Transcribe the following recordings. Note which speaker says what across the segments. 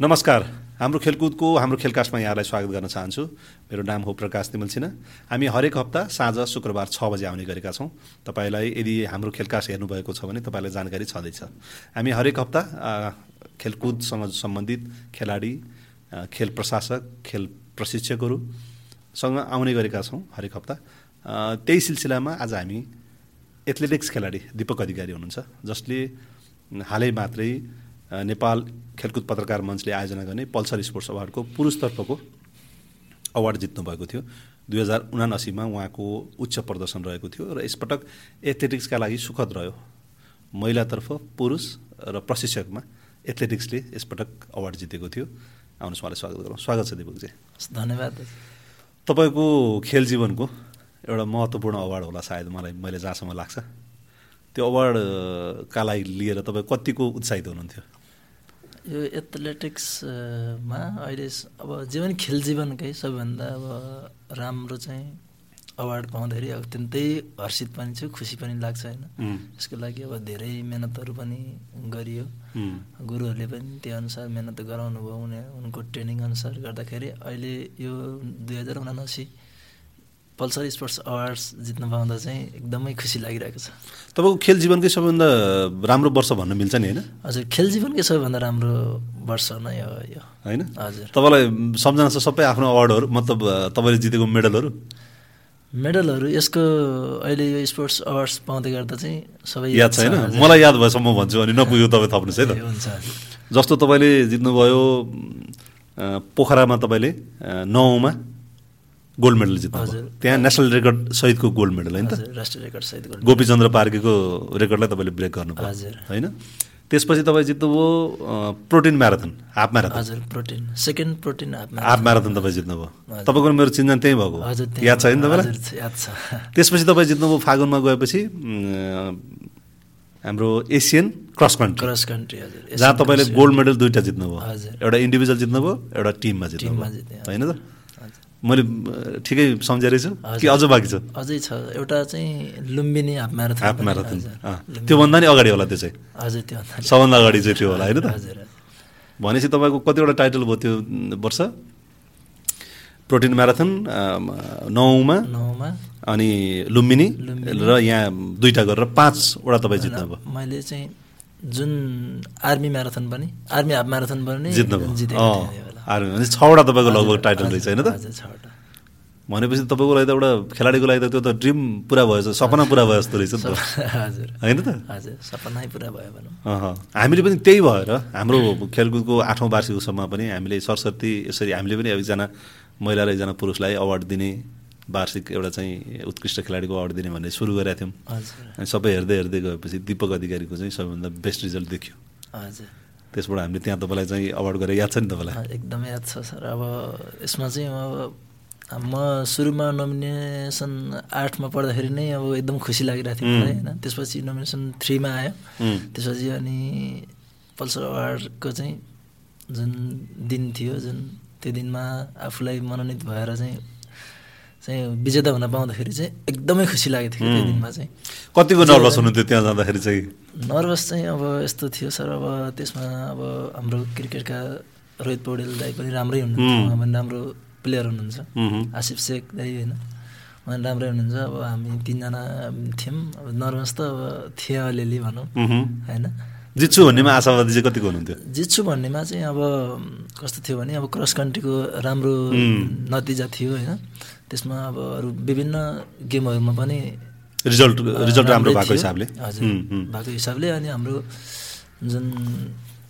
Speaker 1: नमस्कार हाम्रो खेलकुदको हाम्रो खेलकास्टमा यहाँलाई स्वागत गर्न चाहन्छु मेरो नाम हो प्रकाश तिमल सिन्हा हामी हरेक हप्ता साँझ शुक्रबार छ बजे आउने गरेका छौँ तपाईँलाई यदि हाम्रो खेलकास्ट हेर्नुभएको छ भने तपाईँलाई जानकारी छँदैछ हामी हरेक हप्ता आ, खेलकुदसँग सम्बन्धित खेलाडी आ, खेल प्रशासक खेल प्रशिक्षकहरूसँग आउने गरेका छौँ हरेक हप्ता आ, त्यही सिलसिलामा आज हामी एथलेटिक्स खेलाडी दीपक अधिकारी हुनुहुन्छ जसले हालै मात्रै नेपाल खेलकुद पत्रकार मञ्चले आयोजना गर्ने पल्सर स्पोर्ट्स अवार्डको पुरुषतर्फको अवार्ड जित्नुभएको थियो दुई हजार उनासीमा उहाँको उच्च प्रदर्शन रहेको थियो र यसपटक एथलेटिक्सका लागि सुखद रह्यो महिलातर्फ पुरुष र प्रशिक्षकमा एथलेटिक्सले यसपटक अवार्ड जितेको थियो आउनुहोस् उहाँलाई स्वागत गरौँ स्वागत छ दिपकजी
Speaker 2: धन्यवाद
Speaker 1: तपाईँको खेल जीवनको एउटा महत्त्वपूर्ण अवार्ड होला सायद मलाई मैले जहाँसम्म लाग्छ त्यो अवार्डका लागि लिएर तपाईँ कतिको उत्साहित हुनुहुन्थ्यो
Speaker 2: यो एथलेटिक्समा अहिले स- अब जीवन खेल जीवनकै सबैभन्दा अब राम्रो चाहिँ अवार्ड पाउँदाखेरि अत्यन्तै हर्षित पनि छु खुसी पनि लाग्छ होइन
Speaker 1: उम्,
Speaker 2: यसको लागि अब धेरै मिहिनेतहरू पनि गरियो
Speaker 1: उम्,
Speaker 2: गुरुहरूले पनि त्यही अनुसार मिहिनेत गराउनु भयो उनी उनको ट्रेनिङ अनुसार गर्दाखेरि अहिले यो दुई हजार उनासी पल्सर स्पोर्ट्स अवार्ड्स जित्न पाउँदा चाहिँ एकदमै खुसी लागिरहेको छ
Speaker 1: तपाईँको खेल जीवनकै सबैभन्दा राम्रो वर्ष भन्न मिल्छ नि होइन
Speaker 2: हजुर खेल जीवनकै सबैभन्दा राम्रो वर्ष नै हो यो
Speaker 1: होइन
Speaker 2: हजुर
Speaker 1: तपाईँलाई सम्झना छ सबै आफ्नो अवार्डहरू मतलब अ, तपाईँले जितेको मेडलहरू
Speaker 2: मेडलहरू यसको अहिले यो स्पोर्ट्स अवार्ड्स पाउँदै गर्दा चाहिँ सबै
Speaker 1: याद छ होइन मलाई याद भएसम्म भन्छु अनि नपुग्यो तपाईँ थप्नुहोस् है त
Speaker 2: ए, हुन्छ हजुर।
Speaker 1: जस्तो तपाईँले जित्नुभयो अ, पोखरामा तपाईँले अ, नौमा गोल्ड मेडल जित्नुभयो
Speaker 2: हजुर।
Speaker 1: त्यहाँ नेसनल रेकर्ड सहितको गोल्ड मेडल होइन त
Speaker 2: हजुर, राष्ट्रिय रेकर्ड सहित गोल्ड
Speaker 1: गोपीचन्द्र पार्कीको रेकर्डलाई तपाईँले ब्रेक गर्नुभयो
Speaker 2: हजुर।
Speaker 1: होइन त्यसपछि तपाईँ जित्नुभयो अ, प्रोटिन म्याराथन हाफ म्याराथन
Speaker 2: हजुर प्रोटिन सेकेन्ड प्रोटिन हाफमा
Speaker 1: हाफ म्याराथन तपाईँ जित्नुभयो
Speaker 2: हजुर।
Speaker 1: तपाईँको र मेरो चिन्जान त्यहीँ भएको
Speaker 2: हजुर त्यहाँ-
Speaker 1: याद छ होइन तपाईँलाई
Speaker 2: हजुर, याद छ
Speaker 1: त्यसपछि तपाईँ जित्नुभयो फागुनमा गएपछि अम, हाम्रो Asian cross country
Speaker 2: cross country हजुर
Speaker 1: जहाँ तपाईँले गोल्ड मेडल दुईवटा जित्नुभयो
Speaker 2: हजुर।
Speaker 1: एउटा इन्डिभिजुअल जित्नुभयो एउटा टिममा
Speaker 2: टिममा
Speaker 1: जित्नुभयो
Speaker 2: जितेँ, हजुर।
Speaker 1: होइन त
Speaker 2: हजुर।
Speaker 1: मैले अ, ठिकै सम्झाइरहेछु कि अझ बाँकी छ
Speaker 2: अझै छ एउटा चाहिँ लुम्बिनी हाफ म्याराथन
Speaker 1: हाफ
Speaker 2: पनि,
Speaker 1: म्याराथन
Speaker 2: हजुर,
Speaker 1: अँ,
Speaker 2: लुम्बिनी।
Speaker 1: त्योभन्दा नि अगाडि होला त्यो चाहिँ
Speaker 2: हजुर त्योभन्दा
Speaker 1: सबभन्दा अगाडि चाहिँ त्यो होला होइन त
Speaker 2: हजुर हजुर।
Speaker 1: भनेपछि तपाईँको कतिवटा टाइटल भयो त्यो अम, वर्ष प्रोटिन म्याराथन अम, नौमा
Speaker 2: नौमा
Speaker 1: अनि लुम्बिनी
Speaker 2: लुम्बिनी।
Speaker 1: र यहाँ दुईवटा गरेर पाँचवटा तपाईँ जित्नुभयो
Speaker 2: मैले चाहिँ जुन आर्मी म्याराथन पनि आर्मी हाफ म्याराथन पनि
Speaker 1: जित्नुभयो
Speaker 2: जितेको
Speaker 1: अँ,
Speaker 2: थिएँ त्यो बेला।
Speaker 1: आर्मी भने छवटा तपाईँको
Speaker 2: हजुर,
Speaker 1: लगभग टाइटल
Speaker 2: हजुर,
Speaker 1: रहेछ होइन त
Speaker 2: हजुर, छवटा।
Speaker 1: भनेपछि तपाईँको लागि त एउटा खेलाडीको लागि त त्यो त ड्रिम पुरा भयो जस्तो सपना पुरा भयो जस्तो रहेछ नि त
Speaker 2: सपना- हजुर
Speaker 1: होइन त
Speaker 2: हजुर सपनै पुरा भयो भनौँ
Speaker 1: अहँ। हामीले पनि त्यही भएर हाम्रो खेलकुदको आठौँ वार्षिक उत्सवमा पनि हामीले सरस्वती यसरी हामीले पनि एकजना महिला र एकजना पुरुषलाई अवार्ड दिने वार्षिक एउटा चाहिँ उत्कृष्ट खेलाडीको अवार्ड दिने भन्ने सुरु गरेका थियौँ
Speaker 2: हजुर
Speaker 1: अनि सबै हेर्दै हेर्दै गएपछि दिपक अधिकारीको चाहिँ सबैभन्दा बेस्ट रिजल्ट देखियो
Speaker 2: हजुर
Speaker 1: त्यसबाट हामीले त्यहाँ तपाईँलाई चाहिँ अवार्ड गरेर याद छ नि तपाईँलाई
Speaker 2: अँ, एकदमै याद छ सर अब यसमा चाहिँ अब म सुरुमा नोमिनेसन आठमा पढ्दाखेरि नै अब एकदम खुसी लागिरहेको थियो मलाई होइन त्यसपछि नोमिनेसन थ्रीमा आयो
Speaker 1: उम्,
Speaker 2: त्यसपछि अनि पल्सर अवार्डको चाहिँ जुन दिन थियो जुन त्यो दिनमा आफूलाई मनोनित भएर चाहिँ चाहिँ विजेता हुन पाउँदाखेरि चाहिँ एकदमै खुसी लागेको थियो त्यो
Speaker 1: उम्।
Speaker 2: दिनमा चाहिँ
Speaker 1: कतिको नर्भस हुनुहुन्थ्यो त्यहाँ जाँदाखेरि चाहिँ
Speaker 2: नर्भस चाहिँ अब यस्तो थियो सर अब त्यसमा अब हाम्रो क्रिकेटका रोहित पौडेल दाई पनि राम्रै हुनुहुन्छ
Speaker 1: उम्।
Speaker 2: उहाँ पनि राम्रो प्लेयर हुनुहुन्छ
Speaker 1: उहुँ,
Speaker 2: आसिफ शेख दाई होइन उहाँ राम्रै हुनुहुन्छ अब हामी तिनजना थियौँ अब नर्भस त अब थिएँ अलिअलि भनौँ
Speaker 1: उहुँ।
Speaker 2: होइन
Speaker 1: जित्छु भन्नेमा आशावादी चाहिँ कतिको हुनुहुन्थ्यो
Speaker 2: जित्छु भन्नेमा चाहिँ अब कस्तो थियो भने अब क्रस कन्ट्रीको राम्रो
Speaker 1: उम्.
Speaker 2: नतिजा थियो होइन त्यसमा अब अरू विभिन्न गेमहरूमा पनि
Speaker 1: रिजल्ट
Speaker 2: अ,
Speaker 1: रिजल्ट राम्रो
Speaker 2: राम्रै
Speaker 1: भएको
Speaker 2: थियो।
Speaker 1: हिसाबले
Speaker 2: हजुर
Speaker 1: उम्, उम्,
Speaker 2: भएको हिसाबले अनि हाम्रो जुन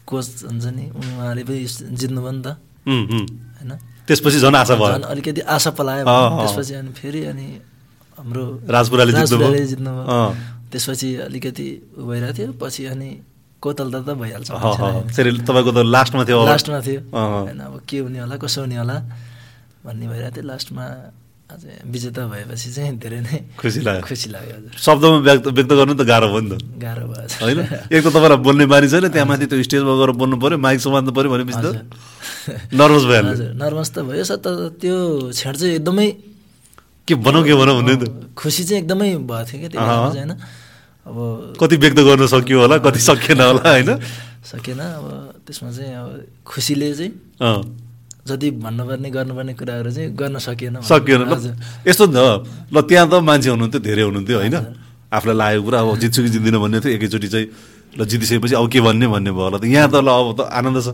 Speaker 2: कोच हुन्छ नि उहाँले पनि जित्नुभयो नि त
Speaker 1: उम्, उम्।
Speaker 2: होइन
Speaker 1: त्यसपछि झन् आशा भयो
Speaker 2: झन् अलिकति आशा पलायो
Speaker 1: अँ, अँ।
Speaker 2: त्यसपछि अनि फेरि अनि हाम्रो
Speaker 1: राजपुराले जित्नुभयो
Speaker 2: राजपुराले जित्नुभयो
Speaker 1: अँ,
Speaker 2: त्यसपछि अलिकति उ भइरहेको थियो पछि अनि कोतल्दा त भइहाल्छ
Speaker 1: अहँ,
Speaker 2: मान्छेलाई
Speaker 1: अहँ।
Speaker 2: होइन।
Speaker 1: फेरि तपाईँको त लास्टमा थियो अब।
Speaker 2: लास्टमा थियो
Speaker 1: अँ।
Speaker 2: होइन अब के हुने होला कसो हुने होला भन्ने भइरहेको थियो लास्टमा अझ विजेता भएपछि चाहिँ धेरै नै
Speaker 1: खुसी लाग्यो
Speaker 2: खुसी लाग्यो हजुर
Speaker 1: शब्दमा व्यक्त व्यक्त गर्नु त गाह्रो भयो नि त
Speaker 2: गाह्रो भयो सर।
Speaker 1: होइन एक त तपाईँलाई बोल्ने बानी छैन त्यहाँ माथि त्यो स्टेजमा गएर बोल्नु पऱ्यो माइक सम्हाल्नु पऱ्यो भनेपछि त
Speaker 2: हजुर
Speaker 1: नर्भस भइहाल्यो
Speaker 2: हजुर नर्भस त भयो सर तर त्यो क्षण चाहिँ एकदमै
Speaker 1: के भनौँ के भनौँ हुँदैन त
Speaker 2: खुसी चाहिँ एकदमै भएको थियो क्या त्यो बेलामा चाहिँ होइन अब
Speaker 1: कति व्यक्त गर्न सकियो होला कति सकिएन होला होइन
Speaker 2: सकेन अब त्यसमा चाहिँ अब खुसीले चाहिँ
Speaker 1: अँ
Speaker 2: जति भन्नुपर्ने गर्नुपर्ने कुराहरू चाहिँ गर्न सकिएन
Speaker 1: सकिएन ल
Speaker 2: हजुर।
Speaker 1: यस्तो नि त ल त्यहाँ त मान्छे हुनुहुन्थ्यो धेरै हुनुहुन्थ्यो होइन आफूलाई लागेको कुरा अब जित्छु कि जित्दिनँ भन्ने थियो एकैचोटि चाहिँ ल जितिसकेपछि अब के भन्ने भन्ने भयो होला त यहाँ त ल अब त आनन्द छ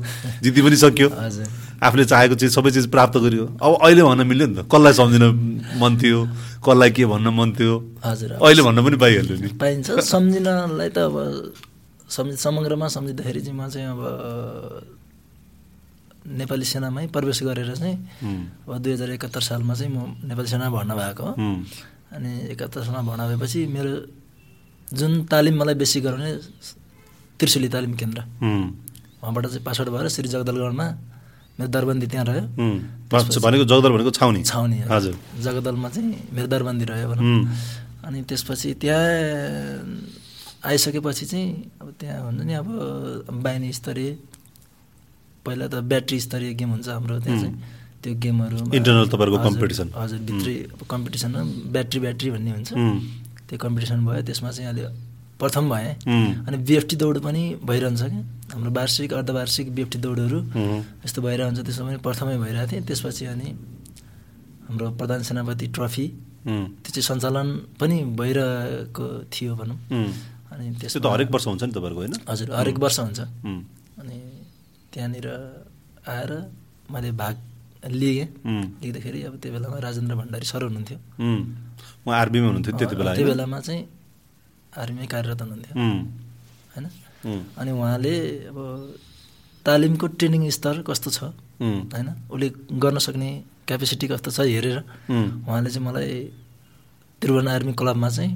Speaker 1: जिति पनि सकियो
Speaker 2: हजुर।
Speaker 1: आफूले चाहेको चिज सबै चिज प्राप्त गरियो अब अहिले भन्न मिल्यो नि त कसलाई सम्झिन मन थियो कसलाई के भन्न मन थियो
Speaker 2: हजुर अब
Speaker 1: अहिले भन्न पनि पाइहाल्यो नि
Speaker 2: पाइन्छ सम्झिनलाई त अब सम्झ समग्रमा सम्झिँदाखेरि चाहिँ म चाहिँ अब नेपाली सेनामै प्रवेश गरेर चाहिँ
Speaker 1: हुँ।
Speaker 2: अब दुई हजार एकात्तर सालमा चाहिँ म नेपाली सेना भर्ना भएको हो।
Speaker 1: हुँ।
Speaker 2: अनि एकात्तर सालमा भर्ना भएपछि मेरो जुन तालिम मलाई बेसी गराउने त्रिशुली तालिम केन्द्र
Speaker 1: हुँ।
Speaker 2: उहाँबाट चाहिँ पासआउट भएर श्री जगदलगढमा मेरो दरबन्दी त्यहाँ रह्यो
Speaker 1: हुँ। भनेको जगदर भनेको छाउनी
Speaker 2: छाउनी हो।
Speaker 1: हजुर
Speaker 2: जगदलमा चाहिँ मेरो दरबन्दी रह्यो भनौँ
Speaker 1: हुँ।
Speaker 2: अनि त्यसपछि त्यहाँ आइसकेपछि चाहिँ अब त्यहाँ हुन्छ नि अब बाहिनी स्तरीय पहिला त ब्याट्री स्तरीय गेम हुन्छ हाम्रो त्यहाँ चाहिँ त्यो गेमहरू
Speaker 1: Internal तपाईँहरूको competition।
Speaker 2: हजुर भित्री कम्पिटिसनमा ब्याट्री ब्याट्री भन्ने हुन्छ
Speaker 1: हुँ।
Speaker 2: त्यो कम्पिटिसन भयो त्यसमा चाहिँ अहिले प्रथम भएँ
Speaker 1: हुँ।
Speaker 2: अनि बिएफटी दौड पनि भइरहन्छ क्या हाम्रो वार्षिक अर्धवार्षिक बिएफटी दौडहरू
Speaker 1: हुँ।
Speaker 2: यस्तो भइरहन्छ त्यसमा पनि प्रथमै भइरहेको थिएँ त्यसपछि अनि हाम्रो प्रधान सेनापति ट्रफी
Speaker 1: हुँ।
Speaker 2: त्यो चाहिँ सञ्चालन पनि भइरहेको थियो भनौँ
Speaker 1: हुँ।
Speaker 2: अनि
Speaker 1: त्यो
Speaker 2: त्यसमा
Speaker 1: त हरेक वर्ष हुन्छ नि तपाईँहरूको होइन
Speaker 2: हजुर हरेक वर्ष हुन्छ
Speaker 1: हुँ।
Speaker 2: अनि त्यहाँनिर आएर मैले भाग लिएँ
Speaker 1: हुँ।
Speaker 2: लिँदाखेरि अब त्यो बेलामा राजेन्द्र भण्डारी सर हुनुहुन्थ्यो
Speaker 1: हुँ। उहाँ आर्मीमा हुनुहुन्थ्यो त्यति बेला
Speaker 2: त्यो
Speaker 1: होइन?
Speaker 2: बेलामा चाहिँ आर्मीमै कार्यरत हुनुहुन्थ्यो
Speaker 1: हुँ।
Speaker 2: होइन
Speaker 1: हुँ।
Speaker 2: अनि उहाँले अब तालिमको ट्रेनिङ स्तर कस्तो छ
Speaker 1: हुँ।
Speaker 2: होइन उसले गर्न सक्ने क्यापेसिटी कस्तो छ हेरेर
Speaker 1: हुँ।
Speaker 2: उहाँले चाहिँ मलाई त्रिभुवन आर्मी क्लबमा चाहिँ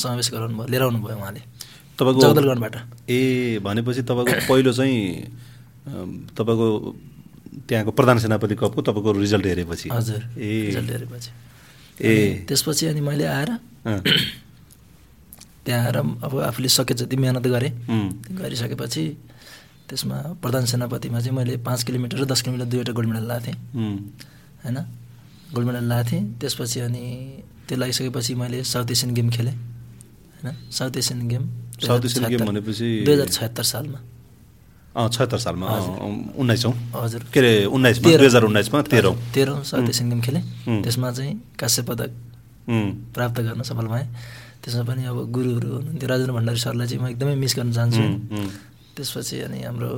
Speaker 2: समावेश गराउनु भयो लिएर आउनुभयो उहाँले जगदलगढबाट
Speaker 1: ए भनेपछि तपाईँको पहिलो चाहिँ अम, तपाईँको त्यहाँको प्रधान सेनापति कपको तपाईँको रिजल्ट हेरेपछि
Speaker 2: हजुर
Speaker 1: ए
Speaker 2: रिजल्ट हेरेपछि
Speaker 1: ए
Speaker 2: त्यसपछि अनि मैले आएर
Speaker 1: अँ।
Speaker 2: त्यहाँ आएर अब आफूले सके जति मिहिनेत गरेँ
Speaker 1: हुँ।
Speaker 2: गरिसकेपछि त्यसमा प्रधान सेनापतिमा चाहिँ मैले पाँच किलोमिटर र दस किलोमिटर दुईवटा गोल्ड मेडल लाएको थिएँ
Speaker 1: हुँ।
Speaker 2: होइन गोल्ड मेडल लाएको थिएँ त्यसपछि अनि त्यो लागिसकेपछि मैले साउथ एसियन गेम खेलेँ होइन South Asian game
Speaker 1: South Asian game भनेपछि-
Speaker 2: दुई हजार छयत्तर सालमा
Speaker 1: अँ छत्तर सालमा
Speaker 2: हजुर।
Speaker 1: उन्नाइसौँ
Speaker 2: हजुर
Speaker 1: के अरे उन्नाइसमा
Speaker 2: तेह्र।
Speaker 1: दुई हजार उन्नाइसमा तेह्रौँ
Speaker 2: हजुर, तेह्रौँ साउथ
Speaker 1: हुँ।
Speaker 2: एसियन गेम खेलेँ
Speaker 1: हुँ।
Speaker 2: त्यसमा चाहिँ काँस्य पदक
Speaker 1: हुँ।
Speaker 2: प्राप्त गर्न सफल भएँ त्यसमा पनि अब गुरुहरू हुनुहुन्थ्यो राजेन्द्र भण्डारी सरलाई चाहिँ म एकदमै मिस गर्न चाहन्छु
Speaker 1: हुँ, हुँ।
Speaker 2: त्यसपछि अनि हाम्रो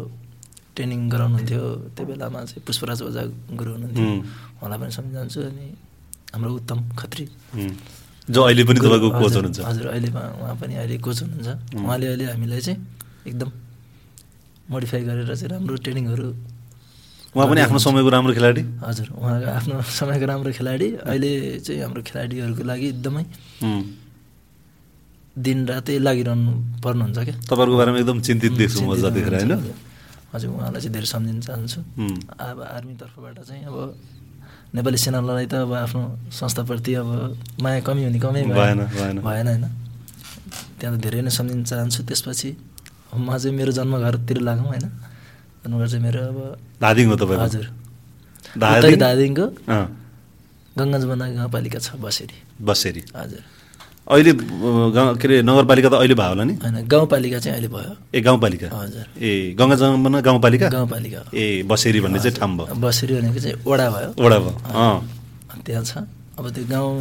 Speaker 2: ट्रेनिङ गराउनुहुन्थ्यो त्यो बेलामा चाहिँ पुष्पराज ओझा गुरु हुनुहुन्थयो
Speaker 1: हुँ।
Speaker 2: उहाँलाई पनि सम्झान्छु अनि हाम्रो उत्तम खत्री
Speaker 1: हुँ। जो अहिले पनि तपाईँको कोच
Speaker 2: हजुर,
Speaker 1: हुनुहुन्छ
Speaker 2: हजुर अहिले उहाँ उहाँ पनि अहिले कोच हुनुहुन्छ
Speaker 1: हुँ।
Speaker 2: उहाँले अहिले हामीलाई चाहिँ एकदम मोडिफाई गरेर चाहिँ राम्रो ट्रेनिङहरू
Speaker 1: उहाँ पनि आफ्नो समयको राम्रो खेलाडी
Speaker 2: हजुर उहाँको आफ्नो समयको राम्रो खेलाडी अहिले चाहिँ हाम्रो खेलाडीहरूको लागि एकदमै
Speaker 1: हुँ।
Speaker 2: दिन रातै लागिरहनु पर्नुहुन्छ क्या
Speaker 1: तपाईँहरूको बारेमा एकदम चिन्तित देख्छु म
Speaker 2: चिन्तित
Speaker 1: जतिखेर होइन
Speaker 2: हुनुहुन्छ। हजुर उहाँलाई चाहिँ धेरै सम्झिन चाहन्छु
Speaker 1: हुँ।
Speaker 2: अब आर्मीतर्फबाट चाहिँ अब नेपाली सेनालाई त अब आफ्नो संस्थाप्रति अब माया कमी हुने कमै
Speaker 1: भएन, भएन।
Speaker 2: भएन होइन त्यहाँ त धेरै नै सम्झिन चाहन्छु त्यसपछि अब म चाहिँ मेरो जन्मघरतिर लागौँ होइन जन्मघर चाहिँ मेरो अब
Speaker 1: धादिङ हो तपाईँको
Speaker 2: हजुर
Speaker 1: धादिङ?
Speaker 2: उत्तरी धादिङको
Speaker 1: अँ,
Speaker 2: गङ्गाजबना गाउँपालिका छ बसेरी
Speaker 1: बसेरी
Speaker 2: हजुर
Speaker 1: अहिले अ, गाउँ के अरे नगरपालिका त अहिले भयो होला नि
Speaker 2: होइन गाउँपालिका चाहिँ अहिले भयो
Speaker 1: ए गाउँपालिका
Speaker 2: हजुर
Speaker 1: ए गङ्गा जमुना गाउँपालिका
Speaker 2: गाउँपालिका हो।
Speaker 1: ए बसेरी भन्ने चाहिँ ठाउँ भयो
Speaker 2: बसेरी भनेको चाहिँ ओडा भयो
Speaker 1: वडा भयो अँ
Speaker 2: अनि त्यहाँ छ अब त्यो गाउँ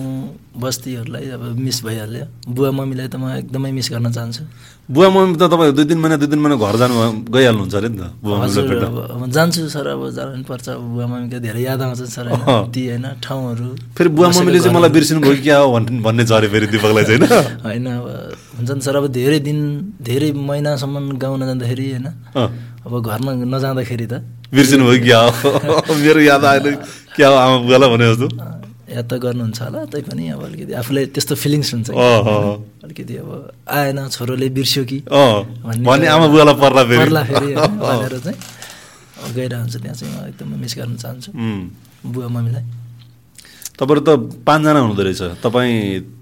Speaker 2: बस्तीहरूलाई अब मिस भइहाल्यो बुवा मम्मीलाई त म एकदमै मिस गर्न चाहन्छु
Speaker 1: बुवा मम्मी त तपाईँ दुई तिन महिना दुई तिन महिना घर जानु गइहाल्नुहुन्छ अरे नि त बुवा मम्मीलाई
Speaker 2: हजुर
Speaker 1: भेट्न।
Speaker 2: अब अब जान्छु सर अब जानु पनि पर्छ अब बुवा मम्मीको धेरै याद आउँछ सर होइन?
Speaker 1: अँ।
Speaker 2: ती होइन ठाउँहरू
Speaker 1: फेरि बुवा
Speaker 2: बसेको
Speaker 1: मम्मीले चाहिँ मलाई
Speaker 2: घरहरू।
Speaker 1: बिर्सिनु भयो कि क्या हो भन्- भन्ने झऱ्यो फेरि दिपकलाई चाहिँ होइन
Speaker 2: होइन अब हुन्छ नि सर अब धेरै दिन धेरै महिनासम्म गाउँ नजाँदाखेरि होइन
Speaker 1: अँ,
Speaker 2: अब घरमा नजाँदाखेरि त
Speaker 1: बिर्सिनु भयो कि क्या हो मेरो याद आएन क्या हो आमा बुवालाई भने जस्तो
Speaker 2: अँ, याद त गर्नुहुन्छ होला तैपनि अब अलिकति आफूलाई त्यस्तो फिलिङ्स हुन्छ कि।
Speaker 1: अँ, अँ,
Speaker 2: अलिकति अब आएन छोरोले बिर्स्यो कि
Speaker 1: अँ भने आमा बुवालाई पर्ला फेरि
Speaker 2: पर्ला फेरि होइन, भनेर चाहिँ अब गइरहन्छ त्यहाँ चाहिँ म एकदमै मिस गर्न चाहन्छु
Speaker 1: उम्।
Speaker 2: बुवा मम्मीलाई
Speaker 1: तपाईँहरू त पाँचजना हुनुहुँदो रहेछ तपाईँ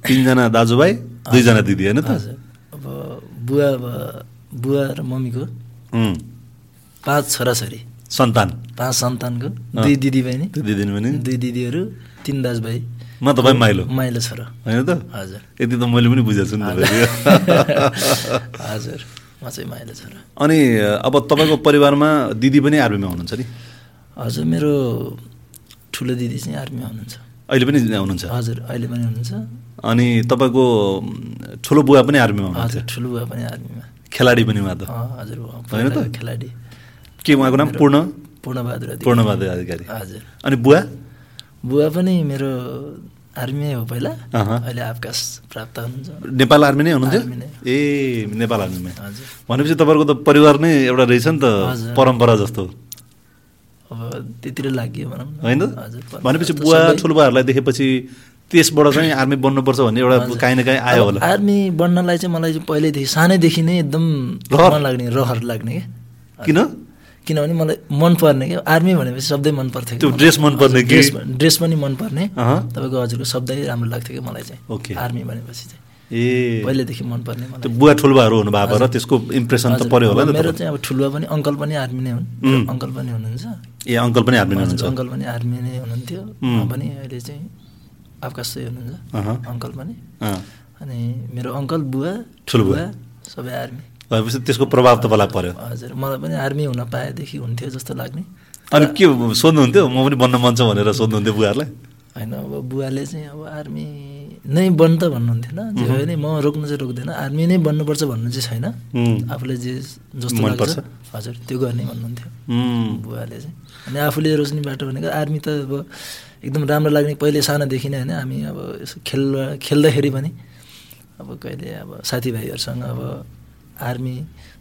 Speaker 1: तिनजना दाजुभाइ दुईजना दिदी होइन त
Speaker 2: हजुर अब बुवा अब बुवा र मम्मीको
Speaker 1: उम्,
Speaker 2: पाँच छोराछोरी
Speaker 1: सन्तान
Speaker 2: पाँच सन्तानको
Speaker 1: अँ।
Speaker 2: दुई दिदी बहिनी
Speaker 1: त्यो दिदिनु भने
Speaker 2: दुई दिदीहरू तिन दाजुभाइ
Speaker 1: म तपाईँ माइलो
Speaker 2: माइलो छोरो
Speaker 1: होइन त
Speaker 2: हजुर
Speaker 1: यति त मैले पनि बुझेको छु नि
Speaker 2: हजुर
Speaker 1: तपाईँको
Speaker 2: हजुर म उहाँ चाहिँ माइलो छोरा
Speaker 1: अनि अब तपाईँको परिवारमा दिदी पनि आर्मीमा हुनुहुन्छ नि
Speaker 2: हजुर मेरो ठुलो दिदी चाहिँ आर्मीमा हुनुहुन्छ
Speaker 1: अहिले पनि हुनुहुन्छ
Speaker 2: हजुर अहिले पनि हुनुहुन्छ
Speaker 1: अनि तपाईँको ठुलो बुवा पनि आर्मीमा हुनुहुन्छ
Speaker 2: हजुर ठुलो बुवा पनि आर्मीमा
Speaker 1: खेलाडी पनि उहाँ त
Speaker 2: अँ, हजुर उहाँ
Speaker 1: होइन त?
Speaker 2: पहिलाको खेलाडी
Speaker 1: के उहाँको नाम पूर्ण
Speaker 2: पूर्णबहादुर अधिकारी।
Speaker 1: पूर्णबहादुर अधिकारी
Speaker 2: हजुर
Speaker 1: अनि बुवा
Speaker 2: बुवा पनि मेरो आर्मी हो पहिला
Speaker 1: अहँ।
Speaker 2: अहिले अवकाश प्राप्त हुनुहुन्छ
Speaker 1: नेपाल आर्मी नै हुनुहुन्छ
Speaker 2: आर्मी नै।
Speaker 1: ए नेपाल आर्मीमा
Speaker 2: हजुर
Speaker 1: भनेपछि तपाईँको त परिवार नै एउटा रहेछ नि त
Speaker 2: हजुर।
Speaker 1: परम्परा जस्तो
Speaker 2: अब त्यतिर लाग्यो भनौँ न
Speaker 1: होइन
Speaker 2: हजुर
Speaker 1: भनेपछि बुवा ठुलबाहरूलाई देखेपछि त्यसबाट चाहिँ आर्मी बन्नुपर्छ भन्ने एउटा काहीँ न काहीँ आयो होला
Speaker 2: आर्मी बन्नलाई चाहिँ मलाई चाहिँ पहिल्यैदेखि सानैदेखि नै एकदम
Speaker 1: रहर?
Speaker 2: मन लाग्ने रहर लाग्ने क्या
Speaker 1: किन
Speaker 2: किनभने मलाई मनपर्ने क्या आर्मी भनेपछि शब्दै मनपर्थ्यो
Speaker 1: त्यो ड्रेस मनपर्ने कि?
Speaker 2: ड्रेस ड्रेस पनि मनपर्ने
Speaker 1: अहँ।
Speaker 2: तपाईँको हजुरको शब्दै राम्रो लाग्थ्यो कि मलाई चाहिँ
Speaker 1: ओके।
Speaker 2: आर्मी भनेपछि चाहिँ
Speaker 1: ए
Speaker 2: पहिलेदेखि मनपर्ने मलाई
Speaker 1: त्यो बुवा ठुल्बाहरू हुनुभएको र त्यसको इम्प्रेसन त
Speaker 2: हजुर,
Speaker 1: पऱ्यो होला नि त
Speaker 2: मेरो
Speaker 1: तपाईँ।
Speaker 2: चाहिँ अब ठुलो पनि अङ्कल पनि आर्मी नै हुन्
Speaker 1: उम्.
Speaker 2: अङ्कल पनि हुनुहुन्छ
Speaker 1: ए अङ्कल पनि आर्मी नै
Speaker 2: हजुर,
Speaker 1: हुनुहुन्छ
Speaker 2: अङ्कल पनि आर्मी नै हुनुहुन्थ्यो
Speaker 1: उम्.
Speaker 2: उहाँ पनि अहिले चाहिँ अवकाशै हुनुहुन्छ
Speaker 1: अहँ।
Speaker 2: अङ्कल पनि
Speaker 1: अँ।
Speaker 2: अनि मेरो अङ्कल बुवा
Speaker 1: ठुलो बुवा।
Speaker 2: सबै आर्मी
Speaker 1: भनेपछि त्यसको प्रभाव तपाईँलाई पऱ्यो
Speaker 2: हजुर मलाई पनि आर्मी हुन पाएदेखि हुन्थ्यो जस्तो लाग्ने
Speaker 1: अनि के सोध्नुहुन्थ्यो म पनि बन्न मन छ भनेर सोध्नुहुन्थ्यो बुवाहरूलाई
Speaker 2: होइन अब बुवाले चाहिँ अब आर्मी नै बन त भन्नुहुन्थेन जे भए नि म रोक्नु चाहिँ रोक्दैन आर्मी नै बन्नुपर्छ भन्नु चाहिँ छैन
Speaker 1: उम्,
Speaker 2: आफूले जे जस्तो
Speaker 1: मनपर्छ।
Speaker 2: लाग्छ हजुर त्यो गर्ने भन्नुहुन्थ्यो
Speaker 1: उम्,
Speaker 2: बुवाले चाहिँ अनि आफूले रोज्ने बाटो भनेको आर्मी त अब एकदम राम्रो लाग्ने पहिले सानोदेखि नै होइन हामी अब यसो खेल खेल्दाखेरि पनि अब कहिले अब साथीभाइहरूसँग अब आर्मी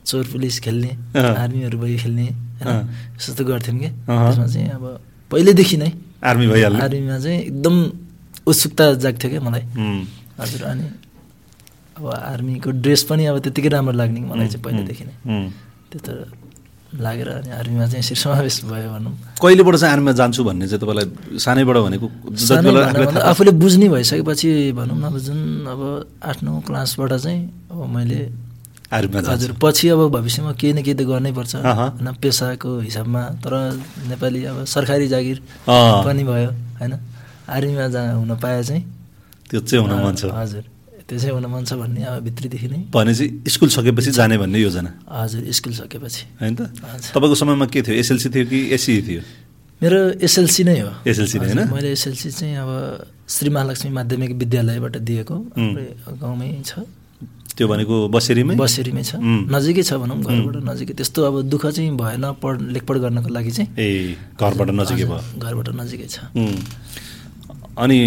Speaker 2: चोर पुलिस खेल्ने
Speaker 1: अँ।
Speaker 2: आर्मीहरू भयो खेल्ने
Speaker 1: अँ।
Speaker 2: होइन यस्तो त गर्थ्यौँ कि
Speaker 1: अहँ।
Speaker 2: त्यसमा चाहिँ अब पहिल्यैदेखि नै
Speaker 1: आर्मी भइहाल्ने
Speaker 2: आर्मीमा चाहिँ एकदम उत्सुकता जाग्थ्यो क्या मलाई
Speaker 1: उम्,
Speaker 2: हजुर अनि अब आर्मीको ड्रेस पनि अब त्यत्तिकै राम्रो लाग्ने कि मलाई चाहिँ
Speaker 1: उम्,
Speaker 2: पहिल्यैदेखि नै
Speaker 1: उम्।
Speaker 2: त्यो त लागेर अनि आर्मीमा चाहिँ यसरी समावेश भयो भनौँ
Speaker 1: कहिलेबाट चाहिँ आर्मीमा जान्छु भन्ने चाहिँ तपाईँलाई सानैबाट भनेको जति
Speaker 2: सानै
Speaker 1: बेला
Speaker 2: भन्दा
Speaker 1: आफूलाई
Speaker 2: भन्दा
Speaker 1: थाहा-
Speaker 2: आफूले बुझ्ने भइसकेपछि भनौँ न अब जुन अब आठ नौ क्लासबाट चाहिँ अब मैले
Speaker 1: आर्मीमा जान्छु
Speaker 2: हजुर पछि अब भविष्यमा केही न केही त गर्नैपर्छ
Speaker 1: अहँ।
Speaker 2: होइन पेसाको हिसाबमा तर नेपाली अब सरकारी जागिर
Speaker 1: अँ,
Speaker 2: पनि भयो होइन आर्मीमा जा हुन पाए चाहिँ
Speaker 1: त्यो चाहिँ हुन मन छ
Speaker 2: हजुर त्यो चाहिँ हुन मन छ भन्ने अब भित्रीदेखि नै
Speaker 1: भनेपछि स्कुल सकेपछि जाने भन्ने योजना
Speaker 2: हजुर स्कुल सकेपछि
Speaker 1: होइन त
Speaker 2: हजुर।
Speaker 1: तपाईँको समयमा के थियो एसएलसी थियो कि एससी थियो
Speaker 2: मेरो एसएलसी नै हो
Speaker 1: SLC नै होइन?
Speaker 2: हजुर, मैले एसएलसी चाहिँ अब श्री महालक्ष्मी माध्यमिक विद्यालयबाट दिएको हाम्रै गाउँमै छ
Speaker 1: त्यो भनेको बसेरीमै
Speaker 2: बसेरीमै छ
Speaker 1: उम्.
Speaker 2: नजिकै छ भनौँ घरबाट नजिकै त्यस्तो अब दुःख चाहिँ भएन पढ लेखपढ गर्नको लागि चाहिँ
Speaker 1: ए घरबाट नजिकै भयो
Speaker 2: हजुर, घरबाट नजिकै छ
Speaker 1: उम्। अनि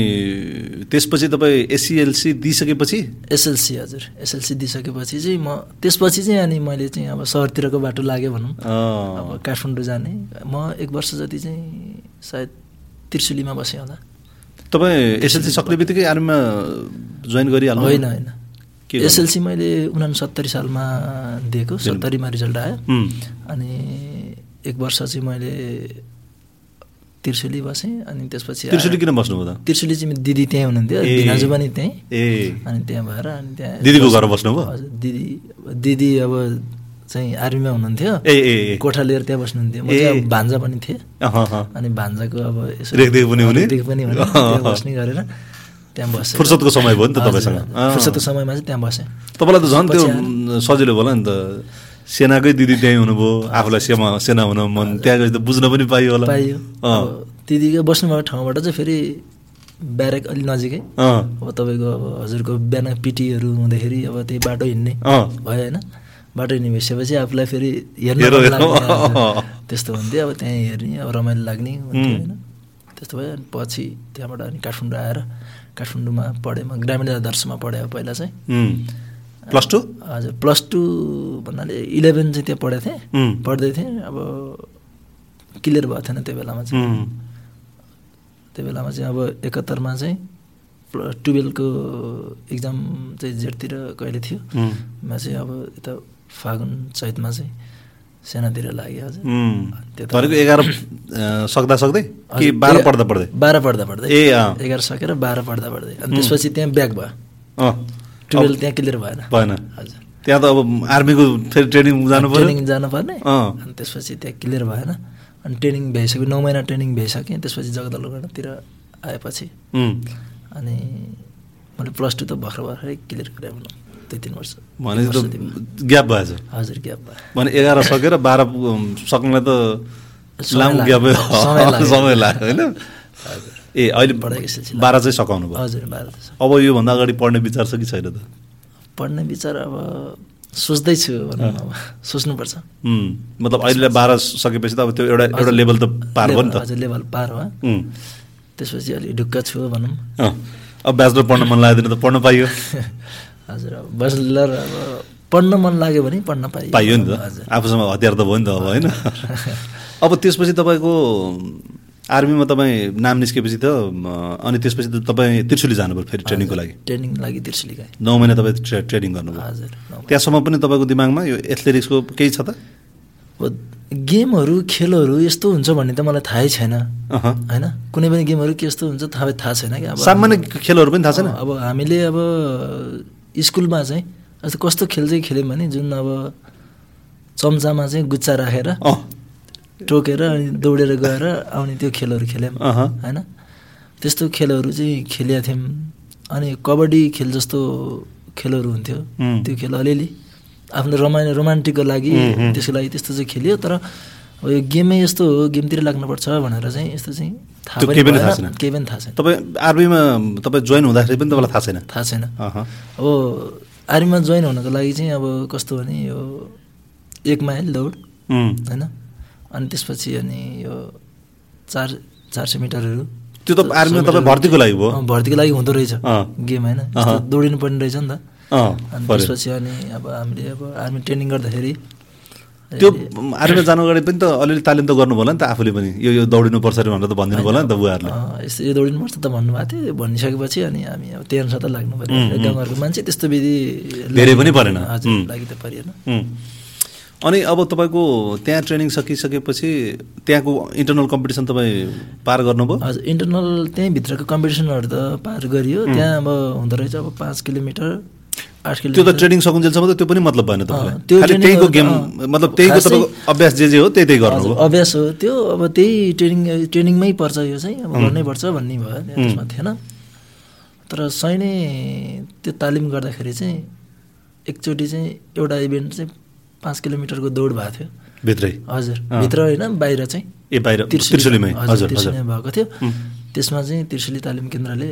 Speaker 1: त्यसपछि तपाईँ एससिएलसी दिइसकेपछि
Speaker 2: एसएलसी हजुर एसएलसी दिइसकेपछि चाहिँ म त्यसपछि चाहिँ अनि मैले चाहिँ अब सहरतिरको बाटो लाग्यो भनौँ
Speaker 1: अँ,
Speaker 2: अब काठमाडौँ जाने म एक वर्ष जति चाहिँ सायद त्रिशुलीमा बसेँ होला
Speaker 1: तपाईँ एसएलसी सक्ने बित्तिकै आर्मीमा जोइन गरिहाल्नु
Speaker 2: होइन होइन
Speaker 1: के गर्नु?
Speaker 2: एसएलसी मैले उनासत्तरी सालमा दिएको सत्तरीमा रिजल्ट आयो
Speaker 1: उम्,
Speaker 2: अनि एक वर्ष चाहिँ मैले त्रिशुली बसेँ अनि त्यसपछि आएर-
Speaker 1: त्रिशुली किन बस्नुभयो त
Speaker 2: त्रिशुली चाहिँ मेरो दिदी त्यहीँ हुनुहुन्थ्यो
Speaker 1: ए।
Speaker 2: दिनाजु पनि त्यहीँ
Speaker 1: ए
Speaker 2: अनि त्यहाँ भएर अनि त्यहाँ
Speaker 1: दिदीको घर बस्नुभयो
Speaker 2: हजुर दिदी दिदी अब चाहिँ आर्मीमा हुनुहुन्थ्यो
Speaker 1: ए ए ए
Speaker 2: कोठा लिएर त्यहाँ बस्नुहुन्थ्यो म
Speaker 1: ए।
Speaker 2: चाहिँ अब भान्जा पनि थिएँ
Speaker 1: अहँ, अहँ।
Speaker 2: अनि भान्जाको अब यसो
Speaker 1: रेखदेख पनि हुने?
Speaker 2: रेखदेख पनि हुने त्यहाँ बस्ने गरेर त्यहाँ बसेँ
Speaker 1: फुर्सदको समय भयो नि त
Speaker 2: हजुर,
Speaker 1: तपाईँसँग।
Speaker 2: हजुर।
Speaker 1: अँ।
Speaker 2: फुर्सदको समयमा चाहिँ त्यहाँ बसेँ
Speaker 1: तपाईँलाई त झन् त्यो
Speaker 2: पछि
Speaker 1: म, सजिलो भयो होला नि त सेनाकै दिदी त्यहीँ हुनुभयो आफूलाई सेना सेना हुन मन त्यहाँ गएपछि त बुझ्न पनि पाइयो होला
Speaker 2: पाइयो
Speaker 1: अँ,
Speaker 2: अब त्यतिकै बस्नुभएको ठाउँबाट चाहिँ फेरि ब्यारेक अलि नजिकै
Speaker 1: अँ,
Speaker 2: अब तपाईँको अब हजुरको बिहान पिटीहरू हुँदाखेरि अब त्यही बाटो हिँड्ने
Speaker 1: अँ।
Speaker 2: भयो होइन बाटो हिँड्ने भइसकेपछि आफूलाई फेरि हेर्न
Speaker 1: हेर,
Speaker 2: मन
Speaker 1: हेर। अँ।
Speaker 2: लाग्ने, हजुर। त्यस्तो हुन्थ्यो अब त्यहीँ हेर्ने अब रमाइलो लाग्ने हुन्थ्यो होइन त्यस्तो भयो अनि पछि त्यहाँबाट अनि काठमाडौँ आएर काठमाडौँमा पढेँ म ग्रामीण आदर्शमा पढेँ अब पहिला चाहिँ
Speaker 1: उम्। प्लस टू
Speaker 2: हजुर प्लस टू भन्नाले इलेभेन चाहिँ त्यहाँ पढेको थिएँ
Speaker 1: उम्,
Speaker 2: पढ्दै थिएँ अब क्लियर भएको थिएन त्यो बेलामा चाहिँ
Speaker 1: उम्,
Speaker 2: त्यो बेलामा चाहिँ अब एकात्तरमा चाहिँ टुवेल्भको इक्जाम चाहिँ जेठतिर कहिले थियो
Speaker 1: उम्,
Speaker 2: म चाहिँ अब यता फागुन चैतमा चाहिँ सेनातिर लाग्यो हजुर
Speaker 1: उम्।
Speaker 2: त्यता-
Speaker 1: भनेको एघार अँ, सक्दा सक्दै कि
Speaker 2: हजुर,
Speaker 1: बाह्र
Speaker 2: ए-
Speaker 1: पढ्दा पढ्दै
Speaker 2: बाह्र पढ्दा पढ्दै
Speaker 1: ए, अँ।
Speaker 2: एघार सकेर बाह्र पढ्दा पढ्दै अनि त्यसपछि त्यहाँ ब्याक भयो
Speaker 1: अँ,
Speaker 2: टुवेल्भ त्यहाँ क्लियर भएन
Speaker 1: भएन
Speaker 2: हजुर
Speaker 1: त्यहाँ त अब आर्मीको फेरि ट्रेनिङ जानु पर्यो
Speaker 2: ट्रेनिङ जानुपर्ने
Speaker 1: अँ।
Speaker 2: अनि त्यसपछि त्यहाँ क्लियर भएन अनि ट्रेनिङ भइसक्यो नौ महिना ट्रेनिङ भइसक्यो त्यसपछि जगदलगढतिर आएपछि
Speaker 1: उम्।
Speaker 2: अनि मैले प्लस टू त भर्खर भर्खरै क्लियर गरेँ भनौँ दुई तिन वर्ष तिन
Speaker 1: भनेपछि
Speaker 2: वर्ष
Speaker 1: त
Speaker 2: दिनमा।
Speaker 1: ग्याप भएछ
Speaker 2: हजुर ग्याप भयो
Speaker 1: भने एघार सकेर बाह्र अम, सक्नुलाई त
Speaker 2: समय
Speaker 1: लामो
Speaker 2: लाग्यो।
Speaker 1: ग्याप
Speaker 2: समय लाग्यो।
Speaker 1: समय लाग्यो होइन ए अहिले
Speaker 2: पढाइको सिलसिला।
Speaker 1: बाह्र चाहिँ सघाउनु भयो
Speaker 2: हजुर बाह्र वर्ष।
Speaker 1: अब योभन्दा अगाडि पढ्ने विचार छ कि छैन त
Speaker 2: पढ्ने विचार अब सोच्दैछु भनौँ न अब सोच्नुपर्छ
Speaker 1: उम्, मतलब अहिले बाह्र सकेपछि त अब त्यो एउटा एउटा लेभल त पार भयो नि त
Speaker 2: हजुर लेभल पार हो
Speaker 1: उम्,
Speaker 2: त्यसपछि अलिक ढुक्क छु भनौँ
Speaker 1: अँ, अब ब्याचलर पढ्न मन लागेदैन त पढ्न पाइयो
Speaker 2: हजुर अब ब्याचलर अब पढ्न मन लाग्यो भने पढ्न पाइयो
Speaker 1: पाइयो नि त
Speaker 2: हजुर
Speaker 1: आफूसँग हतियार त भयो नि त अब होइन अब त्यसपछि तपाईँको आर्मीमा तपाईँ नाम निस्केपछि त म, अनि त्यसपछि त तपाईँ त्रिशुली जानुभयो फेरि ट्रेनिङको लागि
Speaker 2: ट्रेनिङ लागि तिर्सुली गएँ
Speaker 1: नौ महिना तपाईँ ट्रे ट्रेनिङ गर्नुभयो
Speaker 2: हजुर नौ महिना।
Speaker 1: त्यहाँसम्म पनि तपाईँको दिमागमा यो एथलेटिक्सको केही छ त
Speaker 2: अब गेमहरू खेलहरू यस्तो हुन्छ भन्ने त मलाई थाहै छैन
Speaker 1: अहँ।
Speaker 2: होइन कुनै पनि गेमहरू के यस्तो हुन्छ थाहा थाहा छैन कि अब
Speaker 1: सामान्य खेलहरू पनि थाहा छैन
Speaker 2: अब हामीले अब स्कुलमा चाहिँ यस्तो कस्तो खेल चाहिँ खेल्यौँ भने जुन अब चम्चामा चाहिँ गुच्चा राखेर
Speaker 1: अँ,
Speaker 2: टोकेर अनि दौडेर गएर आउने त्यो खेलहरू खेल्यौँ
Speaker 1: अहँ।
Speaker 2: होइन त्यस्तो खेलहरू चाहिँ खेलेका थियौँ अनि कबड्डी खेल जस्तो खेलहरू हुन्थ्यो
Speaker 1: उम्।
Speaker 2: त्यो खेल अलिअलि आफ्नो रमाइलो रोमान्टिकको लागि
Speaker 1: उम्, उम्।
Speaker 2: त्यसको लागि त्यस्तो चाहिँ खेलियो तर अब यो गेमै यस्तो हो गेमतिर लाग्नुपर्छ भनेर चाहिँ यस्तो चाहिँ थाहा
Speaker 1: त्यो केही पनि
Speaker 2: पनि
Speaker 1: थाहा
Speaker 2: भएन
Speaker 1: छैन।
Speaker 2: केही पनि थाहा छैन
Speaker 1: तपाईँ आर्मीमा तपाईँ जोइन हुँदाखेरि पनि तपाईँलाई थाहा छैन
Speaker 2: थाहा छैन
Speaker 1: अहँ,
Speaker 2: अब आर्मीमा जोइन हुनको लागि चाहिँ अब कस्तो भने यो एक माइल दौड
Speaker 1: उम्।
Speaker 2: होइन अनि त्यसपछि अनि यो चार चार सय मिटरहरू
Speaker 1: त्यो त आर्मीमा तपाईँ भर्तीको लागि भयो
Speaker 2: अँ, भर्तीको लागि हुँदो रहेछ
Speaker 1: अँ।
Speaker 2: गेम होइन यस्तो
Speaker 1: अहँ।
Speaker 2: दौडिनु पर्ने रहेछ नि त
Speaker 1: अँ,
Speaker 2: अनि
Speaker 1: पर्यो।
Speaker 2: त्यसपछि अनि अब हामीले अब आर्मी ट्रेनिङ गर्दाखेरि
Speaker 1: त्यो आर्मीमा जानु अगाडि पनि त अलिअलि तालिम त गर्नु होला नि त आफूले पनि यो यो दौडिनुपर्छ अरे भनेर त भनिदिनु भयो होला नि त बुवाहरूले
Speaker 2: अँ, यस्तो यो दौडिनुपर्छ त भन्नुभएको थियो भनिसकेपछि अनि हामी अब त्यही अनुसार त लाग्नु पऱ्यो गाउँघरको मान्छे त्यस्तो विधि
Speaker 1: धेरै पनि परेन।
Speaker 2: हजुर
Speaker 1: उम्।
Speaker 2: लागि त परेन
Speaker 1: उम्। अनि अब तपाईँको त्यहाँ ट्रेनिङ सकिसकेपछि त्यहाँको इन्टरनल कम्पिटिसन तपाईँ पार गर्नुभयो
Speaker 2: हजुर इन्टरनल त्यहीँभित्रको कम्पिटिसनहरू त पार गरियो त्यहाँ अब हुँदो रहेछ अब पाँच किलोमिटर आठ
Speaker 1: त्यो त
Speaker 2: किलोमिटर
Speaker 1: ट्रेनिङ सकुन्जेलसम्म त त्यो पनि मतलब भएन तपाईँलाई
Speaker 2: अँ, त्यो
Speaker 1: खालि
Speaker 2: training
Speaker 1: त्यहीको
Speaker 2: गर्दा-
Speaker 1: गेम
Speaker 2: अँ,
Speaker 1: मतलब त्यहीको
Speaker 2: खासै-
Speaker 1: तपाईँको अभ्यास जे जे हो त्यही त्यही गर्नु
Speaker 2: हजुर,
Speaker 1: हो
Speaker 2: अभ्यास हो त्यो अब त्यही ट्रेनिङ ट्रेनिङमै पर्छ यो चाहिँ अब गर्नै पर्छ भन्ने भयो
Speaker 1: हुँ।
Speaker 2: त्यसमा थिएन तर सही नै त्यो तालिम गर्दाखेरि चाहिँ एकचोटि चाहिँ एउटा इभेन्ट चाहिँ पाँच किलोमिटरको दौड भएको थियो
Speaker 1: भित्रै
Speaker 2: हजुर
Speaker 1: अँ।
Speaker 2: भित्र होइन बाहिर चाहिँ
Speaker 1: ए बाहिर त्रिशुलीमै हजुर हजुर
Speaker 2: त्रिशुलीमा भएको थियो
Speaker 1: हुँ।
Speaker 2: त्यसमा चाहिँ त्रिशुली तालिम केन्द्रले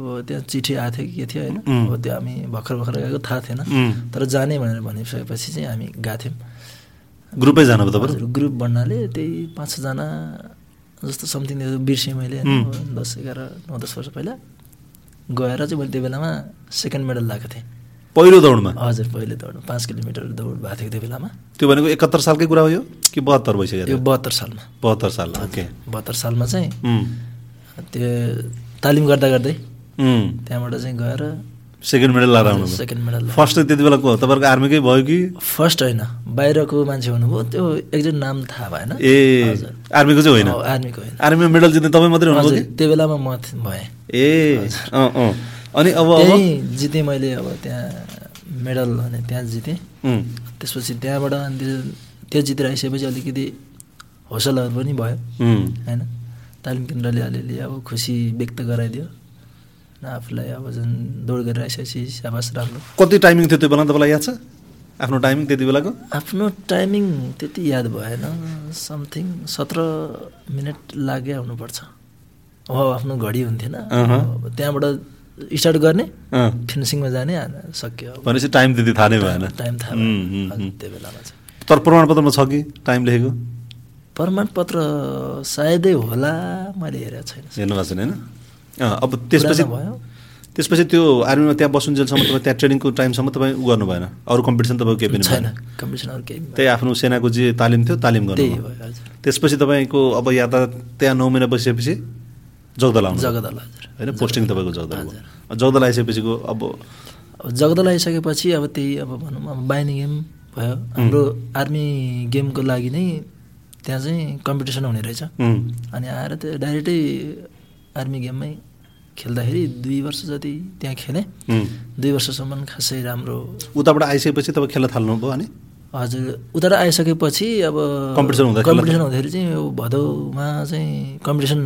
Speaker 2: अब त्यहाँ चिठी आएको थियो कि के थियो होइन
Speaker 1: हुँ।
Speaker 2: अब त्यो हामी भर्खर भर्खर गएको थाहा थिएन
Speaker 1: हुँ।
Speaker 2: तर जाने भनेर भनिसकेपछि चाहिँ हामी गएको थियौँ
Speaker 1: ग्रुपै जानुभयो तपाईँ
Speaker 2: हजुर ग्रुप भन्नाले त्यही पाँच छजना जस्तो समथिङ बिर्सेँ मैले होइन,
Speaker 1: हुँ।
Speaker 2: अब दस एघार नौ दस वर्ष पहिला गएर चाहिँ मैले त्यो बेलामा सेकेन्ड मेडल लगाएको थिएँ
Speaker 1: पहिलो दौडमा
Speaker 2: हजुर पहिले दौड पाँच किलोमिटर दौड भएको थियो त्यो बेलामा
Speaker 1: त्यो भनेको एकात्तर सालकै कुरा हो यो कि बहत्तर भइसक्यो
Speaker 2: यो
Speaker 1: त्यो?
Speaker 2: बहत्तर सालमा
Speaker 1: बहत्तर साल ओके
Speaker 2: बहत्तर सालमा चाहिँ
Speaker 1: उम्,
Speaker 2: त्यो तालिम गर्दा गर्दै
Speaker 1: उम्।
Speaker 2: त्यहाँबाट चाहिँ गएर
Speaker 1: सेकेन्ड मेडल लगाएर आउनुभयो
Speaker 2: सेकेन्ड मेडल लगाएँ।
Speaker 1: फर्स्ट चाहिँ त्यति बेलाको हो, तपाईँहरूको आर्मीकै भयो कि
Speaker 2: फर्स्ट होइन बाहिरको मान्छे हुनुभयो त्यो एकजना नाम थाहा भएन
Speaker 1: ए आर्मीको चाहिँ होइन
Speaker 2: अँ, आर्मीको होइन
Speaker 1: आर्मीमा मेडल जित्ने तपाईँ मात्रै हुनुभयो
Speaker 2: हजुर,
Speaker 1: कि
Speaker 2: त्यो बेलामा म थ- भएँ
Speaker 1: ए अँ अँ अनि अब अब
Speaker 2: त्यहीँ जितेँ मैले अब त्यहाँ मेडल भने त्यहाँ जितेँ
Speaker 1: उम्,
Speaker 2: त्यसपछि त्यहाँबाट अनि त्यो त्यो जितेर आइसकेपछि अलिकति हौसलाहरू पनि भयो
Speaker 1: उम्,
Speaker 2: होइन तालिम केन्द्रले अलिअलि अब खुसी व्यक्त गराइदियो न आफूलाई अब जुन दौड गरेर आइसकेपछि साबास राम्रो
Speaker 1: कति टाइमिङ थियो त्यो बेला तपाईँलाई याद छ आफ्नो टाइमिङ त्यति बेलाको
Speaker 2: आफ्नो टाइमिङ त्यति याद भएन समथिङ सत्र मिनट लागे आउनुपर्छ हो आफ्नो घडी हुन्थेन
Speaker 1: अहँ।
Speaker 2: अब त्यहाँबाट स्टार्ट गर्ने
Speaker 1: अँ,
Speaker 2: फिनिसिङमा जाने अनि सक्यो अब।
Speaker 1: भनेपछि टाइम त्यति थाहा नै भएन
Speaker 2: टाइम थाहा
Speaker 1: उम्,
Speaker 2: भएन।
Speaker 1: उम्,
Speaker 2: हजुर,
Speaker 1: उम्।
Speaker 2: त्यो बेलामा चाहिँ
Speaker 1: तर प्रमाणपत्रमा छ कि टाइम लेखेको
Speaker 2: प्रमाणपत्र सायदै होला मैले हेरेको छैन
Speaker 1: हेर्नु भएको छैन होइन अँ, अब त्यसपछि
Speaker 2: पुरानो भयो।
Speaker 1: त्यसपछि त्यो आर्मीमा त्यहाँ बसुन्जेलसम्म तपाईँ त्यहाँ ट्रेनिङको टाइमसम्म तपाईँ उ गर्नु भएन अरू कम्पिटिसन तपाईँको केही पनि
Speaker 2: छैन
Speaker 1: भएन
Speaker 2: कमिसनहरू केही पनि
Speaker 1: त्यही आफ्नो सेनाको जे तालिम थियो तालिम
Speaker 2: भएन।
Speaker 1: गर्नु
Speaker 2: त्यही
Speaker 1: भयो।
Speaker 2: भयो हजुर
Speaker 1: त्यसपछि तपाईँको अब यात्रा त्यहाँ नौ महिना बसिसकेपछि जगदल आउनु भयो।
Speaker 2: जगदल हजुर
Speaker 1: होइन पोस्टिङ तपाईँको जगदल भयो। जगदल आइसकेपछिको अब
Speaker 2: अब जगदल आइसकेपछि अब त्यही अब भनौँ अब बाहिनी गेम भयो हाम्रो आर्मी गेमको लागि नै त्यहाँ चाहिँ कम्पिटिसन हुने रहेछ
Speaker 1: उम्,
Speaker 2: अनि आएर त्यो डाइरेक्टै आर्मी गेममै खेल्दाखेरि दुई वर्ष जति त्यहाँ खेलेँ
Speaker 1: उम्।
Speaker 2: दुई वर्षसम्म खासै राम्रो
Speaker 1: उताबाट आइसकेपछि तपाईँ खेल्न थाल्नुभयो अनि
Speaker 2: हजुर उता आइसकेपछि अब
Speaker 1: कम्पिटिसन हुँदाखेरि
Speaker 2: कम्पिटिसन हुँदाखेरि चाहिँ यो भदौमा चाहिँ कम्पिटिसन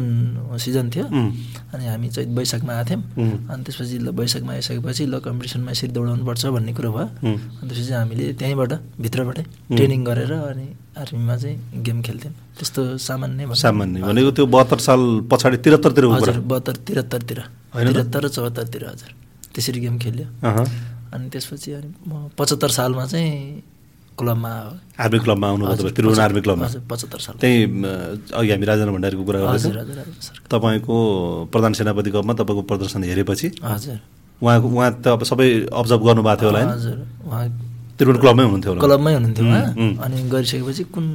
Speaker 2: सिजन थियो
Speaker 1: उम्,
Speaker 2: अनि हामी चैत वैशाखमा आएको थियौँ
Speaker 1: उम्।
Speaker 2: अनि त्यसपछि ल वैशाखमा आइसकेपछि ल कम्पिटिसनमा यसरी दौडाउनु पर्छ भन्ने कुरो भयो
Speaker 1: उम्।
Speaker 2: अनि त्यसपछि हामीले त्यहीँबाट भित्रबाटै ट्रेनिङ गरेर अनि आर्मीमा चाहिँ गेम खेल्थ्यौँ त्यस्तो सामान्य भयो।
Speaker 1: सामान्य भनेको त्यो बहत्तर साल पछाडि तिहत्तरतिर
Speaker 2: हजुर बहत्तर त्रिहत्तरतिर
Speaker 1: होइन त?
Speaker 2: त्रिहत्तर चौहत्तरतिर हजुर त्यसरी गेम खेल्यो अनि त्यसपछि अनि म पचहत्तर सालमा चाहिँ क्लबमा आयो
Speaker 1: आर्मी क्लबमा आउनुभयो
Speaker 2: हजुर,
Speaker 1: तपाईँ त्रिभुवन आर्मी क्लबमा
Speaker 2: हजुर, पचहत्तर साल
Speaker 1: त्यही अ, अघि हामी राजेन्द्र भण्डारीको कुरा
Speaker 2: हजुर
Speaker 1: गर्दैछौँ
Speaker 2: हजुर हजुर सर
Speaker 1: तपाईँको प्रधान सेनापति कपमा तपाईँको प्रदर्शन हेरेपछि
Speaker 2: हजुर
Speaker 1: उहाँ उहाँ त अब सबै अब्जर्भ गर्नुभएको थियो होला होइन
Speaker 2: हजुर उहाँ
Speaker 1: त्रिभुवन क्लबमै हुनुहुन्थ्यो होला
Speaker 2: क्लबमै हुनुहुन्थ्यो उहाँ
Speaker 1: उम्,
Speaker 2: अनि गरिसकेपछि कुन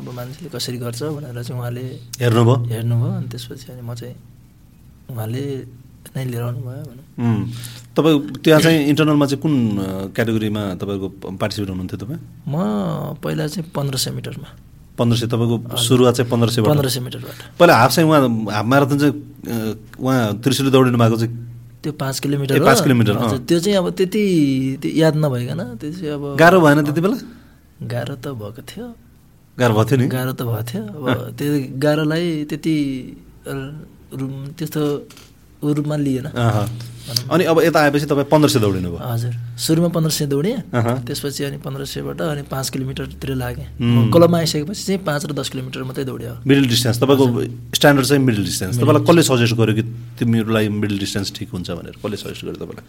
Speaker 2: अब मान्छेले कसरी गर्छ भनेर चाहिँ उहाँले
Speaker 1: हेर्नुभयो
Speaker 2: हेर्नुभयो अनि त्यसपछि अनि म चाहिँ उहाँले नै लिएर आउनुभयो भनौँ
Speaker 1: उम्, तपाईँ त्यहाँ चाहिँ इन्टरनलमा चाहिँ कुन अ, क्याटेगोरीमा तपाईँको पार्टिसिपेट हुनुहुन्थ्यो तपाईँ
Speaker 2: म पहिला चाहिँ पन्ध्र सय मिटरमा
Speaker 1: पन्ध्र सय तपाईँको सुरुवात चाहिँ पन्ध्र सयबाट
Speaker 2: पन्ध्र सय मिटरबाट
Speaker 1: पहिला हाफ चाहिँ उहाँ हाफ म्याराथन चाहिँ अ, उहाँ त्रिसुली दौडिनु भएको चाहिँ
Speaker 2: त्यो पाँच किलोमिटर
Speaker 1: ए,
Speaker 2: हो।
Speaker 1: पाँच किलोमिटर, अँ।
Speaker 2: हजुर, त्यो चाहिँ अब त्यति त्यो याद नभइकन त्यो चाहिँ अब
Speaker 1: गाह्रो भएन त्यति बेला
Speaker 2: गाह्रो त भएको थियो
Speaker 1: गाह्रो भएको थियो नि
Speaker 2: गाह्रो त भएको थियो अब त्यो गाह्रोलाई त्यति अ, रूम त्यस्तो ऊ रूपमा लिएन
Speaker 1: अहँ। अनि अब यता आएपछि तपाईँ पन्ध्र सय दौडिनु भयो
Speaker 2: हजुर सुरुमा पन्ध्र सय दौडेँ
Speaker 1: अहँ।
Speaker 2: त्यसपछि अनि पन्ध्र सयबाट अनि पाँच किलोमिटरतिर लागेँ
Speaker 1: हुँ।
Speaker 2: कलममा आइसकेपछि चाहिँ पाँच र दस किलोमिटर मात्रै दौड्यो
Speaker 1: मिडल डिस्टेन्स तपाईँको स्ट्यान्डर्ड चाहिँ मिडल डिस्टेन्स तपाईँलाई कसले सजेस्ट गर्यो कि तिमीहरूलाई मिडल डिस्टेन्स ठिक हुन्छ भनेर कसले सजेस्ट गर्यो तपाईँलाई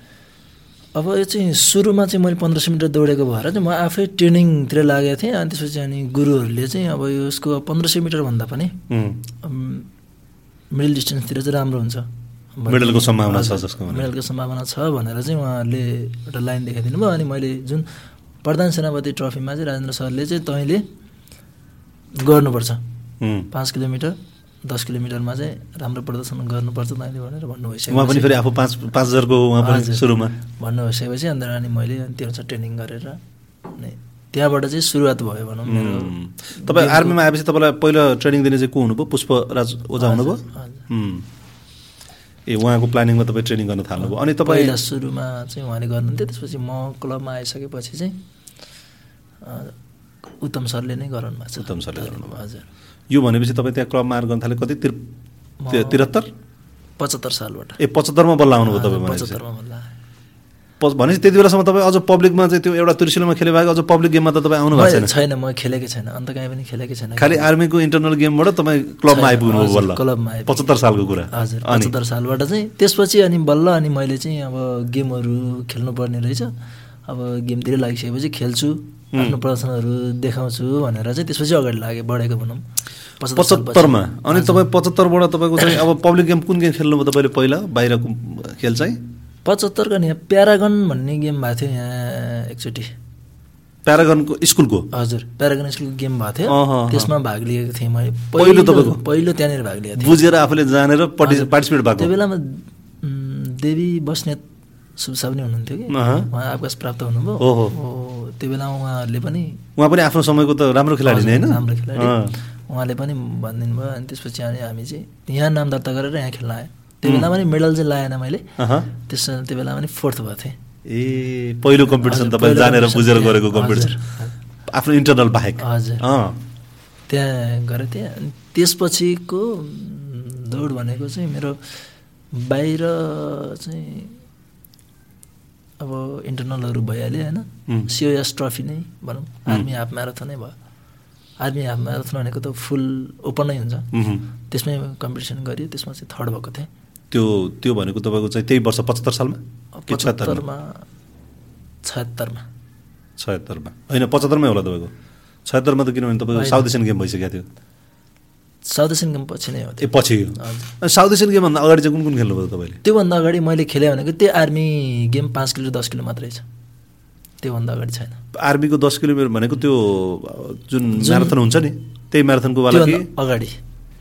Speaker 2: अब यो चाहिँ सुरुमा चाहिँ मैले पन्ध्र सय मिटर दौडेको भएर चाहिँ म आफै ट्रेनिङतिर लागेको थिएँ अनि त्यसपछि अनि गुरुहरूले चाहिँ अब यो यसको पन्ध्र सय मिटरभन्दा पनि
Speaker 1: उम्,
Speaker 2: मिडल डिस्टेन्सतिर चाहिँ राम्रो हुन्छ
Speaker 1: मेडलको सम्भावना छ जसको भनेर।
Speaker 2: मेडलको सम्भावना छ भनेर चाहिँ उहाँहरूले एउटा लाइन देखाइदिनु भयो अनि मैले जुन प्रधान सेनापति ट्रफीमा चाहिँ राजेन्द्र सरले चाहिँ तैँले गर्नुपर्छ
Speaker 1: उम्।
Speaker 2: पाँच किलोमिटर दस किलोमिटरमा चाहिँ राम्रो प्रदर्शन गर्नुपर्छ तैँले भनेर भन्नु
Speaker 1: उहाँ पनि
Speaker 2: भइसक्यो
Speaker 1: फेरि आफू पाँच पाँच हजारको उहाँ पनि
Speaker 2: हजुर।
Speaker 1: सुरुमा
Speaker 2: भन्नु भइसकेपछि अन्त अनि मैले अनि त्यो अनुसार ट्रेनिङ गरेर अनि त्यहाँबाट चाहिँ सुरुवात भयो भनौँ मेरो
Speaker 1: उम्, तपाईँ आर्मीमा आएपछि तपाईँलाई पहिलो ट्रेनिङ दिने चाहिँ को हुनुभयो पुष्पराज ओझा हुनुभयो
Speaker 2: हजुर।
Speaker 1: उम्। ए उहाँको प्लानिङमा तपाईँ ट्रेनिङ गर्न थाल्नुभयो अनि तपाईँ
Speaker 2: पहिला सुरुमा चाहिँ उहाँले गर्नुहुन्थ्यो त्यसपछि म क्लबमा आइसकेपछि चाहिँ अ, उत्तम सरले नै गराउनु भएको छ
Speaker 1: उत्तम सरले गराउनु भएको।
Speaker 2: हजुर
Speaker 1: यो भनेपछि तपाईँ त्यहाँ क्लबमा आएर गर्न थाल्यो कति तिर
Speaker 2: म-
Speaker 1: त्रिहत्तर
Speaker 2: पचहत्तर सालबाट
Speaker 1: ए पचहत्तरमा बल्ल आउनुभयो तपाईँ भनेपछि
Speaker 2: पचहत्तरमा भन्दा
Speaker 1: प- भनेपछि त्यति बेलासम्म तपाईँ अझ पब्लिकमा चाहिँ त्यो एउटा त्रिशुलमा खेले भएको अझ पब्लिक गेममा त तपाईँ आउनु भएको छैन
Speaker 2: मैले- छैन म खेलेकै छैन अन्त काहीँ पनि खेलेकै छैन
Speaker 1: खालि आर्मीको इन्टरनल गेमबाट तपाईँ क्लबमा
Speaker 2: छैन,
Speaker 1: आइपुग्नु
Speaker 2: हजुर,
Speaker 1: बल्ल
Speaker 2: क्लबमा आइपुगेँ।
Speaker 1: पचहत्तर सालको कुरा
Speaker 2: हजुर
Speaker 1: अनि
Speaker 2: पचहत्तर सालबाट चाहिँ त्यसपछि अनि बल्ल अनि मैले चाहिँ अब गेमहरू खेल्नुपर्ने रहेछ अब गेमतिर लागिसकेपछि खेल्छु आफ्नो प्रदर्शनहरू देखाउँछु भनेर चाहिँ त्यसपछि अगाडि लागेँ बढेको भनौँ पचहत्तर सालपछि।
Speaker 1: पचहत्तरमा अनि तपाईँ पचहत्तरबाट तपाईँको चाहिँ अब पब्लिक गेम कुन गेम खेल्नुभयो तपाईँले पहिला बाहिरको खेल चाहिँ
Speaker 2: पचहत्तरको नि यहाँ प्यारागन भन्ने गेम भएको थियो यहाँ एकचोटि
Speaker 1: प्यारागनको स्कुलको
Speaker 2: हजुर प्यारागन स्कुलको गेम भएको थियो
Speaker 1: अहाँ, अहाँ।
Speaker 2: त्यसमा भाग लिएको थिएँ मैले
Speaker 1: पहिलो तपाईँको?
Speaker 2: पहिलो त्यहाँनिर भाग लिएको थिएँ
Speaker 1: बुझेर आफूले जानेर पार्टि- पार्टिसिपेट भएको
Speaker 2: त्यो बेलामा उम्, देवी बस्नेत सुब्सा पनि हुनुहुन्थ्यो कि
Speaker 1: अहँ।
Speaker 2: उहाँ आकाश प्राप्त हुनुभयो
Speaker 1: ओहो।
Speaker 2: ओ, त्यो बेलामा उहाँहरूले पनि
Speaker 1: उहाँ पनि आफ्नो समयको त राम्रो खेलाडी नै होइन
Speaker 2: राम्रो खेलाडी
Speaker 1: अँ।
Speaker 2: उहाँले पनि भनिदिनु भयो अनि त्यसपछि अनि हामी चाहिँ यहाँ नाम दर्ता गरेर यहाँ खेल्न आएँ त्यो बेलामा नि मेडल चाहिँ लाएन मैले
Speaker 1: अहँ।
Speaker 2: त्यस त्यो बेलामा नि फोर्थ भएको थिएँ
Speaker 1: ए पहिलो कम्पिटिसन
Speaker 2: हजुर,
Speaker 1: तपाईँ
Speaker 2: पहिलो
Speaker 1: जानेर
Speaker 2: competition
Speaker 1: बुझेर
Speaker 2: थियो।
Speaker 1: गरेको कम्पिटिसन आफ्नो इन्टरनल बाहेक
Speaker 2: हजुर।
Speaker 1: अँ।
Speaker 2: त्यहाँ गरेको थिएँ अनि त्यसपछिको उम्, दौड भनेको चाहिँ मेरो बाहिर चाहिँ अब इन्टरनलहरू भइहाल्यो होइन
Speaker 1: उम्।
Speaker 2: सिओएस ट्रफी नै भनौँ आर्मी हाफ म्याराथनै भयो आर्मी हाफ म्याराथन भनेको त फुल ओपनै हुन्छ
Speaker 1: उहुँ।
Speaker 2: त्यसमै कम्पिटिसन गरियो त्यसमा चाहिँ थर्ड भएको थिएँ
Speaker 1: त्यो त्यो भनेको तपाईँको चाहिँ त्यही वर्ष पचहत्तर सालमा कि छत्तरमा
Speaker 2: पचहत्तरमा छत्तरमा
Speaker 1: छयत्तरमा होइन पचहत्तरमै होला तपाईँको छयत्तरमा त किनभने तपाईँको
Speaker 2: होइन।
Speaker 1: साउथ एसियन गेम भइसकेको थियो
Speaker 2: साउथ एसियन गेम पछि नै हो
Speaker 1: ए
Speaker 2: त्यो
Speaker 1: पछि यो।
Speaker 2: हजुर।
Speaker 1: अनि साउथ एसियन गेमभन्दा अगाडि चाहिँ कुन कुन खेल्नुभयो तपाईँले
Speaker 2: त्योभन्दा अगाडि मैले खेलेँ भनेको त्यो आर्मी गेम पाँच किलो दस किलो मात्रै छ त्योभन्दा अगाडि छैन
Speaker 1: आर्मीको दस किलोमिटर भनेको त्यो अ, जुन
Speaker 2: जुन-
Speaker 1: म्याराथन हुन्छ नि त्यही म्याराथनको वाला कि
Speaker 2: त्योभन्दा अगाडि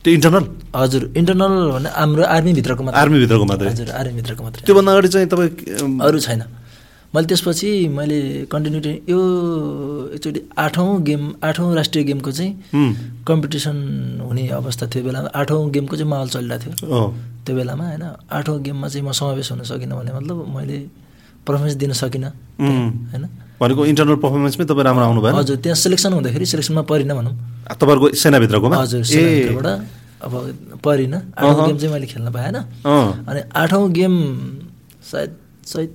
Speaker 1: त्यो इन्टरनल
Speaker 2: हजुर इन्टरनल भने हाम्रो आर्मीभित्रको मात्रै
Speaker 1: आर्मीभित्रको मात्रै
Speaker 2: हजुर आर्मीभित्रको मात्रै
Speaker 1: त्योभन्दा अगाडि चाहिँ तपाईँ अम,
Speaker 2: अरू छैन मैले त्यसपछि मैले कन्टिन्युटी यो एकचोटि आठौँ गेम आठौँ राष्ट्रिय गेमको चाहिँ
Speaker 1: उम्,
Speaker 2: कम्पिटिसन हुने अवस्था थियो बेलामा आठौँ गेमको चाहिँ माहौल चलिरहेको थियो
Speaker 1: अँ,
Speaker 2: त्यो बेलामा होइन आठौँ गेममा चाहिँ म समावेश हुन सकिनँ भने मतलब मैले पर्फर्मेन्स दिन सकिनँ
Speaker 1: उम्,
Speaker 2: होइन
Speaker 1: भनेको इन्टरनल पर्फर्मेन्समै तपाईँ राम्रो आउनु भएन
Speaker 2: हजुर त्यहाँ सेलेक्सन हुँदाखेरि सेलेक्सनमा परिनँ भनौँ
Speaker 1: तपाईँहरूको सेनाभित्रकोमा
Speaker 2: हजुर
Speaker 1: ए
Speaker 2: सेलेक्सनबाट अब परिनँ आठौँ गेम चाहिँ मैले खेल्न पाएन
Speaker 1: अँ
Speaker 2: अनि आठौँ गेम सायद चैत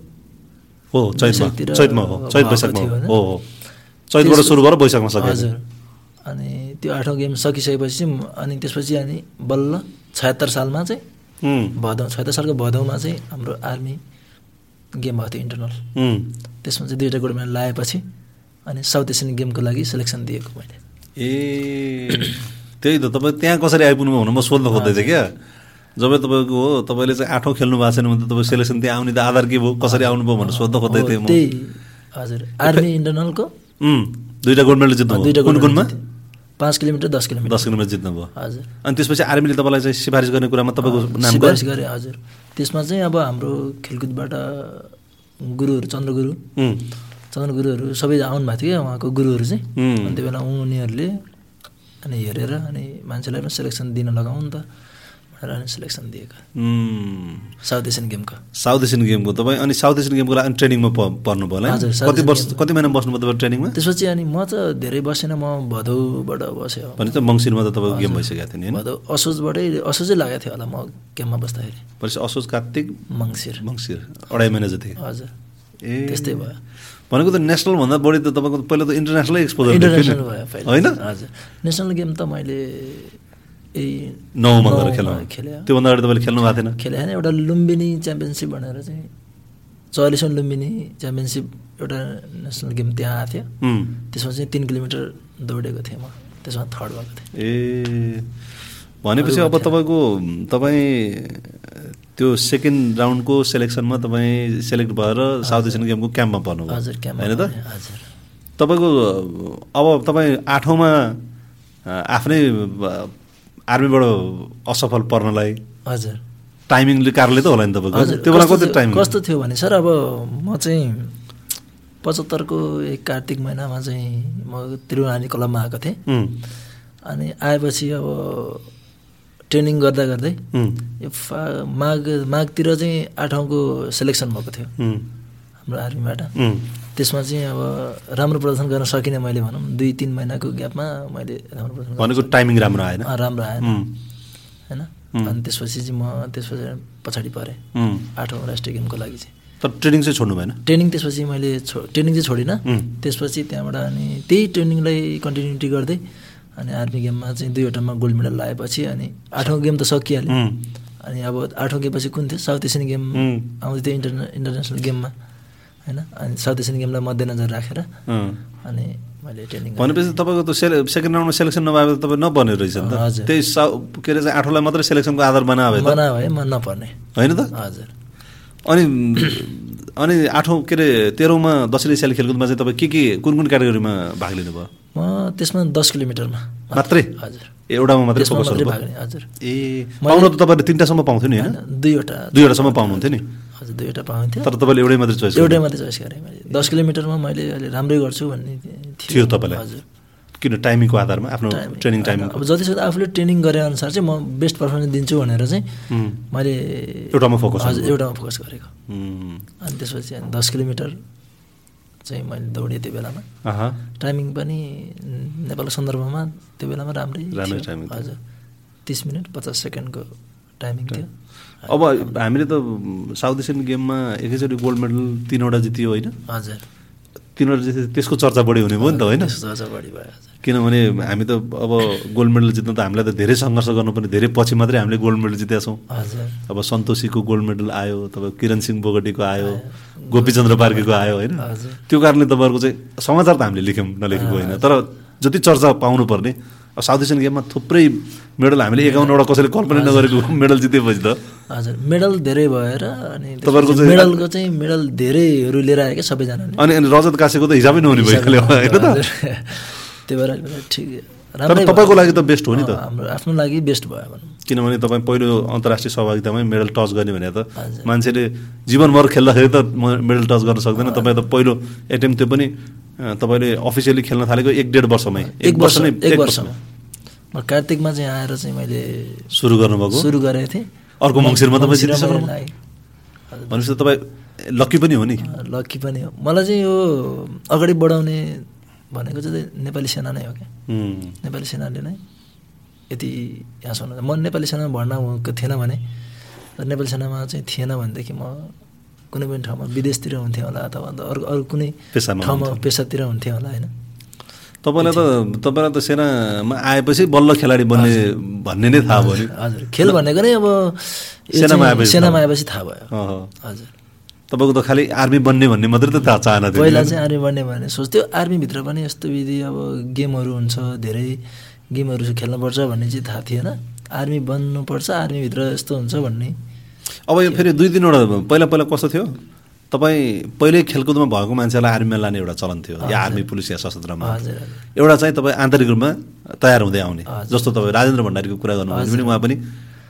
Speaker 1: हो चैतमा
Speaker 2: वैशाखतिर
Speaker 1: चैतमा हो चैत
Speaker 2: भएको
Speaker 1: वैशाखमा
Speaker 2: थियो
Speaker 1: हो
Speaker 2: होइन?
Speaker 1: हो हो चैतबाट
Speaker 2: त्यस-
Speaker 1: सुरु भएर वैशाखमा सकियो
Speaker 2: हजुर अनि त्यो आठौँ गेम सकिसकेपछि म- अनि त्यसपछि अनि बल्ल छयत्तर सालमा चाहिँ
Speaker 1: उम्,
Speaker 2: भदौ छयत्तर सालको भदौमा चाहिँ हाम्रो आर्मी गेम भएको थियो इन्टरनल
Speaker 1: उम्।
Speaker 2: त्यसमा चाहिँ दुईवटा गोल्ड मेडल लगाएपछि अनि साउथ एसियन गेमको लागि सेलेक्सन दिएको मैले
Speaker 1: ए त्यही त तपाईँ त्यहाँ कसरी आइपुग्नु हुन म सोध्न खोज्दै थिएँ क्या जब तपाईँको हो तपाईँले चाहिँ आठौँ खेल्नु भएको छैन भने त तपाईँ सेलेक्सन त्यहाँ आउने त आधार के भयो कसरी आउनुभयो भनेर सोध्न खोज्दै
Speaker 2: हो,
Speaker 1: थिएँ म
Speaker 2: त्यही हजुर आर्मी इन्टरनलको
Speaker 1: उम्, दुईवटा गोल्ड मेडल जित्नु
Speaker 2: दुईवटा
Speaker 1: कुन
Speaker 2: गोल्ड
Speaker 1: कुनमा
Speaker 2: मेडल जितेँ। पाँच किलोमिटर दस किलोमिटर
Speaker 1: दस किलोमिटर जित्नु भयो
Speaker 2: हजुर
Speaker 1: अनि त्यसपछि आर्मीले तपाईँलाई चाहिँ सिफारिस गर्ने कुरामा तपाईँको नाम
Speaker 2: सिफारिस गरेँ हजुर त्यसमा चाहिँ अब हाम्रो खेलकुदबाट गुरुहरू चन्द्र गुरु
Speaker 1: उम्,
Speaker 2: चन्द्र गुरुहरू सबै आउनु भएको थियो क्या उहाँको गुरुहरू चाहिँ
Speaker 1: उम्,
Speaker 2: अनि त्यो बेला उनीहरूले अनि हेरेर अनि मान्छेलाई पनि सेलेक्सन दिन लगाऊ नि त भनेर अनि सेलेक्सन दिएको
Speaker 1: उम्।
Speaker 2: साउथ एसियन गेमको
Speaker 1: साउथ एसियन गेमको तपाईँ अनि साउथ एसियन गेमको लागि अनि ट्रेनिङमा प- पर्नु भयो होला है?
Speaker 2: हजुर, साउथ
Speaker 1: कति
Speaker 2: एसियन
Speaker 1: वर्ष कति महिना बस्नुभयो तपाईँ ट्रेनिङमा
Speaker 2: त्यसपछि अनि म त धेरै बसेन म भदौबाट बसेँ अब।
Speaker 1: भने त मङ्सिरमा त तपाईँको गेम भइसकेको थियो नि होइन
Speaker 2: भदौ असोजबाटै असोजै लागेको थियो होला म गेममा बस्दाखेरि
Speaker 1: भनेपछि असोज कार्तिक
Speaker 2: मङ्सिर
Speaker 1: मङ्सिर अढाई महिना जति
Speaker 2: हजुर
Speaker 1: ए
Speaker 2: त्यस्तै भयो
Speaker 1: भनेको त नेसनलभन्दा बढी त तपाईँको पहिला त इन्टरनेसनलै एक्सपोजर
Speaker 2: इन्टरनेसनल भयो पहिले।
Speaker 1: होइन
Speaker 2: हजुर नेसनल गेम त मैले यही
Speaker 1: नौमा गएर खेल्नु
Speaker 2: नौमा खेलेँ।
Speaker 1: त्योभन्दा अगाडि तपाईँले खेल्नु भएको थिएन
Speaker 2: खेले होइन एउटा लुम्बिनी च्याम्पियनसिप भनेर चाहिँ चौवालिसौँ लुम्बिनी च्याम्पियनसिप एउटा नेसनल गेम त्यहाँ आएको थियो
Speaker 1: उम्,
Speaker 2: त्यसमा चाहिँ तिन किलोमिटर दौडेको थिएँ म त्यसमा थर्ड भएको थिएँ
Speaker 1: ए भनेपछि अब तपाईँको तपाईँ त्यो सेकेन्ड राउन्डको सेलेक्सनमा तपाईँ सेलेक्ट भएर साउथ एसियन गेमको क्याम्पमा पर्नुभयो
Speaker 2: हजुर क्याम्पमा
Speaker 1: होइन त
Speaker 2: पनि, हजुर
Speaker 1: तपाईँको अब तपाईँ आठौँमा अ, आफ्नै अ, आर्मीबाट असफल पर्नलाई
Speaker 2: हजुर
Speaker 1: टाइमिङले कारणले त होला नि तपाईँको
Speaker 2: हजुर
Speaker 1: त्यो बेला
Speaker 2: कस्तो
Speaker 1: कति
Speaker 2: थियो-
Speaker 1: टाइम
Speaker 2: कस्तो थियो भने सर अब म चाहिँ पचहत्तरको एक कार्तिक महिनामा चाहिँ म त्रिवेणी क्लबमा आएको थिएँ
Speaker 1: उम्,
Speaker 2: अनि आएपछि अब ट्रेनिङ गर्दा गर्दै
Speaker 1: उम्,
Speaker 2: यो फा- माघ माघतिर चाहिँ आठौँको सेलेक्सन भएको थियो
Speaker 1: उम्,
Speaker 2: हाम्रो आर्मीबाट
Speaker 1: उम्,
Speaker 2: त्यसमा चाहिँ अब राम्रो प्रदर्शन गर्न सकिनँ मैले भनौँ दुई तिन महिनाको ग्यापमा मैले राम्रो प्रदर्शन गर्न
Speaker 1: भनेको टाइमिङ राम्रो आएन
Speaker 2: अँ, राम्रो आएन
Speaker 1: उम्,
Speaker 2: होइन
Speaker 1: उम्।
Speaker 2: अनि त्यसपछि चाहिँ म त्यसपछि पछाडि परेँ
Speaker 1: उम्।
Speaker 2: आठौँ राष्ट्रिय गेमको लागि चाहिँ
Speaker 1: तर ट्रेनिङ चाहिँ छोड्नु भएन
Speaker 2: ट्रेनिङ त्यसपछि मैले छो ट्रेनिङ चाहिँ छोडिनँ
Speaker 1: उम्,
Speaker 2: त्यसपछि त्यहाँबाट अनि त्यही ट्रेनिङलाई कन्टिन्युटी गर्दै अनि आर्मी गेममा चाहिँ दुईवटामा गोल्ड मेडल लगाएपछि अनि आठौँ गेम त सकिहाल्यो
Speaker 1: उम्,
Speaker 2: अनि अब आठौँ गेमपछि कुन थियो साउथ एसियन गेम
Speaker 1: उम्,
Speaker 2: आउँदै थियो इन्टरने इन्टरनेसनल गेममा होइन अनि साउथ एसियन गेमलाई मध्यनजर राखेर
Speaker 1: अँ।
Speaker 2: अनि मैले ट्रेनिङ
Speaker 1: भनेपछि तपाईँको त सेले सेकेन्ड राउन्डमा सेलेक्सन नभएको त तपाईँ नबने रहेछ नि त
Speaker 2: हजुर।
Speaker 1: त्यही साउ के अरे चाहिँ आठौँलाई मात्रै सेलेक्सनको आधार बना भए त
Speaker 2: मना भए म नपर्ने
Speaker 1: होइन त
Speaker 2: हजुर
Speaker 1: अनि अनि आठौँ के अरे तेह्रौँमा दसैँ स्याली खेलकुदमा चाहिँ तपाईँ के के कुन कुन क्याटेगोरीमा भाग लिनुभयो
Speaker 2: म त्यसमा दस किलोमिटरमा
Speaker 1: मात्रै
Speaker 2: हजुर
Speaker 1: एउटामा मात्रै
Speaker 2: त्यसमा
Speaker 1: फोकस
Speaker 2: मात्रै भाग
Speaker 1: गर्नुभयो
Speaker 2: लिएँ, हजुर
Speaker 1: ए पाउनु त तपाईँले तिनवटासम्म पाउँथ्यो नि होइन
Speaker 2: होइन, दुईवटा
Speaker 1: दुईवटासम्म पाउनुहुन्थ्यो नि
Speaker 2: हजुर दुईवटा पाउँथ्यो
Speaker 1: तर तपाईँले एउटै मात्रै चोइस
Speaker 2: एउटै मात्रै चोइस गरेँ मैले दस किलोमिटरमा मैले अहिले राम्रै गर्छु भन्ने
Speaker 1: थियो तपाईँलाई?
Speaker 2: हजुर
Speaker 1: किन टाइमिङको आधारमा आफ्नो
Speaker 2: टाइम-
Speaker 1: ट्रेनिङ टाइमिङ
Speaker 2: अब जतिसक्दो आफूले ट्रेनिङ गरे अनुसार चाहिँ म बेस्ट पर्फर्मेन्स दिन्छु भनेर चाहिँ
Speaker 1: उम्,
Speaker 2: मैले
Speaker 1: एउटामा फोकस
Speaker 2: हजुर
Speaker 1: गर्नुभयो।
Speaker 2: एउटामा फोकस गरेको
Speaker 1: उम्,
Speaker 2: अनि त्यसपछि अनि दस किलोमिटर चाहिँ मैले दौडेँ त्यो बेलामा
Speaker 1: आहा,
Speaker 2: टाइमिङ पनि नेपालको सन्दर्भमा त्यो बेलामा राम्रै
Speaker 1: राम्रै
Speaker 2: थियो।
Speaker 1: timing थियो।
Speaker 2: हजुर तिस मिनट पचास सेकेन्डको टाइमिङ थियो
Speaker 1: अब हामीले त साउथ एसियन गेममा एकैचोटि गोल्ड मेडल तिनवटा जितियो होइन
Speaker 2: हजुर
Speaker 1: तिनवटा जित्यो त्यसको चर्चा बढी हुने भयो नि त होइन
Speaker 2: त्यसो अझ बढी भयो हजुर
Speaker 1: किनभने हामी त अब गोल्ड मेडल जित्न त हामीलाई त धेरै सङ्घर्ष गर्नुपर्ने धेरै पछि मात्रै हामीले गोल्ड मेडल जितेका छौँ
Speaker 2: हजुर
Speaker 1: अब सन्तोषीको गोल्ड मेडल आयो तपाईँ किरण सिंह बोगटीको आयो गोपीचन्द्र पार्कीको आयो होइन
Speaker 2: हजुर।
Speaker 1: त्यो कारणले तपाईँहरूको चाहिँ समाचार त हामीले लेख्यौँ नलेखेको होइन तर जति चर्चा पाउनुपर्ने अब साउथ एसियन गेममा थुप्रै मेडल हामीले एकाउन्नवटा कसैले कल्पना नगरेको मेडल जितेपछि त
Speaker 2: हजुर मेडल धेरै भएर अनि त्यसपछि
Speaker 1: तपाईँहरूको चाहिँ-
Speaker 2: मेडलको चाहिँ मेडल धेरैहरू लिएर आयो क्या सबैजनाले
Speaker 1: अनि अनि रजत कासेको त हिसाबै नहुने भयो यसले, होइन त
Speaker 2: हजुर। त्यो भएर अहिले ठिक
Speaker 1: तर
Speaker 2: राम्रै
Speaker 1: तपाईँको लागि त बेस्ट हो नि त
Speaker 2: अँ, हाम्रो आफ्नो लागि बेस्ट भयो भनौँ
Speaker 1: किनभने तपाईँ पहिलो अन्तर्राष्ट्रिय सहभागितामै मेडल टच गर्ने भने त
Speaker 2: हजुर।
Speaker 1: मान्छेले जीवनभर खेल्दाखेरि त म- मेडल टच गर्न सक्दैन तपाईँ त पहिलो एटेम्प त्यो पनि अँ, तपाईँले अफिसियली खेल्न थालेको एक डेढ वर्षमै
Speaker 2: एक वर्ष एक
Speaker 1: एक
Speaker 2: वर्षमा म कार्तिकमा चाहिँ आएर चाहिँ मैले
Speaker 1: सुरु गर्नुभएको
Speaker 2: सुरु गरेको थिएँ
Speaker 1: अर्को मङ्सिरमा तपाईँ
Speaker 2: मङ्सिरमा
Speaker 1: जितिसक्नु
Speaker 2: मैले लागेँ।
Speaker 1: भनेपछि त तपाईँ लक्की पनि हो नि
Speaker 2: लक्की पनि हो मलाई चाहिँ यो अगाडि बढाउने भनेको चाहिँ नेपाली सेना नै हो क्या
Speaker 1: उम्,
Speaker 2: नेपाली सेनाले नै यति यहाँसम्म म नेपाली सेनामा भर्ना भएको थिएन भने र नेपाली सेनामा चाहिँ थिएन भनेदेखि म कुनै पनि ठाउँमा विदेशतिर हुन्थेँ होला अथवा अन्त अरू अरू कुनै
Speaker 1: पेसामा
Speaker 2: ठाउँमा
Speaker 1: हुन्थ्यो।
Speaker 2: पेसातिर हुन्थेँ होला होइन
Speaker 1: तपाईँलाई त तपाईँलाई त सेनामा आएपछि बल्ल खेलाडी बन्ने भन्ने नै थाहा भयो नि
Speaker 2: हजुर खेल भनेको नै अब यो
Speaker 1: सेनामा
Speaker 2: चाहिँ
Speaker 1: आएपछि
Speaker 2: सेनामा
Speaker 1: थाहा
Speaker 2: आएपछि थाहा भयो
Speaker 1: अहँ।
Speaker 2: हजुर
Speaker 1: तपाईँको त खालि आर्मी बन्ने भन्ने मात्रै त थाहा चाहना थियो
Speaker 2: पहिला
Speaker 1: नि।
Speaker 2: चाहिँ आर्मी बन्ने भने सोच्थ्यो आर्मीभित्र पनि यस्तो विधि अब गेमहरू हुन्छ धेरै गेमहरू खेल्नुपर्छ भन्ने चाहिँ थाहा थिएन आर्मी बन्नुपर्छ आर्मीभित्र यस्तो हुन्छ भन्ने
Speaker 1: अब यो फेरि दुई तिनवटा पहिला पहिला कस्तो थियो तपाईँ पहिल्यै खेलकुदमा भएको मान्छेलाई आर्मीमा लाने एउटा चलन थियो या आर्मी पुलिस या सशस्त्रमा
Speaker 2: हजुर हजुर
Speaker 1: एउटा चाहिँ तपाईँ आन्तरिक रूपमा तयार हुँदै आउने
Speaker 2: हजुर।
Speaker 1: जस्तो तपाईँ राजेन्द्र भण्डारीको कुरा गर्नुभयो भने पनि उहाँ पनि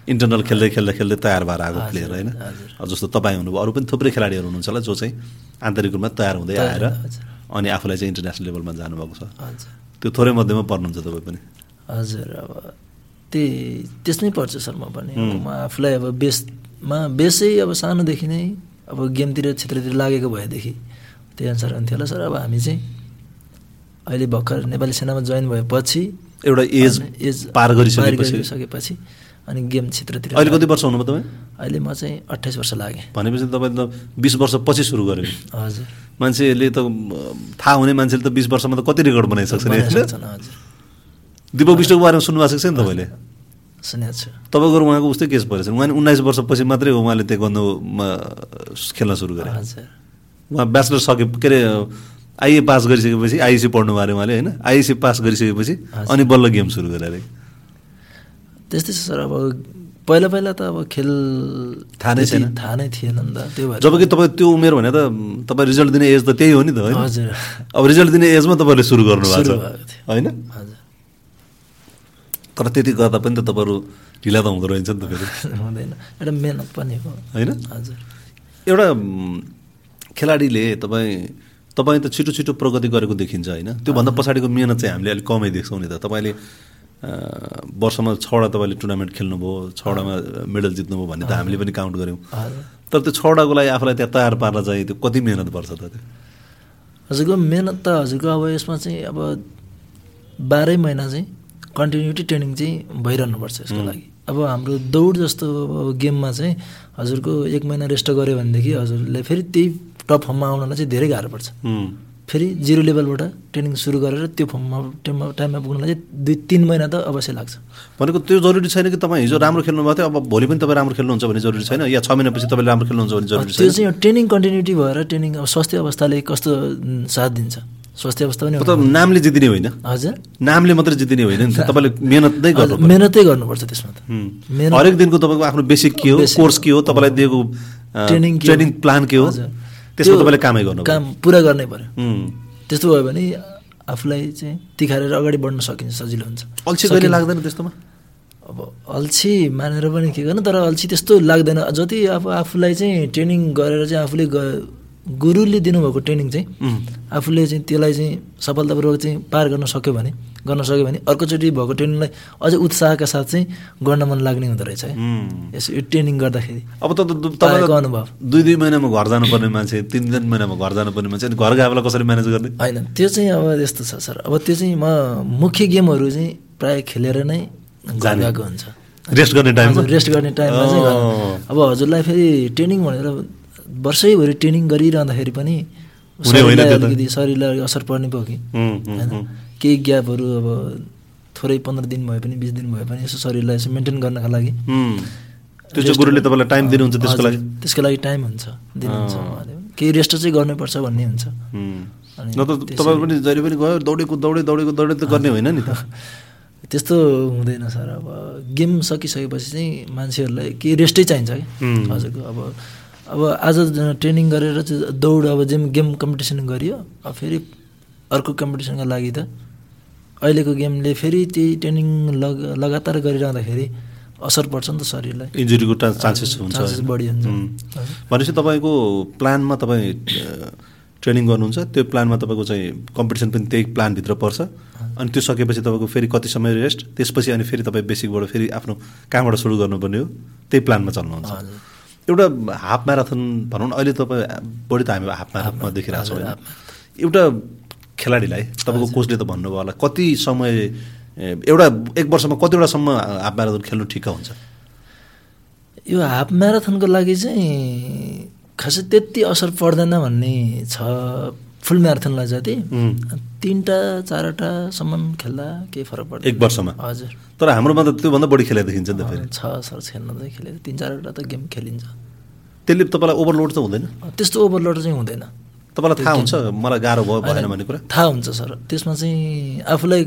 Speaker 1: इन्टरनल खेल्दै खेल्दै खेल्दै तयार भएर आएको प्लेयर होइन जस्तो तपाईँ हुनुभयो अरू पनि थुप्रै खेलाडीहरू हुनुहुन्छ होला जो चाहिँ आन्तरिक रूपमा तयार हुँदै आएर
Speaker 2: हजुर।
Speaker 1: अनि आफूलाई चाहिँ इन्टरनेसनल लेभलमा जानुभएको छ
Speaker 2: हजुर
Speaker 1: त्यो थोरै मध्येमा पर्नुहुन्छ तपाईँ पनि
Speaker 2: हजुर अब त्यही त्यसमै पर्छ सर म पनि अब म आफूलाई अब बेसमा बेसै अब सानोदेखि नै अब गेमतिर क्षेत्रतिर लागेको भएदेखि त्यही अनुसार हुन्थ्यो होला सर अब हामी चाहिँ अहिले भर्खर नेपाली सेनामा जोइन भएपछि
Speaker 1: एउटा एज
Speaker 2: अनि एज
Speaker 1: पार गरिसकेपछि
Speaker 2: गरिसकेपछि अनि गेम क्षेत्रतिर
Speaker 1: अहिले कति वर्ष हुनुभयो तपाईँ
Speaker 2: अहिले म चाहिँ अट्ठाइस वर्ष लागेँ
Speaker 1: भनेपछि तपाईँले त बिस वर्षपछि सुरु गर्यो
Speaker 2: हजुर
Speaker 1: मान्छेहरूले त म, थाहा हुने मान्छेले त बिस वर्षमा त कति रेकर्ड बनाइसक्छ नि
Speaker 2: बनाइसक्छन्, हजुर
Speaker 1: दिपक विष्टको बारेमा सुन्नुभएको छ नि तपाईँले
Speaker 2: सुनेको छु
Speaker 1: तपाईँको र उहाँको उस्तै केस परेछ उहाँले उन्नाइस वर्षपछि मात्रै हो उहाँले त्यो गन्धमा खेल्न सुरु गरे
Speaker 2: हजुर
Speaker 1: उहाँ ब्याचलर सके के अरे आइए पास गरिसकेपछि आइएसी पढ्नु भयो अरे उहाँले होइन आइएसी पास गरिसकेपछि
Speaker 2: हजुर।
Speaker 1: अनि बल्ल गेम सुरु गरे अरे
Speaker 2: त्यस्तै छ सर अब पहिला पहिला त अब खेल
Speaker 1: थाहा नै
Speaker 2: त्यति
Speaker 1: छैन।
Speaker 2: थाहा नै थिएन नि त त्यो भएर
Speaker 1: जबकि तपाईँ त्यो उमेर भने त म, तपाईँ रिजल्ट दिने एज त त्यही हो नि त होइन
Speaker 2: हजुर
Speaker 1: अब रिजल्ट दिने एजमा तपाईँले सुरु गर्नुभएको
Speaker 2: सुरु
Speaker 1: छ
Speaker 2: भएको थियो।
Speaker 1: होइन
Speaker 2: हजुर
Speaker 1: तर त्यति गर्दा पनि त तपाईँहरू ढिला त हुँदो रहेछ नि त फेरि
Speaker 2: हुँदैन एउटा मेहनत पनि हो
Speaker 1: होइन
Speaker 2: हजुर
Speaker 1: एउटा म, खेलाडीले तपाईँ तपाईँ त छिटो छिटो प्रगति गरेको देखिन्छ होइन त्योभन्दा पछाडिको मिहिनेत चाहिँ हामीले अलिक कमै देख्छौँ नि त तपाईँले अ, वर्षमा छवटा तपाईँले टुर्नामेन्ट खेल्नुभयो छवटामा मेडल जित्नुभयो भन्ने त हामीले पनि काउन्ट गऱ्यौँ
Speaker 2: हजुर
Speaker 1: तर त्यो छवटाको लागि आफूलाई त्यहाँ तयार पार्न चाहिँ त्यो कति मिहिनेत पर्छ त त्यो
Speaker 2: हजुरको मेहनत त हजुरको अब यसमा चाहिँ अब बाह्रै महिना चाहिँ कन्टिन्युटी ट्रेनिङ चाहिँ भइरहनुपर्छ यसको लागि अब हाम्रो दौड जस्तो अब गेममा चाहिँ हजुरको एक महिना रेस्ट गऱ्यो भनेदेखि हजुरले फेरि त्यही टप फर्ममा आउनलाई चाहिँ धेरै गाह्रो पर्छ
Speaker 1: उम्,
Speaker 2: फेरि जिरो लेभलबाट ट्रेनिङ सुरु गरेर त्यो फर्ममा टाइममा टाइममा पुग्नलाई चाहिँ दुई तिन महिना त अवश्य लाग्छ
Speaker 1: भनेको त्यो जरुरी छैन कि तपाईँ हिजो राम्रो खेल्नुभएको थियो अब भोलि पनि तपाईँ राम्रो खेल्नुहुन्छ भने जरुरी छैन या छ महिनापछि तपाईँले राम्रो खेल्नुहुन्छ भने जरुरी
Speaker 2: त्यो
Speaker 1: छैन
Speaker 2: चाहिँ ट्रेनिङ कन्टिन्युटी भएर ट्रेनिङ अब स्वास्थ्य अवस्थाले कस्तो उम्, साथ दिन्छ स्वास्थ्य अवस्था पनि
Speaker 1: त नामले जितिने होइन
Speaker 2: हजुर
Speaker 1: नामले मात्रै जितिने होइन नि त तपाईँले मेहनत नै गर्नु
Speaker 2: हजुर, मेहनतै गर्नुपर्छ त्यसमा त
Speaker 1: हुँ।
Speaker 2: मेहनत-
Speaker 1: हरेक दिनको तपाईँको आफ्नो बेसिक के हो
Speaker 2: बेसिक।
Speaker 1: कोर्स के हो तपाईँलाई दिएको अ,
Speaker 2: ट्रेनिङ के हो?
Speaker 1: ट्रेनिङ प्लान के हो
Speaker 2: हजुर।
Speaker 1: त्यसमा
Speaker 2: त्यो
Speaker 1: तपाईँले कामै गर्नु
Speaker 2: काम पुरा गर्नै पर्यो
Speaker 1: हुँ।
Speaker 2: त्यस्तो भयो भने आफूलाई चाहिँ तिखारेर अगाडि बढ्न सकिन्छ सजिलो हुन्छ
Speaker 1: अल्छी कहिले लाग्दैन त्यस्तोमा
Speaker 2: अब अल्छी मानेर पनि के गर्नु तर अल्छी त्यस्तो लाग्दैन जति अब आफूलाई चाहिँ ट्रेनिङ गरेर चाहिँ आफूले ग- गुरुले दिनुभएको ट्रेनिङ चाहिँ
Speaker 1: उम्,
Speaker 2: आफूले चाहिँ त्यसलाई चाहिँ सफलतापूर्वक चाहिँ पार गर्न सक्यो भने गर्न सक्यो भने अर्कोचोटि भएको ट्रेनिङलाई अझै उत्साहका साथ चाहिँ गर्न मन लाग्ने हुँदो रहेछ है
Speaker 1: उम्।
Speaker 2: यसो यो ट्रेनिङ गर्दाखेरि
Speaker 1: अब त त- त-
Speaker 2: पाएको
Speaker 1: तपाईँलाई
Speaker 2: अनुभव
Speaker 1: दुई दुई महिनामा घर जानुपर्ने मान्छे तिन तिन महिनामा घर जानुपर्ने मान्छे अनि घर गएबलाई कसरी म्यानेज गर्ने
Speaker 2: होइन त्यो चाहिँ अब यस्तो छ सर अब त्यो चाहिँ म मुख्य गेमहरू चाहिँ प्राय खेलेर नै घर गएको हुन्छ
Speaker 1: रेस्ट गर्ने टाइम
Speaker 2: हजुर, रेस्ट गर्ने टाइममा
Speaker 1: Oh.
Speaker 2: चाहिँ गर्नु। अब हजुरलाई फेरि ट्रेनिङ भनेर वर्षैभरि ट्रेनिङ गरिरहँदाखेरि पनि
Speaker 1: हुने होइन
Speaker 2: शरीरलाई
Speaker 1: त्यो त।
Speaker 2: अलिकति शरीरलाई असर पर्ने भयो कि
Speaker 1: Oh. Hmm,
Speaker 2: होइन केही ग्यापहरू अब थोरै पन्ध्र दिन भए पनि बिस दिन भए पनि यसो शरीरलाई यसो मेन्टेन गर्नका लागि
Speaker 1: त्यो चाहिँ hmm. गुरुले तपाईँलाई टाइम दिनुहुन्छ त्यसको
Speaker 2: Ah, हजुर,
Speaker 1: लागि
Speaker 2: त्यसको लागि टाइम हुन्छ दिनुहुन्छ उहाँले। केही रेस्ट चाहिँ गर्नुपर्छ भन्ने हुन्छ
Speaker 1: हुँ।
Speaker 2: अनि
Speaker 1: Hmm. नत्र तपाईँ पनि जहिले पनि गयो दौडेको दौडे दौडेको दौडे त गर्ने होइन नि त
Speaker 2: त्यस्तो हुँदैन सर अब गेम सकिसकेपछि चाहिँ मान्छेहरूलाई केही रेस्टै चाहिन्छ कि
Speaker 1: हुँ।
Speaker 2: हजुरको अब अब आज ज- ट्रेनिङ गरेर चाहिँ दौड अब जेम गेम कम्पिटिसन गरियो अब फेरि अर्को कम्पिटिसनका लागि त अहिलेको गेमले फेरि त्यही ट्रेनिङ लग लगातार गरिरहँदाखेरि असर पर्छ नि त शरीरलाई
Speaker 1: इन्जुरीको टा- चान्सेस हुन्छ
Speaker 2: चान्सेस बढी हुन्छ
Speaker 1: हुँ।
Speaker 2: हजुर।
Speaker 1: भनेपछि तपाईँको प्लानमा तपाईँ अ, ट्रेनिङ गर्नुहुन्छ त्यो प्लानमा तपाईँको चाहिँ कम्पिटिसन पनि त्यही प्लानभित्र पर्छ अनि त्यो सकेपछि तपाईँको फेरि कति समय रेस्ट त्यसपछि अनि फेरि तपाईँ बेसिकबाट फेरि आफ्नो कहाँबाट सुरु गर्नुपर्ने हो त्यही प्लानमा चल्नुहुन्छ एउटा हाफ म्याराथन भनौँ न अहिले तपाईँ बढी त हामी हाफ म्याराथनमा देखिरहेको छौँ होइन?
Speaker 2: हाफ
Speaker 1: एउटा खेलाडीलाई तपाईँको कोचले त भन्नुभयो होला कति समय ए, एउटा एक वर्षमा कतिवटासम्म हाफ म्याराथन खेल्नु ठिक्क हुन्छ
Speaker 2: यो हाफ म्याराथनको लागि चाहिँ खासै त्यति असर पर्दैन भन्ने छ फुल म्याराथनलाई जति
Speaker 1: उम्,
Speaker 2: तिनवटा चारवटासम्म खेल्दा केही फरक पर्दैन
Speaker 1: एक वर्षमा
Speaker 2: हजुर
Speaker 1: तर हाम्रोमा त त्योभन्दा बढी खेलेको देखिन्छ नि त फेरि
Speaker 2: छ सर खेल्न चाहिँ खेलेको तिन चारवटा त गेम खेलिन्छ
Speaker 1: त्यसले तपाईँलाई ओभरलोड त हुँदैन
Speaker 2: त्यस्तो ओभरलोड चाहिँ हुँदैन
Speaker 1: तपाईँलाई थाहा हुन्छ मलाई गाह्रो भयो भएन भन्ने कुरा
Speaker 2: थाहा हुन्छ सर त्यसमा चाहिँ आफूलाई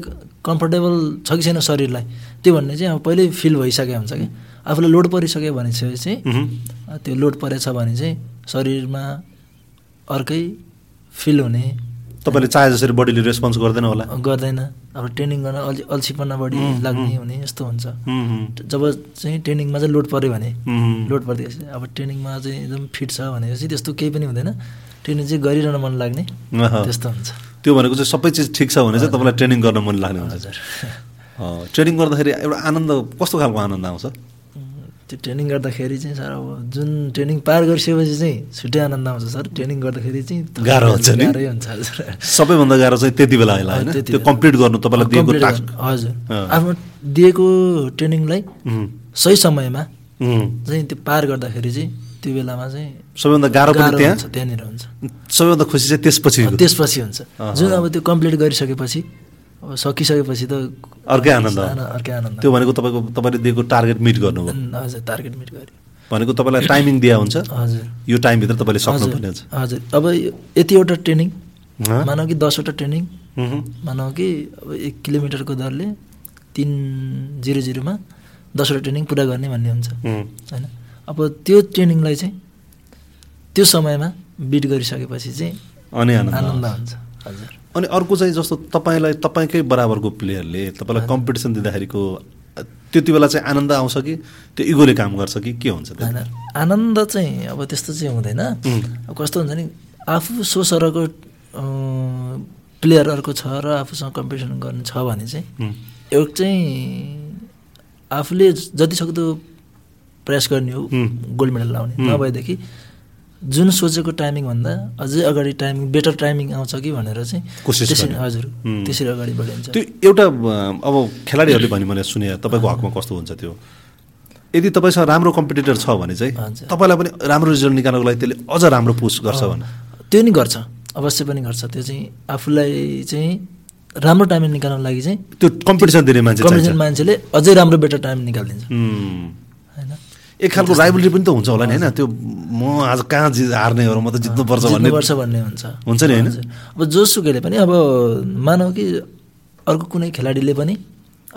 Speaker 2: कम्फर्टेबल छ कि छैन शरीरलाई त्यो भन्ने चाहिँ अब पहिल्यै फिल भइसकेको हुन्छ कि आफूलाई लोड परिसक्यो भनेपछि चाहिँ
Speaker 1: उहुँ।
Speaker 2: त्यो लोड परेछ भने चाहिँ शरीरमा अर्कै फिल हुने
Speaker 1: तपाईँले चाहे जसरी बडीले रेस्पोन्स गर्दैन होला
Speaker 2: गर्दैन अब ट्रेनिङ गर्न अल्छी अल्छीपना बढी लाग्ने हुने यस्तो हुन्छ
Speaker 1: उम्, उम्,
Speaker 2: जब चाहिँ ट्रेनिङमा चाहिँ लोड पऱ्यो भने
Speaker 1: उम्,
Speaker 2: लोड पर्दैछ अब ट्रेनिङमा चाहिँ एकदम फिट छ भनेपछि त्यस्तो केही पनि हुँदैन ट्रेनिङ चाहिँ गरिरहन मन लाग्ने
Speaker 1: अहँ।
Speaker 2: त्यस्तो हुन्छ
Speaker 1: त्यो भनेको चाहिँ सबै चिज ठिक छ भने चाहिँ तपाईँलाई ट्रेनिङ गर्न मन लाग्ने हुन्छ
Speaker 2: हजुर
Speaker 1: अँ, ट्रेनिङ गर्दाखेरि एउटा आनन्द कस्तो खालको आनन्द आउँछ
Speaker 2: उम्, त्यो ट्रेनिङ गर्दाखेरि चाहिँ सर अब जुन ट्रेनिङ पार गरिसकेपछि चाहिँ छुट्टै आनन्द आउँछ सर ट्रेनिङ गर्दाखेरि चाहिँ थप-
Speaker 1: गाह्रो हुन्छ नि?
Speaker 2: गाह्रै हुन्छ हजुर
Speaker 1: सबैभन्दा गाह्रो चाहिँ त्यति बेला होला होइन
Speaker 2: त्यति
Speaker 1: त्यो
Speaker 2: बेला।
Speaker 1: कम्प्लिट गर्नु तपाईँलाई दिएको
Speaker 2: Complete
Speaker 1: टास्क
Speaker 2: गर्नु, हजुर
Speaker 1: अँ।
Speaker 2: आफ्नो दिएको ट्रेनिङलाई
Speaker 1: उम्,
Speaker 2: सही समयमा
Speaker 1: उम्।
Speaker 2: चाहिँ त्यो पार गर्दाखेरि चाहिँ त्यो बेलामा चाहिँ
Speaker 1: सबैभन्दा गाह्रो पनि
Speaker 2: गाह्रो
Speaker 1: त्यहाँ
Speaker 2: हुन्छ त्यहाँनिर हुन्छ
Speaker 1: सबैभन्दा खुसी चाहिँ त्यसपछि
Speaker 2: अब त्यसपछि हुन्छ
Speaker 1: अहँ।
Speaker 2: जुन अब त्यो कम्प्लिट गरिसकेपछि अब सकिसकेपछि त
Speaker 1: अर्कै आनन्द हो।
Speaker 2: आन- अर्कै आनन्द
Speaker 1: त्यो भनेको तपाईँको तपाईँले दिएको टार्गेट मिट गर्नुभयो
Speaker 2: उम्, हजुर टार्गेट मिट गर्यो
Speaker 1: भनेको तपाईँलाई टाइमिङ दिया हुन्छ
Speaker 2: हजुर
Speaker 1: यो टाइमभित्र तपाईँले सक्नुपर्ने हुन्छ
Speaker 2: हजुर हजुर अब यो यतिवटा ट्रेनिङ
Speaker 1: हँ?
Speaker 2: मानव कि दसवटा ट्रेनिङ
Speaker 1: उहुँ,
Speaker 2: मानव कि अब एक किलोमिटरको दरले तिन जिरो जिरोमा दसवटा ट्रेनिङ पुरा गर्ने भन्ने हुन्छ
Speaker 1: उम्,
Speaker 2: होइन अब त्यो ट्रेनिङलाई चाहिँ त्यो समयमा बिट गरिसकेपछि चाहिँ
Speaker 1: अनि आनन्द आउँछ।
Speaker 2: आनन्द हुन्छ हजुर
Speaker 1: अनि अर्को चाहिँ जस्तो तपाईँलाई तपाईँकै बराबरको प्लेयरले तपाईँलाई कम्पिटिसन दिँदाखेरिको त्यति बेला चाहिँ आनन्द आउँछ कि त्यो इगोले काम गर्छ कि के हुन्छ त्यो?
Speaker 2: होइन आनन्द चाहिँ अब त्यस्तो चाहिँ हुँदैन
Speaker 1: उम्,
Speaker 2: अब कस्तो हुन्छ नि आफू सोसरको प्लेयरहरूको छ र आफूसँग कम्पिटिसन गर्नु छ भने चाहिँ
Speaker 1: उम्,
Speaker 2: एउटा चाहिँ आफूले जतिसक्दो प्रयास गर्ने हो
Speaker 1: हुँ।
Speaker 2: गोल्ड मेडल लाउने
Speaker 1: हुँ।
Speaker 2: नभएदेखि जुन सोचेको टाइमिङभन्दा अझै अगाडि टाइमिङ बेटर टाइमिङ आउँछ कि भनेर चाहिँ
Speaker 1: कोसिस
Speaker 2: त्यसरी
Speaker 1: गर्ने।
Speaker 2: हजुर
Speaker 1: हुँ।
Speaker 2: त्यसरी अगाडि बढिन्छ
Speaker 1: त्यो एउटा अ, अब खेलाडीहरूले भन्यो मैले सुने तपाईँको हकमा कस्तो हुन्छ त्यो यदि तपाईँसँग राम्रो कम्पिटिटर छ भने चाहिँ
Speaker 2: हजुर।
Speaker 1: तपाईँलाई पनि राम्रो रिजल्ट निकाल्नको लागि त्यसले अझ राम्रो पुस गर्छ भने
Speaker 2: त्यो नि गर्छ अवश्य पनि गर्छ त्यो चाहिँ आफूलाई चाहिँ राम्रो टाइमिङ निकाल्नको लागि चाहिँ
Speaker 1: त्यो कम्पिटिसन दिने मान्छे चाहिन्छ
Speaker 2: कम्पिटिसन मान्छेले अझै राम्रो बेटर टाइम निकालिदिन्छ
Speaker 1: उम्,
Speaker 2: होइन
Speaker 1: एक खालको राइबलरी पनि त हुन्छ होला नि होइन त्यो म आज कहाँ जि हार्ने हो र म त जित्नुपर्छ भन्ने
Speaker 2: जित्नुपर्छ भन्ने हुन्छ
Speaker 1: हुन्छ नि होइन
Speaker 2: हजुर। अब जोसुकैले पनि अब मानव कि अर्को कुनै खेलाडीले पनि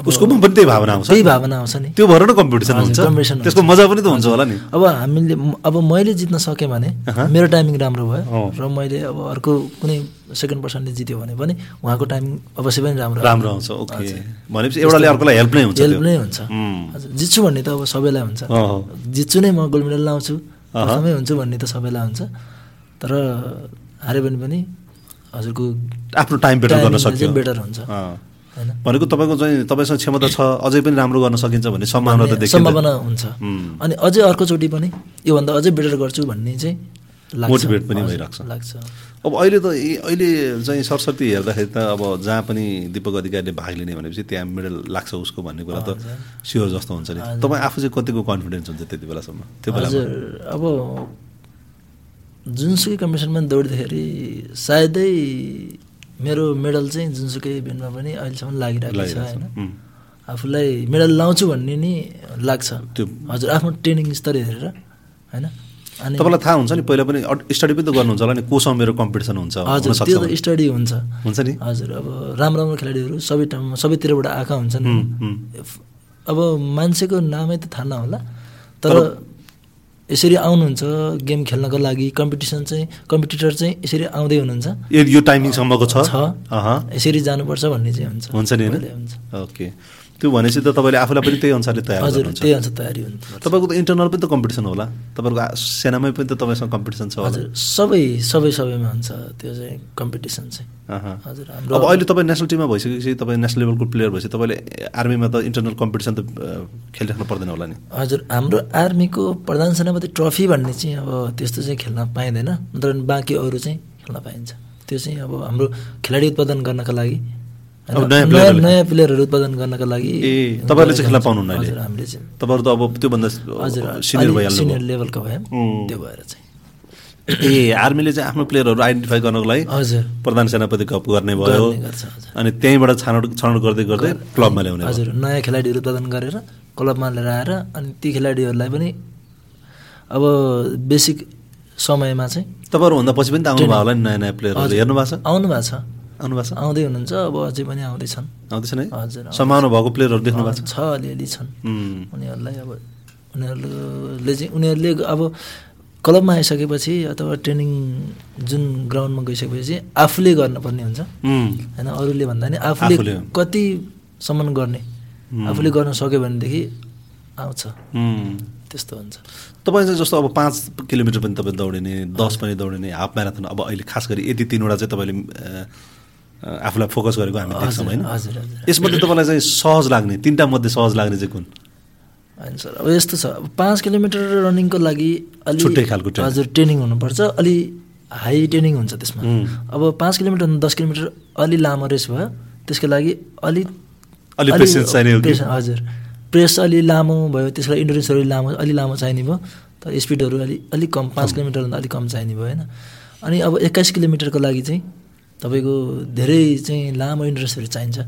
Speaker 2: अब
Speaker 1: उसकोमा पनि त्यही भावना आउँछ
Speaker 2: त्यही भावना आउँछ नि
Speaker 1: त्यो भएर नै कम्पिटिसन
Speaker 2: हजुर,
Speaker 1: हुन्छ
Speaker 2: competition हुन्छ।
Speaker 1: त्यसको मजा पनि त हुन्छ होला नि
Speaker 2: अब हामीले म- अब मैले जित्न सकेँ भने
Speaker 1: अहँ।
Speaker 2: मेरो टाइमिङ राम्रो भयो
Speaker 1: अँ।
Speaker 2: र मैले अब अर्को कुनै सेकेन्ड पर्सनले जित्यो भने पनि उहाँको टाइमिङ अवश्य पनि राम्रो
Speaker 1: राम्रो आउँछ ओके भनेपछि एउटाले अर्कोलाई हेल्प नै हुन्छ
Speaker 2: हेल्प
Speaker 1: त्यो।
Speaker 2: नै हुन्छ
Speaker 1: उम्,
Speaker 2: हजुर जित्छु भन्ने त अब सबैलाई हुन्छ
Speaker 1: अँ,
Speaker 2: जित्छु नै म गोल्ड मेडल लाउँछु
Speaker 1: अहँ।
Speaker 2: प्रथमै हुन्छु भन्ने त सबैलाई हुन्छ तर हारे भने पनि हजुरको
Speaker 1: आफ्नो टाइम बेटर गर्न
Speaker 2: timing
Speaker 1: सक्यो
Speaker 2: चाहिँ बेटर हुन्छ
Speaker 1: अँ।
Speaker 2: होइन
Speaker 1: भनेको तपाईँको चाहिँ तपाईँसँग क्षमता छ अझै पनि राम्रो गर्न सकिन्छ भन्ने सम्भावना त देखिन्छ
Speaker 2: सम्भावना हुन्छ
Speaker 1: उम्,
Speaker 2: अनि अझै अर्कोचोटि पनि योभन्दा अझै बेटर गर्छु भन्ने चाहिँ लाग्छ।
Speaker 1: Motivate पनि
Speaker 2: हजुर,
Speaker 1: भइरहेको छ।
Speaker 2: लाग्छ
Speaker 1: अब अहिले त ए- अहिले चाहिँ सरस्वती हेर्दाखेरि त अब जहाँ पनि दीपक अधिकारीले भाग लिने भनेपछि त्यहाँ मेडल लाग्छ उसको भन्ने कुरा त स्योर जस्तो हुन्छ नि तपाईँ आफू चाहिँ कतिको कन्फिडेन्स हुन्छ त्यति बेलासम्म त्यो बेलामा
Speaker 2: हजुर अब जुनसुकै कम्पिटिसनमा दौडिँदाखेरि सायदै मेरो मेडल चाहिँ जुनसुकै इभेन्टमा पनि अहिलेसम्म लागिरहेको छ
Speaker 1: लागिरहेको छ।
Speaker 2: होइन
Speaker 1: उम्,
Speaker 2: आफूलाई मेडल लाउँछु भन्ने नि लाग्छ
Speaker 1: त्यो-
Speaker 2: हजुर आफ्नो ट्रेनिङ स्तर हेरेर होइन अनि
Speaker 1: तपाईँलाई थाहा हुन्छ नि पहिला पनि स्टडी पनि त गर्नुहुन्छ होला नि कोसँग मेरो कम्पिटिसन हुन्छ
Speaker 2: हजुर
Speaker 1: हुनसक्छ
Speaker 2: त्यो त
Speaker 1: भने।
Speaker 2: स्टडी हुन्छ
Speaker 1: हुन्छ नि
Speaker 2: हजुर अब राम्रो राम्रो खेलाडीहरू सबै ठाउँमा सबैतिरबाट आएका हुन्छन्
Speaker 1: हुँ, हुँ।
Speaker 2: फ- अब मान्छेको नामै त थाहा नहोला तर
Speaker 1: तर-
Speaker 2: यसरी आउनुहुन्छ गेम खेल्नको लागि कम्पिटिसन चाहिँ कम्पिटिटर चाहिँ यसरी आउँदै हुनुहुन्छ
Speaker 1: यो यो टाइमिङसम्मको छ
Speaker 2: छ
Speaker 1: अहँ,
Speaker 2: यसरी जानुपर्छ भन्ने चाहिँ हुन्छ
Speaker 1: हुन्छ नि होइन
Speaker 2: पहिल्यै हुन्छ
Speaker 1: ओके त्यो भनेपछि त तपाईँले आफूलाई पनि त्यही अनुसारले तयार
Speaker 2: हजुर
Speaker 1: गर्नुहुन्छ
Speaker 2: त्यही अनुसार तयारी हुनु
Speaker 1: तपाईँको त इन्टरनल पनि त कम्पिटिसन होला तपाईँको आ- सेनामै पनि त तपाईँसँग कम्पिटिसन छ होला
Speaker 2: हजुर सबै सबै सबैमा हुन्छ त्यो चाहिँ कम्पिटिसन चाहिँ
Speaker 1: अहँ।
Speaker 2: हजुर
Speaker 1: अब
Speaker 2: हाम्रो
Speaker 1: अहिले तपाईँ नेसनल टिममा भइसकेपछि तपाईँ नेसनल लेभलको प्लेयर भएपछि तपाईँले आर्मीमा त इन्टरनल कम्पिटिसन त अ, खेलिराख्नु पर्दैन होला नि
Speaker 2: हजुर हाम्रो आर्मीको प्रधान सेनापति ट्रफी भन्ने चाहिँ अब त्यस्तो चाहिँ खेल्न पाइँदैन तर बाँकी अरू चाहिँ खेल्न पाइन्छ त्यो चाहिँ अब हाम्रो खेलाडी उत्पादन गर्नका लागि होइन,
Speaker 1: अब नयाँ
Speaker 2: नयाँ
Speaker 1: प्लेयरहरूले?
Speaker 2: नयाँ प्लेयरहरू उत्पादन गर्नका लागि
Speaker 1: ए, तपाईँहरूले चाहिँ खेल्न पाउनुहुन्न अहिले?
Speaker 2: हजुर हामीले चाहिँ
Speaker 1: तपाईँहरू त अब त्योभन्दा
Speaker 2: हजुर
Speaker 1: सिनियर
Speaker 2: अलिक
Speaker 1: भइहाल्नु
Speaker 2: सिनियर लेभलको भयौँ
Speaker 1: उम्।
Speaker 2: त्यो भएर चाहिँ
Speaker 1: ए आर्मीले चाहिँ आफ्नो प्लेयरहरू आइडेन्टिफाई गर्नको लागि
Speaker 2: हजुर
Speaker 1: प्रधान सेनापति कप गर्ने भयो
Speaker 2: गर्ने गर्छ हजुर
Speaker 1: अनि त्यहीँबाट छानौट छनौट गर्दै गर्दै क्लबमा ल्याउने भयो
Speaker 2: हजुर नयाँ खेलाडीहरू उत्पादन गरेर क्लबमा लिएर आएर अनि ती खेलाडीहरूलाई पनि अब बेसिक समयमा चाहिँ
Speaker 1: तपाईँहरूभन्दा पछि पनि त आउनुभयो होला नि नयाँ नयाँ प्लेयरहरू हेर्नु भएको छ
Speaker 2: आउनु भएको छ
Speaker 1: आउनु भएको छ
Speaker 2: आउँदै हुनुहुन्छ अब अझै पनि आउँदैछन्
Speaker 1: आउँदैछन् है
Speaker 2: हजुर आउँ-
Speaker 1: सम्भावना भएको प्लेयरहरू देख्नु भएको छ
Speaker 2: छ अलिअलि छन्
Speaker 1: उम्,
Speaker 2: उनीहरूलाई अब उनीहरूले चाहिँ उनीहरूले अब क्लबमा आइसकेपछि अथवा ट्रेनिङ जुन ग्राउन्डमा गइसकेपछि चाहिँ आफूले गर्नुपर्ने हुन्छ
Speaker 1: उम्,
Speaker 2: होइन अरूले भन्दा नि आफूले
Speaker 1: आफूले।
Speaker 2: कतिसम्म गर्ने
Speaker 1: उम्,
Speaker 2: आफूले गर्न सक्यो भनेदेखि आउँछ
Speaker 1: उम्।
Speaker 2: त्यस्तो हुन्छ
Speaker 1: तपाईँ चाहिँ जस्तो अब पाँच किलोमिटर पनि तपाईँ दौडिने दस पनि दौडिने हाफ म्याराथन अब अहिले खास गरी यति तिनवटा चाहिँ तपाईँले अ, अ, आफूलाई फोकस गरेको हामी देख्छौँ होइन
Speaker 2: हजुर हजुर
Speaker 1: यसमध्ये तपाईँलाई चाहिँ सहज लाग्ने तिनवटा मध्ये सहज लाग्ने चाहिँ कुन
Speaker 2: होइन सर अब यस्तो छ अब पाँच किलोमिटर रनिङको लागि अलि
Speaker 1: छुट्टै खालको training।
Speaker 2: हजुर ट्रेनिङ हुनुपर्छ अलि हाई ट्रेनिङ हुन्छ त्यसमा
Speaker 1: उम्,
Speaker 2: अब पाँच किलोमिटर दस किलोमिटर अलि लामो रेस भयो त्यसको लागि अलि
Speaker 1: अलि patience चाहिने हो कि?
Speaker 2: प्रेस- हजुर प्रेस अलि लामो भयो त्यसको लागि इन्डुरेन्सहरू अलि लामो अलि लामो चाहिने भयो तर स्पिडहरू अलि अलिक कम पाँच किलोमिटरभन्दा अलिक कम चाहिने भयो होइन अनि अब एक्काइस किलोमिटरको लागि चाहिँ तपाईँको धेरै चाहिँ लामो इन्डुरेन्सहरू चाहिन्छ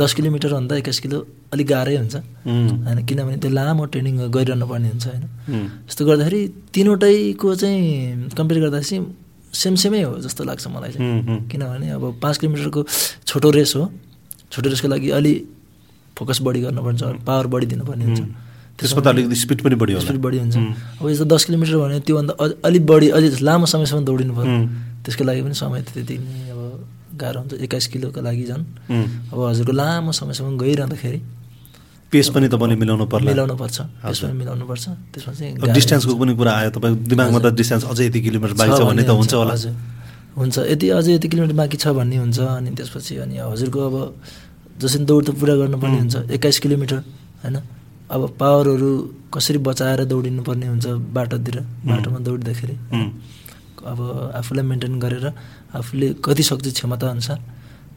Speaker 2: दस किलोमिटरभन्दा एक्काइस किलो अलिक गाह्रै हुन्छ
Speaker 1: उम्,
Speaker 2: होइन किनभने त्यो लामो ट्रेनिङ गरिरहनु पर्ने हुन्छ होइन
Speaker 1: उम्,
Speaker 2: यस्तो गर्दाखेरि तिनवटैको चाहिँ कम्पेयर गर्दा चाहिँ सेम सेमै हो जस्तो लाग्छ मलाई चाहिँ
Speaker 1: उम्, उम्।
Speaker 2: किनभने अब पाँच किलोमिटरको छोटो रेस हो छोटो रेसको लागि अलि फोकस बढी गर्नुपर्छ पावर बढी दिनुपर्ने हुन्छ
Speaker 1: हुँ। त्यसमा त अलिकति स्पिड पनि बढी होला
Speaker 2: स्पिड बढी हुन्छ
Speaker 1: हुँ।
Speaker 2: अब यस्तो दस किलोमिटर भने त्योभन्दा अझ- अलिक बढी अझै लामो समयसम्म दौडिनु पर्यो
Speaker 1: हुँ।
Speaker 2: त्यसको लागि पनि समय त त्यति नै अब गाह्रो हुन्छ एक्काइस किलोको लागि झन्
Speaker 1: उम्,
Speaker 2: अब हजुरको लामो समयसम्म गइरहँदाखेरि
Speaker 1: पेस पनि तपाईँले मिलाउनु पर्ला
Speaker 2: मिलाउनु पर्छ त्यसमा
Speaker 1: हजुर।
Speaker 2: मिलाउनु पर्छ त्यसमा चाहिँ
Speaker 1: अब
Speaker 2: गाह्रो
Speaker 1: डिस्टेन्सको पनि कुरा आयो तपाईँको दिमागमा त डिस्टेन्स अझै यति किलोमिटर बाँकी छ भन्ने त हुन्छ होला
Speaker 2: हजुर हुन्छ यति अझै यति किलोमिटर बाँकी छ भन्ने हुन्छ अनि त्यसपछि अनि हजुरको अब जसरी दौड त पुरा गर्नुपर्ने हुन्छ एक्काइस किलोमिटर होइन अब पावरहरू कसरी बचाएर दौडिनु पर्ने हुन्छ बाटोतिर बाटोमा दौडिँदाखेरि
Speaker 1: उम्,
Speaker 2: अब आफूलाई मेन्टेन गरेर आफूले कति सक्छ क्षमता अनुसार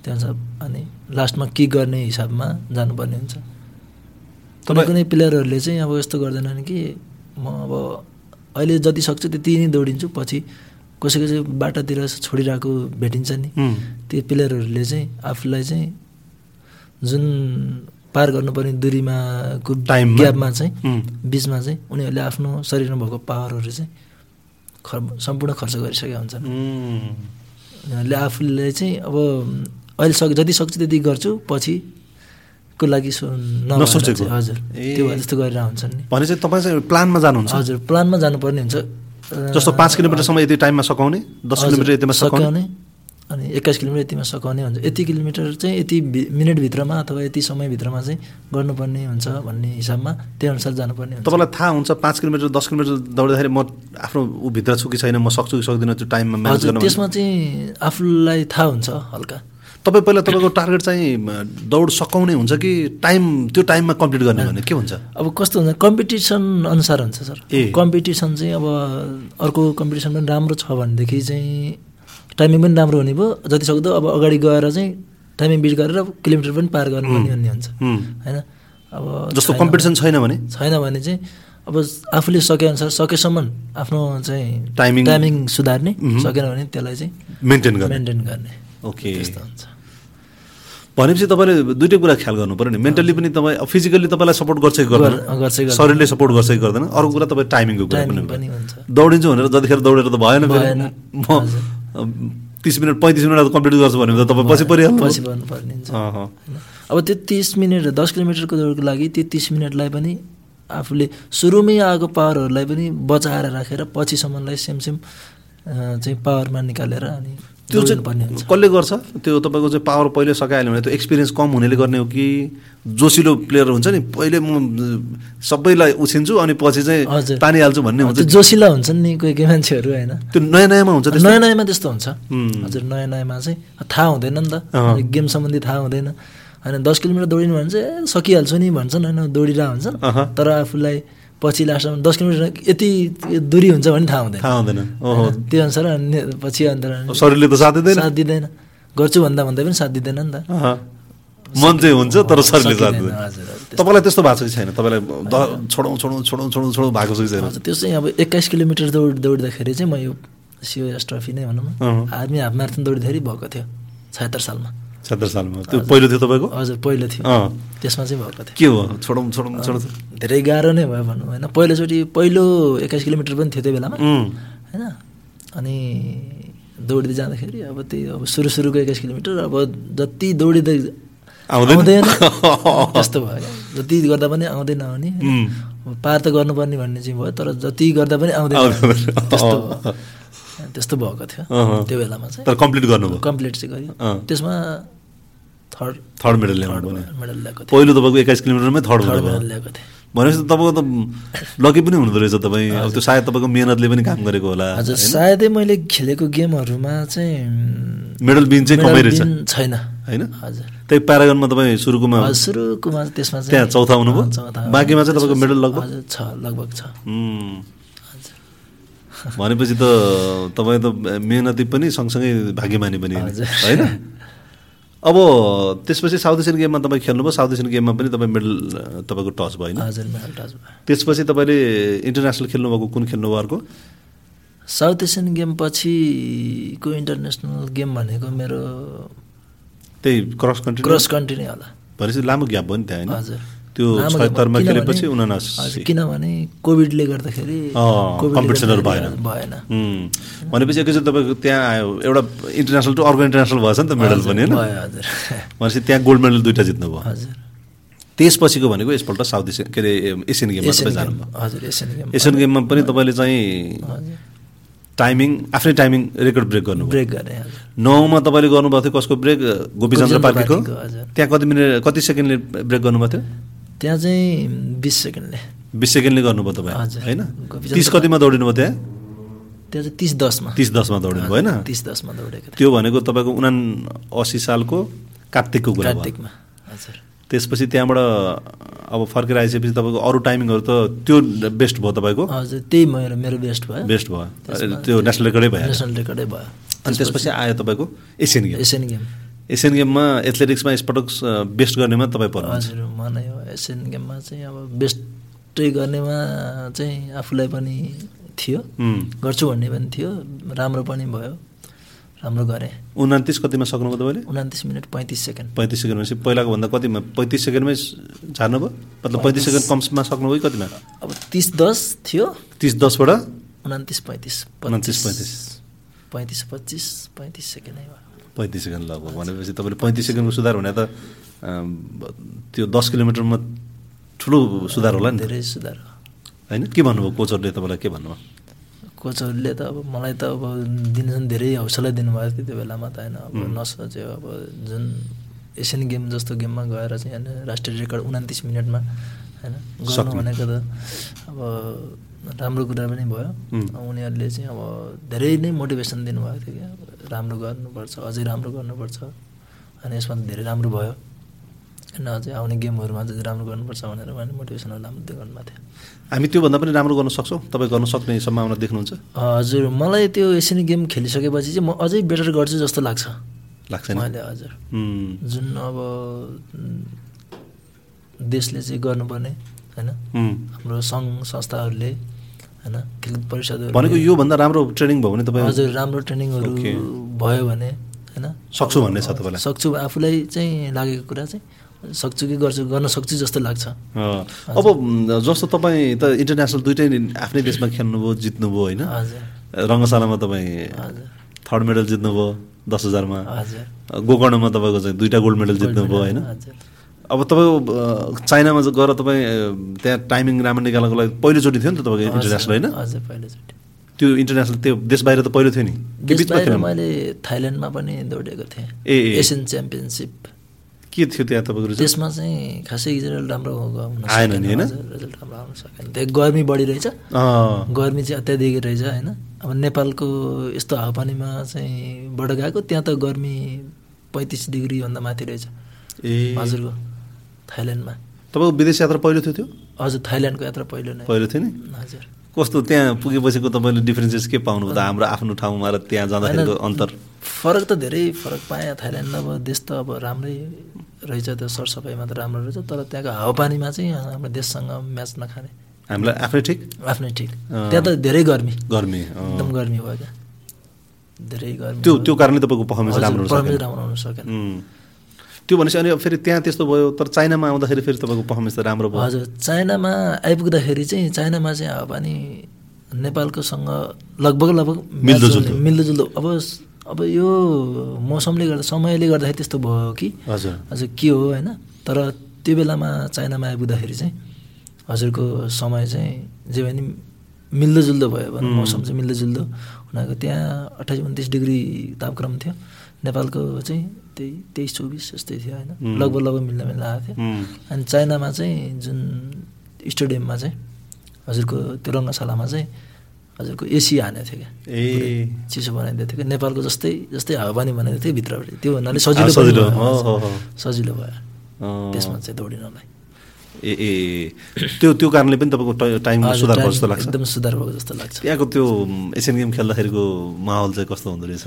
Speaker 2: त्यो अनुसार अनि लास्टमा के गर्ने हिसाबमा जानुपर्ने हुन्छ कुनै
Speaker 1: तपाईँ-
Speaker 2: कुनै प्लेयरहरूले चाहिँ अब यस्तो गर्दैनन् कि म अब अहिले जति सक्छु त्यति नै दौडिन्छु पछि कसै कसै बाटातिर छोडिरहेको भेटिन्छ नि
Speaker 1: उम्,
Speaker 2: त्यो प्लेयरहरूले चाहिँ आफूलाई चाहिँ जुन पार गर्नुपर्ने दुरीमाको
Speaker 1: टाइममा?
Speaker 2: ग्यापमा चाहिँ
Speaker 1: उम्,
Speaker 2: बिचमा चाहिँ उनीहरूले आफ्नो शरीरमा भएको पावरहरू चाहिँ खर सम्पूर्ण खर्च गरिसकेका हुन्छन्
Speaker 1: उम्,
Speaker 2: उनीहरूले आफूले चाहिँ अब अहिले सक जति सक्छु त्यति गर्छु पछिको लागि सो नभएर
Speaker 1: नसोचेको।
Speaker 2: चाहिँ, हजुर
Speaker 1: ए।
Speaker 2: त्यो भएर त्यस्तो गरेर हुन्छन् नि
Speaker 1: भने चाहिँ तपाईँ चाहिँ प्लानमा जानुहुन्छ
Speaker 2: हजुर प्लानमा जानुपर्ने हुन्छ
Speaker 1: जस्तो पाँच किलोमिटरसम्म यति टाइममा सकाउने दस
Speaker 2: हजुर,
Speaker 1: किलोमिटर यतिमा सकाउने
Speaker 2: सकाउने अनि एक्काइस किलोमिटर यतिमा सकाउने हुन्छ यति किलोमिटर चाहिँ यति भि- मिनटभित्रमा अथवा यति समयभित्रमा चाहिँ गर्नुपर्ने हुन्छ भन्ने हिसाबमा त्यही अनुसार जानुपर्ने हुन्छ
Speaker 1: तपाईँलाई थाहा हुन्छ पाँच किलोमिटर दस किलोमिटर दौड्दाखेरि म आफ्नो ऊ भित्र छु कि छैन म सक्छु कि सक्दिनँ त्यो टाइममा म्यानेज
Speaker 2: हजुर
Speaker 1: गर्न
Speaker 2: त्यसमा चाहिँ आफूलाई थाहा हुन्छ हल्का
Speaker 1: तपाईँ पहिला तपाईँको टार्गेट चाहिँ म, दौड सकाउने हुन्छ कि टाइम त्यो टाइममा कम्प्लिट गर्ने भने के हुन्छ
Speaker 2: अब कस्तो हुन्छ कम्पिटिसन अनुसार हुन्छ सर
Speaker 1: ए।
Speaker 2: कम्पिटिसन चाहिँ अब अर्को कम्पिटिसन पनि राम्रो छ भनेदेखि चाहिँ टाइमिङ पनि राम्रो हुने भयो जतिसक्दो अब अगाडि गएर चाहिँ टाइमिङ बिट गरेर किलोमिटर पनि पार गर्नुपर्ने भन्ने हुन्छ
Speaker 1: हुँ।
Speaker 2: होइन अब
Speaker 1: जस्तो
Speaker 2: छैन-
Speaker 1: कम्पिटिसन छैन भने
Speaker 2: छैन भने चाहिँ अब आफूले सकेअनुसार सकेसम्म आफ्नो चाहिँ
Speaker 1: टाइमिङ-
Speaker 2: टाइमिङ सुधार्ने
Speaker 1: उहुँ।
Speaker 2: सकेन भने त्यसलाई चाहिँ
Speaker 1: मेन्टेन गर्ने
Speaker 2: मेन्टेन गर्ने
Speaker 1: ओके
Speaker 2: त्यस्तो हुन्छ
Speaker 1: भनेपछि तपाईँले दुइटै कुरा ख्याल गर्नु पऱ्यो नि मेन्टली पनि तपाईँ फिजिकल्ली तपाईँलाई सपोर्ट गर्छ कि गर्दैन
Speaker 2: गर्- गर्छ कि गर्दैन।
Speaker 1: शरीरले सपोर्ट गर्छ कि गर्दैन अर्को कुरा तपाईँ टाइमिङको कुरा पनि
Speaker 2: टाइमिङ
Speaker 1: भयो।
Speaker 2: पनि हुन्छ
Speaker 1: दौडिन्छु भनेर जतिखेर दौडेर त भएन फेरि
Speaker 2: भएन।
Speaker 1: म तिस मिनट पैँतिस मिनट कम्प्लिट गर्छु भने त तपाईँ पछि परिहाल्नु
Speaker 2: पछि पर्नुपर्ने हुन्छ
Speaker 1: अहँ।
Speaker 2: होइन? अब त्यो तिस मिनट दस किलोमिटरको दौडको लागि त्यो तिस मिनटलाई पनि आफूले सुरुमै आएको पावरहरूलाई पनि बचाएर राखेर पछिसम्मलाई सेम सेम अ, चाहिँ पावरमा निकालेर अनि
Speaker 1: त्यो
Speaker 2: पर्ने
Speaker 1: चाहिँ
Speaker 2: हुन्छ
Speaker 1: कसले गर्छ त्यो तपाईँको चाहिँ पावर पहिले सकाइहाल्यो भने त्यो एक्सपिरियन्स कम हुनेले गर्ने हो कि जोसिलो प्लेयर हुन्छ नि पहिले म अ, सबैलाई उछिन्छु अनि पछि चाहिँ
Speaker 2: हजुर।
Speaker 1: तानिहाल्छु भन्ने हुन्छ
Speaker 2: त्यो जोसिला हुन्छन् नि कोही कोही मान्छेहरू होइन
Speaker 1: त्यो नयाँ नयाँमा हुन्छ त्यस्तो
Speaker 2: नयाँ नयाँमा त्यस्तो हुन्छ
Speaker 1: उम्.
Speaker 2: हजुर नयाँ नयाँमा चाहिँ थाहा हुँदैन नि त
Speaker 1: अँ।
Speaker 2: अनि गेम सम्बन्धी थाहा हुँदैन होइन दस किलोमिटर दौडिनु भने चाहिँ ए, सकिहाल्छु नि भन्छन् होइन दौडिरहेको हुन्छन्
Speaker 1: अहँ।
Speaker 2: तर आफूलाई पछि लास्टमा दस किलोमिटर यति दुरी हुन्छ भने थाहा हुँदैन
Speaker 1: थाहा हुँदैन ओहो
Speaker 2: होइन, त्यो अनुसार अनि पछि अन्त
Speaker 1: शरीरले त साथ दिँदैन
Speaker 2: साथ दिँदैन गर्छु भन्दा भन्दै पनि साथ दिँदैन नि त
Speaker 1: अहँ। मन चाहिँ हुन्छ तर शरीरले साथ
Speaker 2: सकिँदैन,
Speaker 1: दिँदैन
Speaker 2: हजुर, हजुर, त्यस्तो।
Speaker 1: तपाईँलाई त्यस्तो भएको छ कि छैन तपाईँलाई द- छोडौँ छोडौँ छोडौँ छोडौँ छोडौँ भएको छ कि छैन
Speaker 2: हजुर त्यो चाहिँ अब एक्काइस किलोमिटर दौड दौड्दाखेरि चाहिँ म यो सिओएस ट्रफी नै भनौँ
Speaker 1: अँ।
Speaker 2: न आर्मी हाफ म्याराथन दौड्दाखेरि भएको थियो छयत्तर सालमा
Speaker 1: छत्तर सालमा त्यो पहिलो थियो तपाईँको
Speaker 2: हजुर पहिलो थियो
Speaker 1: अँ।
Speaker 2: त्यसमा चाहिँ भएको थियो
Speaker 1: के हो छोडौँ छोडौँ छोडौँ
Speaker 2: धेरै गाह्रो नै भयो भनौँ होइन पहिलोचोटि पहिलो एक्काइस किलोमिटर पनि थियो त्यो बेलामा
Speaker 1: उम्,
Speaker 2: होइन अनि दौडिँदै जाँदाखेरि अब त्यही अब सुरु सुरुको एक्काइस किलोमिटर अब जति दौडिँदै
Speaker 1: आउँदैन?
Speaker 2: त्यस्तो भयो क्या। जति गर्दा पनि आउँदैन आउने
Speaker 1: उम्।
Speaker 2: अब पार त गर्नुपर्ने भन्ने चाहिँ भयो तर जति गर्दा पनि आउँदैन
Speaker 1: आउँदैन।
Speaker 2: आउने। त्यस्तो
Speaker 1: अँ।
Speaker 2: भयो। त्यस्तो भएको थियो
Speaker 1: अहँ।
Speaker 2: त्यो बेलामा चाहिँ
Speaker 1: तर कम्प्लिट गर्नुभयो
Speaker 2: कम्प्लिट चाहिँ गरियो
Speaker 1: अँ।
Speaker 2: त्यसमा थर्ड
Speaker 1: थर्ड मेडल ल्याउनु
Speaker 2: थर्ड
Speaker 1: भने
Speaker 2: मेडल ल्याएको थिएँ
Speaker 1: पहिलो तपाईँको एक्काइस किलोमिटरमै थर्ड
Speaker 2: थर्ड
Speaker 1: मेडल
Speaker 2: मेडल
Speaker 1: भयो
Speaker 2: ल्याएको थिएँ
Speaker 1: भनेपछि त तपाईँको त लकी पनि हुनुहुँदो रहेछ तपाईँ अब त्यो सायद तपाईँको मेहनतले पनि काम गरेको होला
Speaker 2: हजुर
Speaker 1: होइन?
Speaker 2: सायदै मैले खेलेको गेमहरूमा चाहिँ उम्,
Speaker 1: मेडल बिन चाहिँ
Speaker 2: मेडल
Speaker 1: कमै रहेछ
Speaker 2: विन छैन
Speaker 1: होइन
Speaker 2: हजुर
Speaker 1: त्यही प्यारागनमा तपाईँ सुरुकोमा
Speaker 2: हजुर, सुरुकोमा त्यसमा चाहिँ
Speaker 1: त्यहाँ चौथा हुनुभयो?
Speaker 2: अँ, चौथा
Speaker 1: बाँकीमा चाहिँ तपाईँको मेडल लगभग?
Speaker 2: हजुर, छ लगभग छ
Speaker 1: उम्, भनेपछि त तपाईँ त मेहनती पनि सँगसँगै भाग्यमानी पनि होइन
Speaker 2: हजुर।
Speaker 1: होइन अब त्यसपछि साउथ एसियन गेममा तपाईँ खेल्नुभयो साउथ एसियन गेममा पनि तपाईँ मेडल अ, तपाईँको टच भयो होइन
Speaker 2: हजुर मेडल टच भयो
Speaker 1: त्यसपछि तपाईँले इन्टरनेसनल खेल्नुभएको कुन खेल्नुभयो अर्को
Speaker 2: साउथ एसियन गेम पछिको इन्टरनेसनल गेम भनेको मेरो
Speaker 1: त्यही क्रस कन्ट्री
Speaker 2: क्रस कन्ट्री नै होला
Speaker 1: भनेपछि लामो ग्याप भयो नि त्यहाँ होइन
Speaker 2: हजुर
Speaker 1: त्यो
Speaker 2: लामो गेम-
Speaker 1: 76 मा
Speaker 2: किनभने-
Speaker 1: खेलेपछि 79
Speaker 2: हजुर, किनभने कोभिडले गर्दाखेरि
Speaker 1: अँ,
Speaker 2: कोभिडले
Speaker 1: कम्पिटिसनहरू
Speaker 2: गर्दाखेरि
Speaker 1: भएन।
Speaker 2: भएन
Speaker 1: उम्, भनेपछि एकैचोटि तपाईँको त्यहाँ आयो एउटा इन्टरनेसनल टु अर्को इन्टरनेसनल भएछ नि त मेडल
Speaker 2: हजुर,
Speaker 1: पनि होइन
Speaker 2: भयो, हजुर
Speaker 1: भनेपछि त्यहाँ गोल्ड मेडल दुइटा जित्नुभयो
Speaker 2: हजुर
Speaker 1: त्यसपछिको भनेको यसपल्ट साउथ एसियन के अरे एम, एसियन गेममा
Speaker 2: एसियन
Speaker 1: तपाईँ
Speaker 2: गेम
Speaker 1: जानुभयो
Speaker 2: हजुर एसियन गेम
Speaker 1: एसियन गेममा पनि तपाईँले चाहिँ
Speaker 2: हजुर,
Speaker 1: टाइमिङ आफ्नै टाइमिङ रेकर्ड ब्रेक गर्नुभयो
Speaker 2: ब्रेक गरेँ हजुर
Speaker 1: नौमा तपाईँले गर्नुभएको थियो कसको ब्रेक गोपीचन्द्र
Speaker 2: गोपीचन्द्र
Speaker 1: पार्टीको
Speaker 2: पार्टीको, हजुर।
Speaker 1: त्यहाँ कति मिनट कति सेकेन्डले ब्रेक गर्नुभएको थियो
Speaker 2: त्यहाँ चाहिँ बिस सेकेन्डले
Speaker 1: बिस सेकेन्डले गर्नुभयो तपाईँ
Speaker 2: हजुर।
Speaker 1: होइन
Speaker 2: गोपीचन्द्र
Speaker 1: तिस कतिमा दौडिनु भयो त्यहाँ
Speaker 2: त्यहाँ चाहिँ तिस दसमा
Speaker 1: तिस दसमा दौडिनु भयो होइन
Speaker 2: तिस दसमा दौडेको थिएँ
Speaker 1: त्यो भनेको तपाईँको उना असी सालको कार्तिकको कुरा भयो
Speaker 2: कार्तिकमा हजुर
Speaker 1: त्यसपछि त्यहाँबाट अब फर्केर आइसकेपछि तपाईँको अरू टाइमिङहरू त त्यो बेस्ट भयो तपाईँको
Speaker 2: हजुर त्यही मेरो मेरो बेस्ट भयो
Speaker 1: बेस्ट भयो
Speaker 2: त्यसमा
Speaker 1: त्यो नेसनल रेकर्डै भयो
Speaker 2: नेसनल रेकर्डै भयो
Speaker 1: अनि त्यसपछि आयो तपाईँको Asian game
Speaker 2: Asian game
Speaker 1: Asian गेममा एथलेटिक्समा यसपटक अ, बेस्ट गर्नेमा तपाईँ पर्नु
Speaker 2: हजुर मलाई यो एसियन गेममा चाहिँ अब बेस्टै गर्नेमा चाहिँ आफूलाई पनि थियो
Speaker 1: उम्,
Speaker 2: गर्छु भन्ने पनि थियो राम्रो पनि भयो राम्रो गरेँ
Speaker 1: उन्तिस कतिमा सक्नुभयो तपाईँले
Speaker 2: उनातिस मिनट पैँतिस सेकेन्ड
Speaker 1: पैँतिस सेकेन्ड भनेपछि पहिलाको भन्दा कतिमा पैँतिस सेकेन्डमै झार्नुभयो मतलब पैँतिस सेकेन्ड कम्समा सक्नुभयो कि कतिमा
Speaker 2: अब तिस दस थियो
Speaker 1: तिस दसबाट
Speaker 2: उनातिस पैँतिस
Speaker 1: उन्तिस पैँतिस
Speaker 2: पैँतिस पच्चिस पैँतिस सेकेन्डै भयो
Speaker 1: पैँतिस सेकेन्ड ल भयो भनेपछि तपाईँले पैँतिस सेकेन्डको सुधार हुने त अम, त्यो दस किलोमिटरमा ठुलो सुधार होला नि त।
Speaker 2: धेरै सुधार भयो।
Speaker 1: होइन के भन्नुभयो कोचहरूले तपाईँलाई के भन्नुभयो
Speaker 2: कोचहरूले त अब मलाई त अब दिनसम्म धेरै हौसला दिनुभएको थियो त्यो बेलामा त होइन अब नसोच्यो अब जुन एसियन गेम जस्तो गेममा गएर चाहिँ होइन राष्ट्रिय रेकर्ड उनातिस मिनटमा होइन गर्नु
Speaker 1: सक्नु।
Speaker 2: भनेको त अब राम्रो कुरा पनि भयो
Speaker 1: उम्.
Speaker 2: अब उनीहरूले चाहिँ अब धेरै नै मोटिभेसन दिनुभएको थियो क्या अब राम्रो गर्नुपर्छ अझै राम्रो गर्नुपर्छ अनि यसमा त धेरै राम्रो भयो होइन अझै आउने गेमहरूमा चाहिँ राम्रो गर्नुपर्छ भनेर उहाँले मोटिभेसनहरू राम्रो दिइ गर्नुभएको थियो
Speaker 1: हामी त्योभन्दा पनि राम्रो गर्न सक्छौँ तपाईँ गर्न सक्ने सम्भावना देख्नुहुन्छ
Speaker 2: हजुर मलाई त्यो एसियन गेम खेलिसकेपछि चाहिँ म अझै बेटर गर्छु जस्तो लाग्छ
Speaker 1: लाग्छ नि
Speaker 2: मैले हजुर
Speaker 1: उम्,
Speaker 2: जुन अब उम्, देशले चाहिँ गर्नुपर्ने होइन
Speaker 1: उम्।
Speaker 2: हाम्रो सङ्घ संस्थाहरूले होइन खेलकुद परिषदहरू
Speaker 1: भनेको योभन्दा राम्रो ट्रेनिङ भयो भने तपाईँ
Speaker 2: हजुर राम्रो ट्रेनिङहरू
Speaker 1: ओके।
Speaker 2: भयो भने होइन
Speaker 1: सक्छु भन्ने छ तपाईँलाई
Speaker 2: सक्छु आफूलाई चाहिँ लागेको कुरा चाहिँ सक्छु कि गर्छु गर्न सक्छु जस्तो लाग्छ
Speaker 1: अँ, अब म, जस्तो तपाईँ त इन्टरनेसनल दुइटै नि- आफ्नै देशमा खेल्नुभयो जित्नुभयो होइन
Speaker 2: हजुर
Speaker 1: रङ्गशालामा तपाईँ
Speaker 2: हजुर
Speaker 1: थर्ड मेडल जित्नुभयो दस हजारमा
Speaker 2: हजुर
Speaker 1: गोकर्णमा तपाईँको चाहिँ दुइटा गोल्ड मेडल जित्नुभयो होइन
Speaker 2: हजुर
Speaker 1: अब तपाईँको अ, चाइनामा ज- गएर तपाईँ अ, त्यहाँ टाइमिङ राम्रो निकाल्नको लागि पहिलोचोटि थियो नि त तपाईँको इन्टरनेसनल होइन
Speaker 2: हजुर पहिलोचोटि
Speaker 1: त्यो इन्टरनेसनल त्यो देश बाहिर त पहिलो थियो नि कि
Speaker 2: देश
Speaker 1: बिचमा
Speaker 2: बाहिर
Speaker 1: थियो
Speaker 2: मैले थाइल्यान्डमा पनि दौडेको थिएँ
Speaker 1: ए, ए।
Speaker 2: एसियन च्याम्पियनसिप
Speaker 1: के थियो त्यहाँ तपाईँको रिजल्ट
Speaker 2: त्यसमा चाहिँ खासै रिजल्ट राम्रो हुन
Speaker 1: आएन नि,
Speaker 2: सकेन,
Speaker 1: होइन?
Speaker 2: हजुर, रिजल्ट राम्रो आउन सकेन त्यो गर्मी बढी रहेछ
Speaker 1: अँ,
Speaker 2: गर्मी चाहिँ अत्याधिक रहेछ होइन अब नेपालको यस्तो हावापानीमा चाहिँ बाट गएको त्यहाँ त गर्मी पैँतिस डिग्रीभन्दा माथि रहेछ
Speaker 1: ए
Speaker 2: हजुरको थाइल्यान्डमा
Speaker 1: तपाईँको विदेश यात्रा पहिलो थियो त्यो
Speaker 2: हजुर थाइल्यान्डको यात्रा पहिलो नै
Speaker 1: पहिलो थियो नि
Speaker 2: हजुर
Speaker 1: कस्तो त्यहाँ पुगेपछिको तपाईँले डिफ्रेन्सेस के पाउनुभयो त हाम्रो आफ्नो ठाउँमा र त्यहाँ जाँदाखेरिको
Speaker 2: होइन,
Speaker 1: अन्तर
Speaker 2: फरक त धेरै फरक पाएँ थाइल्यान्ड अब देश त अब राम्रै रहेछ त्यो सरसफाइमा त राम्रो रहेछ तर त्यहाँको हावापानीमा चाहिँ हाम्रो देशसँग म्याच नखाने
Speaker 1: हामीलाई आफै ठिक
Speaker 2: आफ्नै ठिक
Speaker 1: अँ।
Speaker 2: त्यहाँ त धेरै गर्मी
Speaker 1: गर्मी अँ।
Speaker 2: एकदम गर्मी भयो क्या धेरै गर्मी
Speaker 1: त्यो
Speaker 2: भयो।
Speaker 1: त्यो कारणले तपाईँको पर्फर्मेन्स
Speaker 2: हजुर,
Speaker 1: राम्रो हुन सकेन।
Speaker 2: performance राम्रो हुन सकेन
Speaker 1: उम्। त्यो भनेपछि अनि अब फेरि त्यहाँ त्यस्तो भयो तर चाइनामा आउँदाखेरि फेरि तपाईँको पर्फर्मेन्स त राम्रो भयो
Speaker 2: हजुर चाइनामा आइपुग्दाखेरि चाहिँ चाइनामा चाहिँ हावापानी नेपालकोसँग लगभग लगभग
Speaker 1: मिल्दोजुल्दो।
Speaker 2: मिल्दोजुल्दो अब अब यो मौसमले गर्दा समयले गर्दाखेरि त्यस्तो भयो कि
Speaker 1: हजुर
Speaker 2: हजुर के हो होइन तर त्यो बेलामा चाइनामा आइपुग्दाखेरि चाहिँ हजुरको समय चाहिँ जे भने मिल्दोजुल्दो भयो भने
Speaker 1: हुँ।
Speaker 2: मौसम चाहिँ मिल्दोजुल्दो उनीहरूको त्यहाँ अठाइस उन्तिस डिग्री तापक्रम थियो नेपालको चाहिँ त्यही तेइस चौबिस जस्तै थियो होइन
Speaker 1: हुँ।
Speaker 2: लगभग लगभग मिल्दा मिल्दा आएको थियो
Speaker 1: उम्,
Speaker 2: अनि चाइनामा चाहिँ जुन स्टेडियममा चाहिँ हजुरको त्यो रङ्गशालामा चाहिँ हजुरको एसी हानेको थियो क्या
Speaker 1: ए
Speaker 2: चिसो बनाइदिएको थियो कि नेपालको जस्तै जस्तै हावापानी बनाइदिएको थियो भित्रबाट त्यो भन्नाले
Speaker 1: आ,
Speaker 2: सजिलो पनि
Speaker 1: सजिलो,
Speaker 2: भयो।
Speaker 1: हो, हो, हो।
Speaker 2: सजिलो भयो
Speaker 1: अँ।
Speaker 2: त्यसमा चाहिँ दौडिनलाई
Speaker 1: ए ए त्यो त्यो कारणले पनि तपाईँको टा- टाइममा
Speaker 2: आज
Speaker 1: सुधार भयो
Speaker 2: टाइम
Speaker 1: जस्तो लाग्छ
Speaker 2: एकदम सुधार भएको जस्तो लाग्छ
Speaker 1: त्यहाँको त्यो उम्, एसियन गेम खेल्दाखेरिको माहौल चाहिँ कस्तो हुँदो रहेछ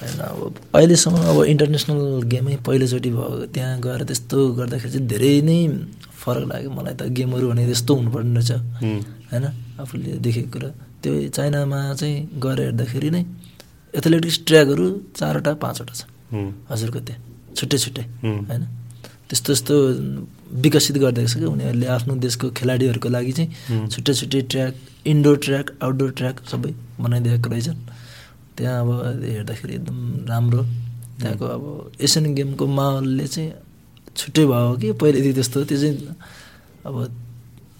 Speaker 2: होइन अब अहिलेसम्म अब इन्टरनेसनल गेमै पहिलोचोटि भयो त्यहाँ गएर त्यस्तो गर्दाखेरि चाहिँ धेरै नै फरक लाग्यो मलाई त गेमहरू भने त्यस्तो हुनुपर्ने रहेछ
Speaker 1: उम्,
Speaker 2: होइन आफूले देखेको कुरा त्यो चाइनामा चाहिँ गएर हेर्दाखेरि नै एथलेटिक्स ट्र्याकहरू चारवटा पाँचवटा छ
Speaker 1: उम्,
Speaker 2: हजुरको त्यहाँ छुट्टै छुट्टै
Speaker 1: हुँ।
Speaker 2: होइन त्यस्तो यस्तो विकसित गरिदिएको छ कि उनीहरूले आफ्नो देशको खेलाडीहरूको लागि चाहिँ
Speaker 1: हुँ।
Speaker 2: छुट्टै छुट्टै track indoor track outdoor track सबै बनाइदिएको रहेछन् त्यहाँ अब हेर्दाखेरि एकदम राम्रो त्यहाँको अब एसियन गेमको माहौलले चाहिँ छुट्टै भयो कि पहिलेदेखि त्यस्तो त्यो चाहिँ अब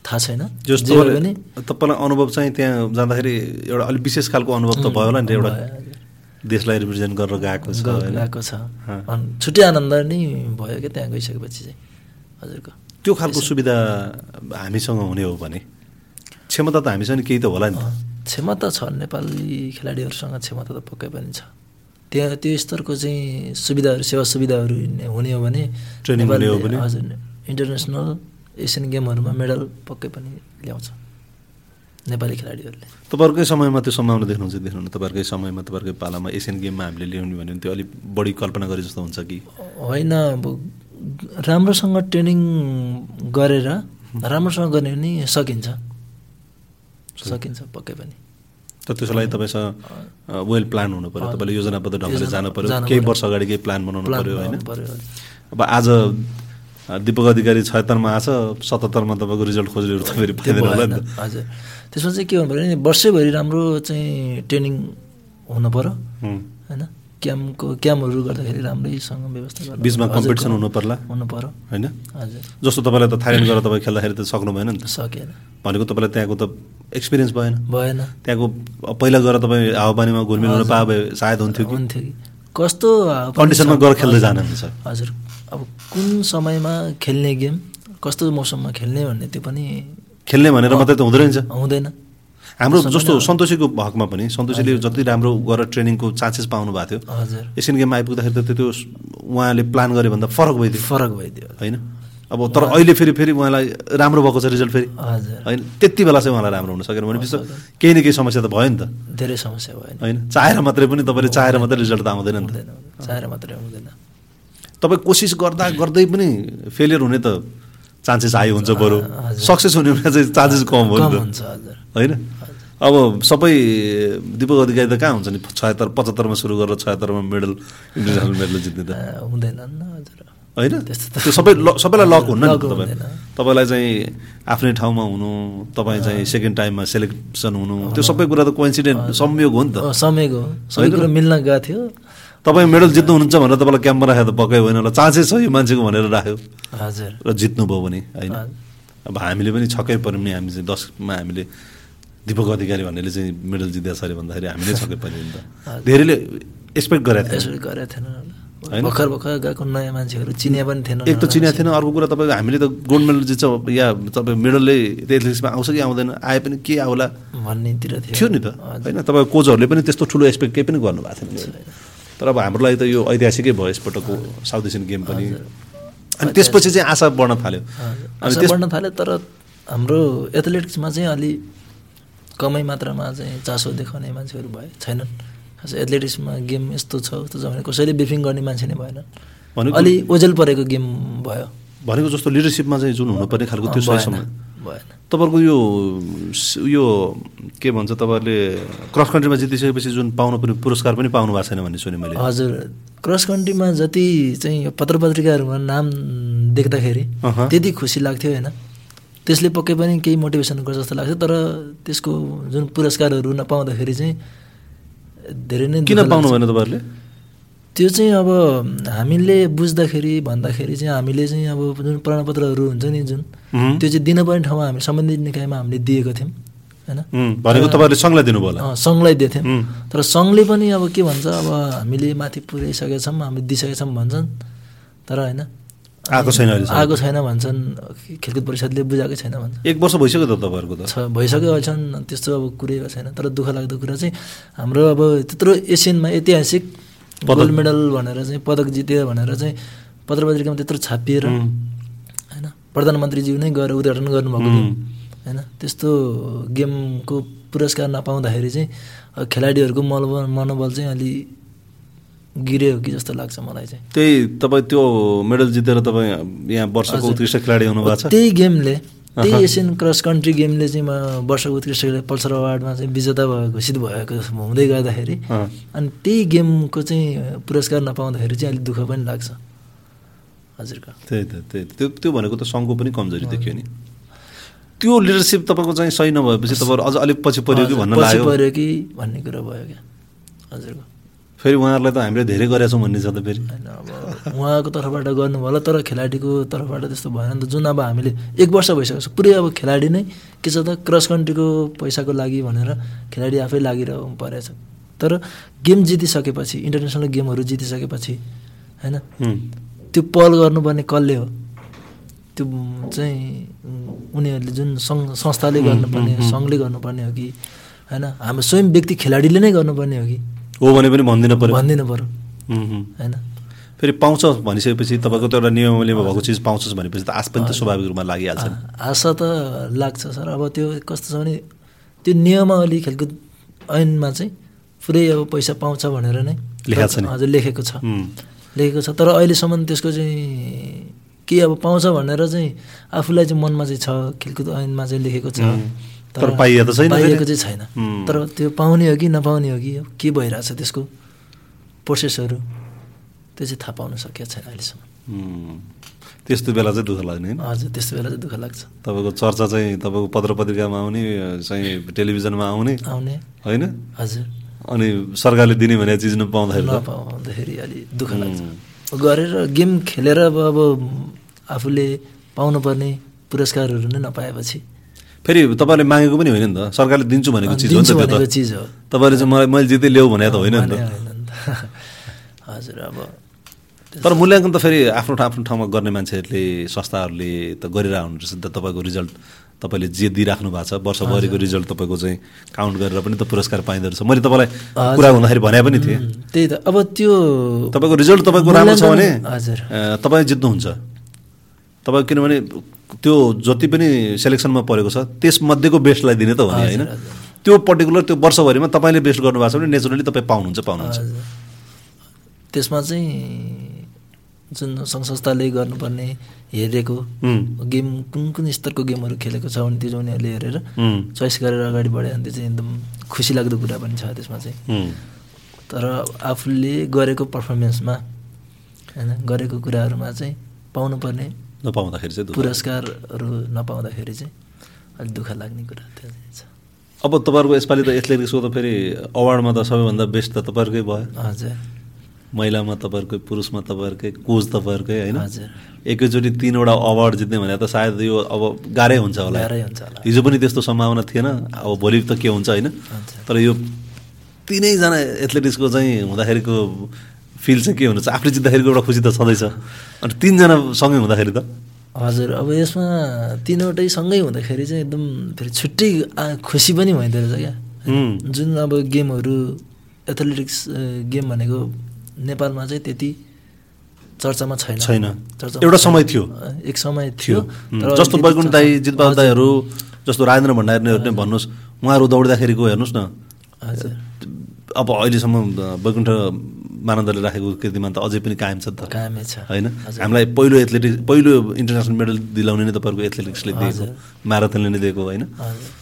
Speaker 2: थाहा छैन
Speaker 1: जस
Speaker 2: जे भए पनि
Speaker 1: तपाईँलाई तपाईँलाई अनुभव चाहिँ त्यहाँ जाँदाखेरि एउटा अलिक विशेष खालको अनुभव त भयो होला नि एउटा
Speaker 2: भयो, हजुर।
Speaker 1: देशलाई रिप्रेजेन्ट गरेर गएको छ
Speaker 2: ग-
Speaker 1: होइन?
Speaker 2: गएको छ
Speaker 1: अँ।
Speaker 2: अनि छुट्टै आनन्द नै भयो क्या त्यहाँ गइसकेपछि चाहिँ हजुरको
Speaker 1: त्यो खालको सुविधा हामीसँग हुने हो भने क्षमता त हामीसँग केही त होला नि त
Speaker 2: अँ, क्षमता छ नेपाली खेलाडीहरूसँग क्षमता त पक्कै पनि छ त्यहाँ त्यो स्तरको चाहिँ सुविधाहरू सेवा सुविधाहरू हुने- हुने हो भने
Speaker 1: Training हुने हो
Speaker 2: नेपालले-
Speaker 1: भने?
Speaker 2: हजुर इन्टरनेसनल एसियन गेमहरूमा मेडल पक्कै पनि ल्याउँछ नेपाली खेलाडीहरूले
Speaker 1: तपाईँहरूकै समयमा त्यो सम्भावना देख्नुहुन्छ कि देख्नुहुन्न तपाईँहरूकै समयमा तपाईँहरूकै पालामा एसियन गेममा हामीले ल्याउने भन्यो भने त्यो अलिक बढी कल्पना गरे जस्तो हुन्छ कि
Speaker 2: होइन अब राम्रोसँग ट्रेनिङ गरेर राम्रोसँग गर्ने पनि सकिन्छ सकिन्छ पक्कै पनि
Speaker 1: तर त्यसको लागि तपाईँसँग वेल प्लान हुनु पऱ्यो तपाईँले योजनाबद्ध ढङ्गले
Speaker 2: योजना-
Speaker 1: जानु पऱ्यो
Speaker 2: जानु
Speaker 1: केही
Speaker 2: पऱ्यो।
Speaker 1: वर्ष अगाडि केही प्लान बनाउनु
Speaker 2: प्लान
Speaker 1: पऱ्यो होइन
Speaker 2: बनाउनु पऱ्यो, हजुर।
Speaker 1: अब आज अ, दिपक अधिकारी छयत्तरमा आछ सतहत्तरमा तपाईँको रिजल्ट खोज्नेहरू त फेरि
Speaker 2: त्यो
Speaker 1: पाइँदैन होला
Speaker 2: भएन,
Speaker 1: नि त
Speaker 2: हजुर त्यसमा चाहिँ के हुनु पऱ्यो भने वर्षैभरि राम्रो चाहिँ ट्रेनिङ हुनु पऱ्यो
Speaker 1: हुँ।
Speaker 2: होइन क्याम्पको क्याम्पहरू गर्दाखेरि राम्रैसँग व्यवस्था गर्नु
Speaker 1: बिचमा
Speaker 2: पऱ्यो।
Speaker 1: कम्पिटिसन
Speaker 2: हजुर,
Speaker 1: हुनु पर्ला
Speaker 2: हुनु पऱ्यो
Speaker 1: होइन
Speaker 2: हजुर
Speaker 1: जस्तो तपाईँलाई त थाइल्यान्ड गएर तपाईँ खेल्दाखेरि त सक्नु भएन नि त
Speaker 2: सकेन
Speaker 1: भनेको तपाईँलाई त्यहाँको त एक्सपिरियन्स भएन
Speaker 2: भएन
Speaker 1: त्यहाँको अब पहिला गएर तपाईँ हावापानीमा घुलमिल हुन पाए भए सायद हुन्थ्यो कि
Speaker 2: हुन्थ्यो कि कस्तो हावापानी
Speaker 1: कन्डिसनमा गएर
Speaker 2: छ-
Speaker 1: खेल्दै
Speaker 2: हजुर।
Speaker 1: जानुहुन्छ
Speaker 2: हजुर अब कुन समयमा खेल्ने गेम कस्तो मौसममा खेल्ने भन्ने त्यो पनि
Speaker 1: खेल्ने भनेर मात्रै त हुँदो रहेछ
Speaker 2: हुँदैन
Speaker 1: हाम्रो जस्तो सन्तोषीको हकमा पनि सन्तोषीले जति राम्रो गरेर ट्रेनिङको चान्सेस पाउनु भएको थियो
Speaker 2: हजुर
Speaker 1: एसियन गेममा आइपुग्दाखेरि त त्यो- त्यो उहाँले प्लान गरे भन्दा फरक भइदियो
Speaker 2: फरक भइदियो
Speaker 1: होइन अब तर अहिले फेरि फेरि उहाँलाई राम्रो भएको छ रिजल्ट फेरि
Speaker 2: हजुर
Speaker 1: होइन त्यति बेला चाहिँ उहाँलाई राम्रो हुन सकेन भनेपछि त केही न केही समस्या त भयो नि त
Speaker 2: धेरै समस्या भएन
Speaker 1: होइन चाहेर मात्रै पनि तपाईँले चाहेर मात्रै रिजल्ट त आउँदैन नि त
Speaker 2: हुँदैन हुँदैन। चाहेर मात्रै हुँदैन
Speaker 1: तपाईँ कोसिस गर्दा गर्दै पनि फेलियर हुने त चान्सेस हाई हुन्छ बरु सक्सेस हुने बेला चाहिँ चान्सेस कम हो
Speaker 2: कम
Speaker 1: नि त
Speaker 2: हुन्छ हजुर
Speaker 1: होइन अब सबै दिपक अधिकारी त कहाँ हुन्छ नि छयत्तर पचहत्तरमा सुरु गरेर छयत्तरमा मेडल इन्टरनेसनल मेडल जित्ने त
Speaker 2: अँ, हुँदैन न हजुर
Speaker 1: होइन
Speaker 2: त्यस्तो त-
Speaker 1: त्यो सबै ल- सबैलाई लक हुन्न नि
Speaker 2: लक
Speaker 1: त तपाईँ
Speaker 2: हुँदैन।
Speaker 1: तपाईँलाई चाहिँ आफ्नै ठाउँमा हुनु तपाईँ चाहिँ सेकेन्ड टाइममा सेलेक्सन हुनु त्यो सबै कुरा त कोइन्सिडेन्ट संयोग हो नि त
Speaker 2: अँ, समयको हो। सबै कुरा मिल्न गएको थियो
Speaker 1: तपाईँ मेडल जित्नुहुन्छ भनेर तपाईँलाई क्याम्पमा राखेर त पक्कै होइन होला चान्सेस छ यो मान्छेको भनेर राख्यो
Speaker 2: हजुर
Speaker 1: र जित्नुभयो भने होइन
Speaker 2: हजुर।
Speaker 1: अब हामीले पनि छक्कै पऱ्यौँ नि हामी चाहिँ दसमा हामीले दिपक अधिकारी भन्नेले चाहिँ मेडल जितेछ अरे भन्दाखेरि हामीले सके पनि नि त धेरैले एक्सपेक्ट गरेको थिएन
Speaker 2: यसरी गरेको थिएन होला।
Speaker 1: होइन?
Speaker 2: भर्खर भर्खर गएको नयाँ मान्छेहरू चिनिया पनि थिएन
Speaker 1: एक त
Speaker 2: होला
Speaker 1: चिनिया थिएन अर्को कुरा तपाईँको हामीले त गोल्ड मेडल जित्छ या तपाईँ मेडलले एथलेटिक्समा आउँछ कि आउँदैन आए पनि के आउला
Speaker 2: भन्नेतिर थियो
Speaker 1: थियो नि त होइन तपाईँको कोचहरूले पनि त्यस्तो ठुलो एक्सपेक्ट केही पनि गर्नुभएको थिएन तर अब हाम्रो लागि त यो ऐतिहासिकै भयो यसपटकको साउथ एसियन गेम पनि अनि त्यसपछि चाहिँ आशा बढ्न थाल्यो अनि
Speaker 2: आशा
Speaker 1: त्यस
Speaker 2: बढ्न थाल्यो तर हाम्रो एथलेटिक्समा चाहिँ अलि कमै मात्रामा चाहिँ चासो देखाउने मान्छेहरू भए छैनन् खास एथलेटिक्समा गेम यस्तो छ उस्तो छ भने कसैले बिफिङ गर्ने मान्छे नै भएन
Speaker 1: भनेको-
Speaker 2: अलि ओजेल परेको गेम भयो
Speaker 1: भनेको जस्तो लिडरसिपमा चाहिँ जुन हुनुपर्ने खालको त्यो
Speaker 2: भएन
Speaker 1: सहीसम्म
Speaker 2: भएन
Speaker 1: तपाईँहरूको यो यो के भन्छ तपाईँहरूले क्रस कन्ट्रीमा जितिसकेपछि जुन पाउनुपर्ने पुरस्कार पनि पाउनु भएको छैन भन्ने सुने मैले
Speaker 2: हजुर क्रस कन्ट्रीमा जति चाहिँ यो पत्र पत्रिकाहरूमा नाम देख्दाखेरि
Speaker 1: अहँ।
Speaker 2: त्यति खुसी लाग्थ्यो होइन त्यसले पक्कै पनि केही मोटिभेसन गर्छ जस्तो लाग्थ्यो तर त्यसको जुन पुरस्कारहरू नपाउँदाखेरि चाहिँ धेरै नै
Speaker 1: किन
Speaker 2: दुःख
Speaker 1: पाउनु
Speaker 2: लाग्छ।
Speaker 1: भएन तपाईँहरूले
Speaker 2: त्यो चाहिँ अब हामीले बुझ्दाखेरि भन्दाखेरि चाहिँ हामीले चाहिँ अब जुन प्रमाणपत्रहरू हुन्छ नि जुन
Speaker 1: उम्,
Speaker 2: त्यो चाहिँ दिनुपर्ने ठाउँमा हामी सम्बन्धित निकायमा हामीले दिएको थियौँ होइन
Speaker 1: उम्, भनेको तपाईँहरूले सङ्घलाई दिनुभयो होला
Speaker 2: अँ, सङ्घलाई दिएको थियौँ
Speaker 1: उम्,
Speaker 2: तर सङ्घले पनि अब के भन्छ अब हामीले माथि पुर्याइसकेछौँ हामीले दिइसकेछौँ भन्छन् तर होइन
Speaker 1: आएको छैन अहिलेसम्म।
Speaker 2: आएको छैन भन्छन् खेलकुद परिषदले बुझाएकै छैन भन्छ
Speaker 1: एक वर्ष भइसक्यो त तपाईँहरूको त
Speaker 2: छ भइसक्यो अहिलेसम्म त्यस्तो अब कुरै भएको छैन तर दुःख लाग्दो कुरा चाहिँ हाम्रो अब त्यत्रो एसियनमा ऐतिहासिक गोल्ड मेडल भनेर चाहिँ पदक जित्यो भनेर चाहिँ पत्र पत्रिकामा त्यत्रो छापिएर
Speaker 1: उम्,
Speaker 2: होइन प्रधानमन्त्रीज्यू नै गएर उद्घाटन गर्नुभएको थियो
Speaker 1: उम्,
Speaker 2: होइन त्यस्तो गेमको पुरस्कार नपाउँदाखेरि चाहिँ अ, खेलाडीहरूको मनोबल मनोबल चाहिँ अलि गिर्यो कि जस्तो लाग्छ मलाई चाहिँ
Speaker 1: त्यही तपाईँ त्यो मेडल जितेर तपाईँ यहाँ वर्षको उत्कृष्ट खेलाडी हुनुभएको छ
Speaker 2: त्यही गेमले त्यही
Speaker 1: अहँ।
Speaker 2: एसियन क्रस कन्ट्री गेमले चाहिँ म वर्षको उत्कृष्ट खेलाडी पल्सर अवार्डमा चाहिँ विजेता भयो घोषित भएको हुँदै गर्दाखेरि
Speaker 1: अँ।
Speaker 2: अनि त्यही गेमको चाहिँ पुरस्कार नपाउँदाखेरि चाहिँ अलिक दुःख पनि लाग्छ हजुरको
Speaker 1: त्यही त त्यही त। त्यो त्यो भनेको त सङ्घको पनि कमजोरी देखियो नि त्यो लिडरसिप तपाईँको चाहिँ सही नभएपछि तपाईँहरू अझ अलिक पछि पर्यो कि
Speaker 2: हजुर,
Speaker 1: भन्न
Speaker 2: पछि
Speaker 1: लाग्यो
Speaker 2: पऱ्यो कि भन्ने कुरा भयो क्या हजुरको
Speaker 1: फेरि उहाँहरूलाई त हामीले धेरै गरेका छौँ भन्ने छ त फेरि
Speaker 2: होइन अब उहाँको तर्फबाट गर्नुभयो होला तर खेलाडीको तर्फबाट त्यस्तो भएन नि त जुन अब हामीले एक वर्ष भइसकेको छ पुरै अब खेलाडी नै के छ त क्रस कन्ट्रीको पैसाको लागि भनेर खेलाडी आफै लागिरहनु परेछ तर गेम जितिसकेपछि इन्टरनेसनल गेमहरू जितिसकेपछि होइन
Speaker 1: हुँ।
Speaker 2: त्यो पहल गर्नुपर्ने कसले हो त्यो चाहिँ उनीहरूले जुन सङ्घ संस्थाले गर्नुपर्ने हो सङ्घले गर्नुपर्ने हो कि होइन हाम्रो स्वयं व्यक्ति खेलाडीले नै गर्नुपर्ने हो कि
Speaker 1: हो भने पनि भनिदिनु पऱ्यो
Speaker 2: भनिदिनु पऱ्यो
Speaker 1: हुँ, हुँ।
Speaker 2: होइन
Speaker 1: फेरि पाउँछ भनिसकेपछि तपाईँको त एउटा नियमले भएको चिज पाउँछ भनेपछि त आश पनि त स्वाभाविक रूपमा लागिहाल्छ नि।
Speaker 2: आशा त लाग्छ सर अब त्यो कस्तो छ भने त्यो नियमावली खेलकुद ऐनमा चाहिँ पुरै अब पैसा पाउँछ भनेर नै
Speaker 1: लेखा छ नि।
Speaker 2: हजुर लेखेको छ
Speaker 1: हुँ।
Speaker 2: लेखेको छ तर अहिलेसम्म त्यसको चाहिँ के अब पाउँछ भनेर चाहिँ आफूलाई चाहिँ मनमा चाहिँ छ खेलकुद ऐनमा चाहिँ लेखेको छ
Speaker 1: हुँ। तर पाइएको त छैन
Speaker 2: पाइएको
Speaker 1: फेरि।
Speaker 2: चाहिँ छैन
Speaker 1: हुँ।
Speaker 2: तर त्यो पाउने हो कि नपाउने हो कि अब के भइरहेछ त्यसको प्रोसेसहरू त्यो चाहिँ थाहा पाउन सकिएको छैन अहिलेसम्म
Speaker 1: हुँ। त्यस्तो बेला चाहिँ दुःख लाग्ने होइन
Speaker 2: हजुर त्यस्तो बेला चाहिँ दुःख लाग्छ
Speaker 1: तपाईँको चर्चा चाहिँ तपाईँको पत्र पत्रिकामा आउने चाहिँ टेलिभिजनमा आउने
Speaker 2: आउने
Speaker 1: होइन
Speaker 2: हजुर
Speaker 1: अनि सरकारले दिने भने चिज नपाउँदाखेरि त
Speaker 2: नपाउँदाखेरि अलि दुःख लाग्छ गरेर गेम खेलेर अब अब आफूले पाउनुपर्ने पुरस्कारहरू नै नपाएपछि
Speaker 1: फेरि तपाईँले मागेको पनि होइन नि त सरकारले दिन्छु भनेको चिज हो नि त
Speaker 2: दिन्छु
Speaker 1: त्यो
Speaker 2: भनेको
Speaker 1: त
Speaker 2: चिज हो
Speaker 1: तपाईँले चाहिँ मलाई मैले जितै ल्याऊ भने त होइन नि त
Speaker 2: भने होइन नि त। हजुर अब
Speaker 1: तर मूल्याङ्कन त फेरि आफ्नो ठाउँ आफ्नो ठाउँमा गर्ने मान्छेहरूले संस्थाहरूले त गरिरहेको हुनुपर्छ नि त तपाईँको रिजल्ट तपाईँले जे दिइराख्नु भएको छ वर्षभरिको रिजल्ट तपाईँको चाहिँ काउन्ट गरेर पनि त पुरस्कार पाइँदो रहेछ मैले तपाईँलाई कुरा हुँदाखेरि भने पनि थिएँ
Speaker 2: उम्, त्यही त अब त्यो
Speaker 1: तपाईँको रिजल्ट तपाईँको राम्रो छ भने
Speaker 2: मूल्याङ्कन- हजुर
Speaker 1: अ, तपाईँ जित्नुहुन्छ तपाईँ किनभने त्यो जति पनि सेलेक्सनमा परेको छ त्यसमध्येको बेस्टलाई दिने त भने होइन त्यो पर्टिकुलर त्यो वर्षभरिमा तपाईँले बेस्ट गर्नुभएको छ भने नेचुरली तपाईँ पाउनुहुन्छ पाउनुहुन्छ
Speaker 2: हजुर। त्यसमा चाहिँ जुन सङ्घ संस्थाले गर्नुपर्ने हेरेको
Speaker 1: उम्,
Speaker 2: गेम कुन कुन स्तरको गेमहरू खेलेको छ भने त्यो चाहिँ उनीहरूले हेरेर
Speaker 1: उम्,
Speaker 2: चोइस गरेर अगाडि बढ्यो भने त्यो चाहिँ एकदम खुसी लाग्दो कुरा पनि छ त्यसमा चाहिँ
Speaker 1: उम्।
Speaker 2: तर आफूले गरेको पर्फर्मेन्समा होइन गरेको कुराहरूमा चाहिँ पाउनुपर्ने
Speaker 1: नपाउँदाखेरि चाहिँ दुःख।
Speaker 2: पुरस्कारहरू नपाउँदाखेरि चाहिँ अलिक दुःख लाग्ने कुरा त्यो चाहिँ छ
Speaker 1: अब तपाईँहरूको यसपालि त एथलेटिक्सको त फेरि अवार्डमा त सबैभन्दा बेस्ट त तपाईँहरूकै भयो
Speaker 2: हजुर
Speaker 1: महिलामा तपाईँहरूकै पुरुषमा तपाईँहरूकै कोच तपाईँहरूकै होइन
Speaker 2: हजुर।
Speaker 1: एकैचोटि तिनवटा अवार्ड जित्ने भने त सायद यो अब गाह्रै हुन्छ होला
Speaker 2: गाह्रै हुन्छ होला।
Speaker 1: हिजो पनि त्यस्तो सम्भावना थिएन अब भोलि त के हुन्छ होइन
Speaker 2: हजुर।
Speaker 1: तर यो तिनैजना एथलेटिक्सको चाहिँ हुँदाखेरिको फिल चाहिँ के हुनुहुन्छ आफूले जित्दाखेरिको एउटा खुसी त छँदैछ अनि तिनजना सँगै हुँदाखेरि त
Speaker 2: हजुर अब यसमा तिनवटै सँगै हुँदाखेरि चाहिँ एकदम फेरि छुट्टै आ- खुसी पनि हुँदो रहेछ क्या
Speaker 1: उम्,
Speaker 2: जुन अब गेमहरू एथलेटिक्स अ, गेम भनेको नेपालमा चाहिँ त्यति चर्चामा छैन
Speaker 1: छैन एउटा
Speaker 2: चर्चामा छैन।
Speaker 1: समय थियो
Speaker 2: अ, एक समय थियो
Speaker 1: थियो
Speaker 2: तर
Speaker 1: उम्, जस्तो
Speaker 2: त्यति
Speaker 1: बैकुण्ठ
Speaker 2: चर्चा-
Speaker 1: दाई जितबहादुर दाईहरू जस्तो राजेन्द्र भण्डारीहरू नै भन्नुहोस् उहाँहरू दौड्दाखेरिको हेर्नुहोस् न
Speaker 2: हजुर
Speaker 1: अब अहिलेसम्म बैकुण्ठ मानन्दले राखेको कृतिमान त अझै पनि कायम छ नि त
Speaker 2: कामै छ
Speaker 1: होइन
Speaker 2: हजुर।
Speaker 1: हामीलाई पहिलो एथलेटिक्स पहिलो इन्टरनेसनल मेडल दिलाउने नै तपाईँहरूको एथलेटिक्सले दिएको म्याराथनले नै दिएको होइन
Speaker 2: हजुर।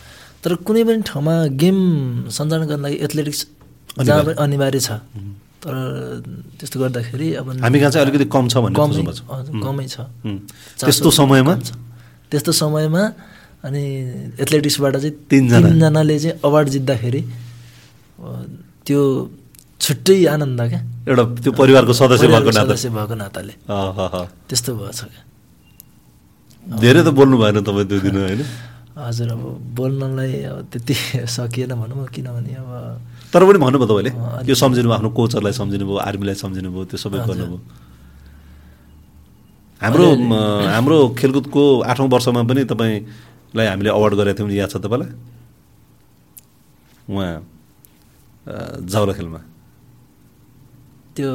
Speaker 2: तर कुनै पनि ठाउँमा गेम सञ्चालन गर्न लागि एथलेटिक्स जहाँ पनि अनिवार्य छ तर त्यस्तो गर्दाखेरि अब
Speaker 1: हामी कहाँ चाहिँ अलिकति कम छ भन्ने
Speaker 2: कमै
Speaker 1: सोच्नुपर्छ।
Speaker 2: हजुर,
Speaker 1: उम्,
Speaker 2: कमै छ
Speaker 1: उम्।
Speaker 2: चासो
Speaker 1: त्यस्तो समयमा
Speaker 2: कम छ। त्यस्तो समयमा अनि एथलेटिक्सबाट चाहिँ
Speaker 1: तिनजना।
Speaker 2: तिनजनाले चाहिँ अवार्ड जित्दाखेरि अ, त्यो छुट्टै आनन्द क्या
Speaker 1: एउटा त्यो परिवारको सदस्य भएको
Speaker 2: परिवारको
Speaker 1: नाता
Speaker 2: सदस्य भएको नाताले
Speaker 1: अँ, अँ, अँ।
Speaker 2: त्यस्तो भएछ क्या
Speaker 1: धेरै त बोल्नु भएन तपाईँ त्यो दिन होइन
Speaker 2: हजुर अब बोल्नलाई अब त्यति सकिएन भनौँ किनभने अब
Speaker 1: तर पनि भन्नुभयो तपाईँले
Speaker 2: अँ, अलिक-
Speaker 1: यो सम्झिनुभयो आफ्नो कोचहरूलाई सम्झिनुभयो आर्मीलाई सम्झिनुभयो त्यो सबै
Speaker 2: हजुर।
Speaker 1: गर्नुभयो हाम्रो म, हाम्रो खेलकुदको आठौँ वर्षमा पनि तपाईँलाई हामीले अवार्ड गरेका थियौँ नि याद छ तपाईँलाई उहाँ अ, जाउला खेलमा
Speaker 2: त्यो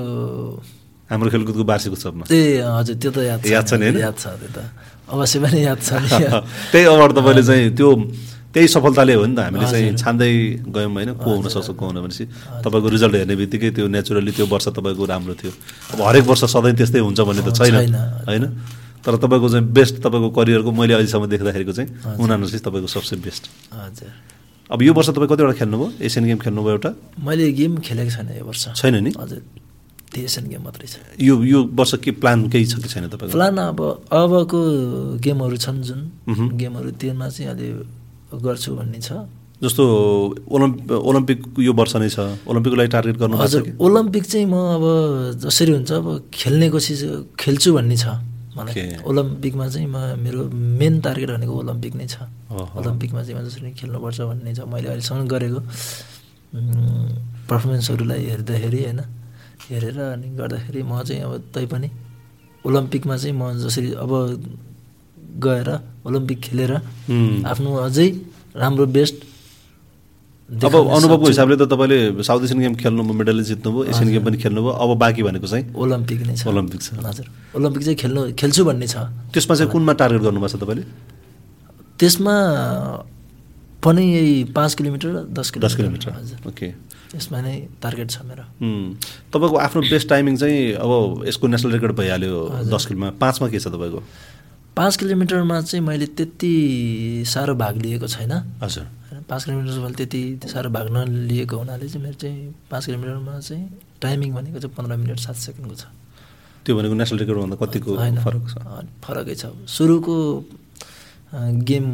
Speaker 1: हाम्रो खेलकुदको वार्षिक उत्सवमा
Speaker 2: ए हजुर त्यो त याद
Speaker 1: याद छ नि, होइन?
Speaker 2: याद छ त्यो त अवश्य पनि याद छ नि।
Speaker 1: त्यही अवार्ड तपाईँले चाहिँ त्यो त्यही सफलताले हो नि त हामीले चाहिँ छान्दै गयौँ होइन को हुनसक्छ को हुन भनेपछि तपाईँको रिजल्ट हेर्ने बित्तिकै त्यो नेचुरली त्यो वर्ष तपाईँको राम्रो थियो अब हरेक वर्ष सधैँ त्यस्तै हुन्छ भन्ने त छैन
Speaker 2: छैन।
Speaker 1: होइन तर तपाईँको चाहिँ बेस्ट तपाईँको करियरको मैले अहिलेसम्म देख्दाखेरिको चाहिँ उनासी तपाईँको सबसे बेस्ट
Speaker 2: हजुर
Speaker 1: अब यो वर्ष तपाईँ कतिवटा खेल्नुभयो एसियन गेम खेल्नुभयो एउटा
Speaker 2: मैले गेम खेलेको छैन यो वर्ष
Speaker 1: छैन नि
Speaker 2: हजुर त्यो एसियन गेम मात्रै छ
Speaker 1: यो यो वर्ष के प्लान केही छ कि छैन तपाईँको
Speaker 2: प्लान अब अबको गेमहरू छन् जुन
Speaker 1: मह्म।
Speaker 2: गेमहरू त्यसमा चाहिँ अलि गर्छु भन्ने छ
Speaker 1: जस्तो ओलम्प ओलम्पिक यो वर्ष नै छ ओलम्पिकको लागि टार्गेट गर्नु
Speaker 2: हजुर ओलम्पिक चाहिँ म अब जसरी हुन्छ अब खेल्ने कोसिस खेल्छु भन्ने छ मलाई
Speaker 1: Okay.
Speaker 2: ओलम्पिकमा चाहिँ म मेरो मेन टार्गेट भनेको ओलम्पिक नै छ
Speaker 1: अहँ।
Speaker 2: ओलम्पिकमा चाहिँ म जसरी खेल्नुपर्छ भन्ने छ मैले अहिलेसम्म गरेको उम्, पर्फर्मेन्सहरूलाई हेर्दाखेरि होइन हेरेर अनि गर्दाखेरि म चाहिँ अब तैपनि ओलम्पिकमा चाहिँ म जसरी अब गएर ओलम्पिक खेलेर
Speaker 1: हुँ।
Speaker 2: आफ्नो अझै राम्रो बेस्ट
Speaker 1: अब अनुभवको हिसाबले त तपाईँले साउथ एसियन गेम खेल्नुभयो मेडल जित्नुभयो एसियन गेम पनि खेल्नुभयो अब बाँकी भनेको चाहिँ
Speaker 2: ओलम्पिक नै छ
Speaker 1: ओलम्पिक छ
Speaker 2: हजुर ओलम्पिक चाहिँ खेल्नु खेल्छु भन्ने छ
Speaker 1: त्यसमा चाहिँ कुनमा टार्गेट गर्नुभएको छ तपाईँले
Speaker 2: त्यसमा पनि यही पाँच किलोमिटर दस किलोमिटर
Speaker 1: दस किलोमिटर
Speaker 2: हजुर
Speaker 1: ओके
Speaker 2: यसमा नै टार्गेट छ मेरो
Speaker 1: हुँ। तपाईँको आफ्नो बेस्ट टाइमिङ चाहिँ अब यसको नेसनल रेकर्ड भइहाल्यो दस किलोमा पाँचमा के छ तपाईँको
Speaker 2: पाँच किलोमिटरमा चाहिँ मैले त्यति साह्रो भाग लिएको छैन
Speaker 1: हजुर
Speaker 2: होइन, पाँच किलोमिटरमा मैले त्यति साह्रो भाग नलिएको हुनाले चाहिँ मेरो चाहिँ पाँच किलोमिटरमा चाहिँ टाइमिङ भनेको चाहिँ पन्ध्र मिनट सात सेकेन्डको छ
Speaker 1: त्यो भनेको नेसनल रेकर्डभन्दा कतिको
Speaker 2: होइन,
Speaker 1: फरक छ
Speaker 2: अँ, फरकै छ सुरुको अँ, गेम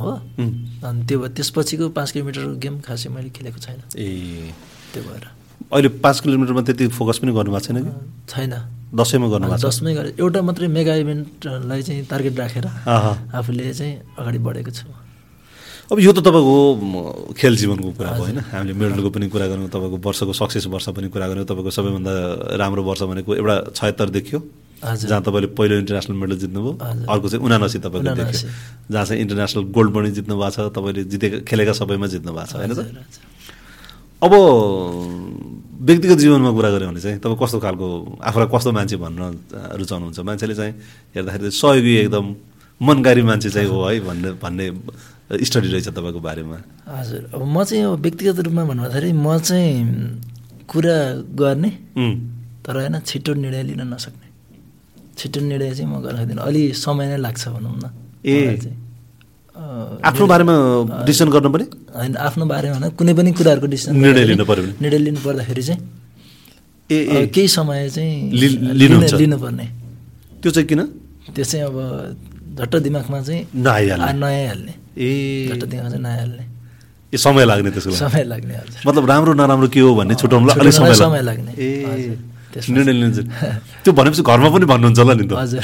Speaker 2: हो
Speaker 1: हुँ।
Speaker 2: अनि त्यो भए- त्यसपछिको पाँच किलोमिटरको गेम खासै मैले खेलेको छैन
Speaker 1: ए
Speaker 2: त्यो भएर
Speaker 1: अहिले पाँच किलोमिटरमा त्यति फोकस पनि गर्नुभएको छैन कि
Speaker 2: छैन
Speaker 1: दसैँमा गर्नुभएको छ
Speaker 2: दसमै गरेँ एउटा मात्रै मेगा इभेन्टलाई चाहिँ टार्गेट राखेर
Speaker 1: आहा।
Speaker 2: आफूले चाहिँ अगाडि बढेको छु
Speaker 1: अब यो त तपाईँको म, खेल जीवनको कुरा भयो होइन हामीले मेडलको पनि कुरा गऱ्यौँ तपाईँको वर्षको सक्सेस वर्ष पनि कुरा गऱ्यौँ तपाईँको सबैभन्दा राम्रो वर्ष भनेको एउटा छयत्तर देखियो
Speaker 2: हजुर
Speaker 1: जहाँ तपाईँले पहिलो इन्टरनेसनल मेडल जित्नुभयो
Speaker 2: हजुर।
Speaker 1: अर्को चाहिँ उनासी तपाईँको देखियो
Speaker 2: 79
Speaker 1: जहाँ चाहिँ इन्टरनेसनल गोल्ड पनि जित्नु भएको छ तपाईँले जितेका खेलेका सबैमा जित्नु भएको छ होइन त
Speaker 2: हजुर, हजुर।
Speaker 1: अब व्यक्तिगत जीवनमा कुरा गऱ्यो भने चाहिँ तपाईँ कस्तो खालको आफूलाई कस्तो मान्छे भन्न अ, रुचाउनुहुन्छ मान्छेले चाहिँ हेर्दाखेरि चाहिँ सहयोगी एकदम मनकारी मान्छे चाहिँ हो है भन्ने भन्ने स्टडी रहेछ तपाईँको बारेमा
Speaker 2: हजुर अब म चाहिँ अब व्यक्तिगत रूपमा भन्दाखेरि म चाहिँ कुरा गर्ने
Speaker 1: उम्,
Speaker 2: तर होइन छिटो निर्णय लिन नसक्ने छिटो निर्णय चाहिँ म गर्न सक्दिनँ अलि समय नै लाग्छ भनौँ न
Speaker 1: ए।
Speaker 2: मलाई चाहिँ। अँ,
Speaker 1: आफ्नो बारेमा डिसिसन गर्नु पनि
Speaker 2: होइन आफ्नो बारेमा होइन कुनै पनि कुराहरूको डिसिसन
Speaker 1: निर्णय लिनु पर्यो भने
Speaker 2: निर्णय लिनु पर्दाखेरि चाहिँ
Speaker 1: ए ए
Speaker 2: अब केही समय चाहिँ
Speaker 1: लि-
Speaker 2: लिन-
Speaker 1: लिनुहुन्छ।
Speaker 2: लिनुपर्ने
Speaker 1: त्यो चाहिँ किन
Speaker 2: त्यो चाहिँ अब झट्ट दिमागमा चाहिँ
Speaker 1: नआइहाल्ने।
Speaker 2: आ- नयाँ हाल्ने
Speaker 1: ए
Speaker 2: झट्ट दिमागमा चाहिँ नयाँ हाल्ने
Speaker 1: ए समय लाग्ने त्यसको लागि
Speaker 2: समय लाग्ने हजुर
Speaker 1: मतलब राम्रो नराम्रो के हो भन्ने छुट्याउनुलाई अलिक
Speaker 2: छुट्याउनलाई
Speaker 1: समय
Speaker 2: समय
Speaker 1: लाग्ने
Speaker 2: लाग्ने।
Speaker 1: ए
Speaker 2: हजुर। त्यसपछि-
Speaker 1: निर्णय लिनुहुन्छ नि। त्यो भनेपछि घरमा पनि भन्नुहुन्छ होला नि त
Speaker 2: हजुर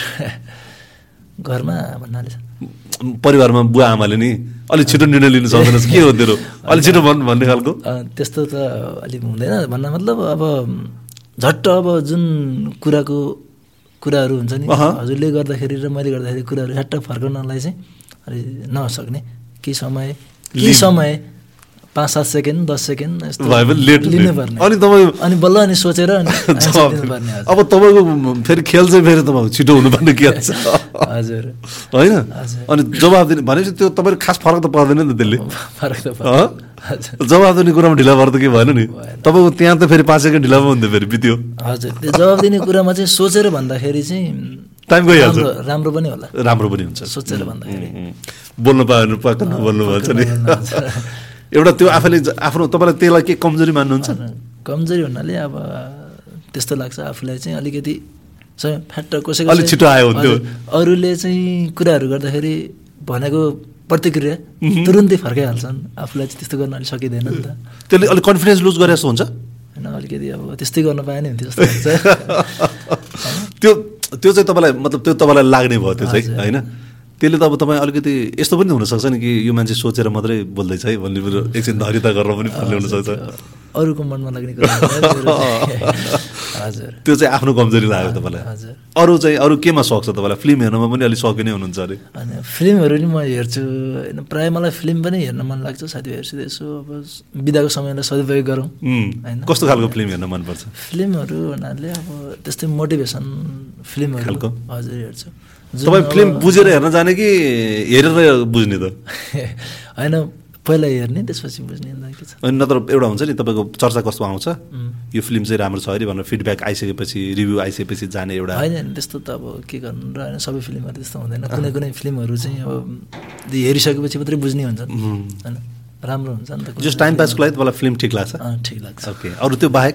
Speaker 2: घरमा भन्नाले चाहिँ
Speaker 1: परिवारमा बुवा आमाले नि अलिक छिटो निर्णय लिनु सक्दैन के हो तेरो अलिक छिटो भन् भन्ने खालको
Speaker 2: अ, त्यस्तो त अलिक हुँदैन भन्न मतलब अब झट्ट अब जुन कुराको कुराहरू हुन्छ नि
Speaker 1: अहँ।
Speaker 2: हजुरले गर्दाखेरि र मैले गर्दाखेरि कुराहरू झट्ट फर्काउनलाई चाहिँ अलि नसक्ने केही समय केही
Speaker 1: लिन-
Speaker 2: समय पाँच सात सेकेन्ड दस सेकेन्ड यस्तो
Speaker 1: भए पनि late late।
Speaker 2: लिनुपर्ने
Speaker 1: अनि तपाईँ-
Speaker 2: अनि बल्ल अनि सोचेर अनि answer
Speaker 1: जवाफ
Speaker 2: दिनुपर्ने
Speaker 1: दिनु।
Speaker 2: हजुर।
Speaker 1: अब तपाईँको फेरि खेल चाहिँ फेरि तपाईँ छिटो हुनुपर्ने खेल छ
Speaker 2: हजुर
Speaker 1: होइन
Speaker 2: हजुर।
Speaker 1: अनि जवाब दिने भनेपछि त्यो तपाईँले खास फरक त पर्दैन नि त त्यसले
Speaker 2: फरक त पर्छ।
Speaker 1: अँ?
Speaker 2: हजुर
Speaker 1: जवाब दिने कुरामा ढिला भएर त के भएन नि
Speaker 2: भएन।
Speaker 1: तपाईँको त्यहाँ त फेरि पाँच सेकेन्ड ढिलामा हुन्थ्यो फेरि बित्यो
Speaker 2: हजुर त्यो जवाब दिने कुरामा चाहिँ सोचेर भन्दाखेरि चाहिँ
Speaker 1: टाइम गइहाल्छ
Speaker 2: राम्रो राम्रो पनि होला
Speaker 1: राम्रो पनि हुन्छ
Speaker 2: सोचेर भन्दाखेरि
Speaker 1: उम्, बोल्नु पायो भने पक्क नबोल्नु भन्छ नि
Speaker 2: पक्क नबोल्नु भन्छ।
Speaker 1: एउटा त्यो आफैले ज- आफ्नो तपाईँलाई त्यसलाई के कमजोरी मान्नुहुन्छ
Speaker 2: कमजोरी हुनाले अब त्यस्तो लाग्छ आफूलाई चाहिँ अलिकति सबै फ्याट्ट कसैको
Speaker 1: अलिक
Speaker 2: चाहिँ-
Speaker 1: छिटो आयो हुन्थ्यो।
Speaker 2: हजुर, अरूले चाहिँ कुराहरू गर्दाखेरि भनेको प्रतिक्रिया तुरुन्तै फर्काइहाल्छन् आफूलाई चाहिँ त्यस्तो गर्न अलिक सकिँदैन नि त
Speaker 1: त्यसले अलिक कन्फिडेन्स लुज गरे जस्तो हुन्छ
Speaker 2: होइन अलिकति अब त्यस्तै गर्न पाए नि हुन्थ्यो जस्तो लाग्छ
Speaker 1: त्यो त्यो चाहिँ तपाईँलाई मतलब त्यो तपाईँलाई लाग्ने भयो त्यो चाहिँ
Speaker 2: हजुर।
Speaker 1: होइन त्यसले त अब तपाईँ अलिकति यस्तो पनि हुनसक्छ नि कि यो मान्छे सोचेर मात्रै बोल्दैछ है भन्ने कुरो एकछिन धरिता गरेर पनि भन्ने हुनसक्छ
Speaker 2: अरूको मनमा लाग्ने कुरा हुन्छ, मेरो चाहिँ- हजुर
Speaker 1: त्यो चाहिँ आफ्नो कमजोरी लाग्यो तपाईँलाई
Speaker 2: हजुर
Speaker 1: अरू चाहिँ अरू केमा सक्छ तपाईँलाई फिल्म हेर्नमा पनि अलिक सकिने हुनुहुन्छ अरे
Speaker 2: अनि फिल्महरू नि म हेर्छु होइन प्रायः मलाई फिल्म पनि हेर्न मन लाग्छ साथीभाइहरूसित यसो अब बिदाको समयलाई सदुपयोग गरौँ
Speaker 1: उम्,
Speaker 2: होइन।
Speaker 1: कस्तो खालको फिल्म हेर्न मनपर्छ
Speaker 2: फिल्महरू भन्नाले अब त्यस्तै मोटिभेसन
Speaker 1: खालको?
Speaker 2: फिल्महरू हजुर हेर्छु जुन
Speaker 1: तपाईँ
Speaker 2: अब-
Speaker 1: फिल्म बुझेर हेर्न जाने कि हेरेर बुझ्ने त
Speaker 2: होइन पहिला हेर्ने त्यसपछि बुझ्ने अन्त के छ
Speaker 1: अनि नत्र एउटा हुन्छ नि तपाईँको चर्चा कस्तो आउँछ
Speaker 2: उम्।
Speaker 1: यो फिल्म चाहिँ राम्रो छ अरे भनेर फिडब्याक आइसकेपछि रिभ्यू आइसकेपछि जाने एउटा
Speaker 2: होइन होइन, त्यस्तो त अब के गर्नु र होइन सबै फिल्महरू त्यस्तो हुँदैन कुनै कुनै फिल्महरू चाहिँ अब त्यो हेरिसकेपछि मात्रै बुझ्ने हुन्छ
Speaker 1: उम्।
Speaker 2: होइन राम्रो हुन्छ नि त कुनै
Speaker 1: जस्ट टाइम
Speaker 2: कुनै
Speaker 1: पासको लागि तपाईँलाई फिल्म ठिक लाग्छ
Speaker 2: फिल्म। अँ, ठिक लाग्छ
Speaker 1: ओके अरू त्यो बाहेक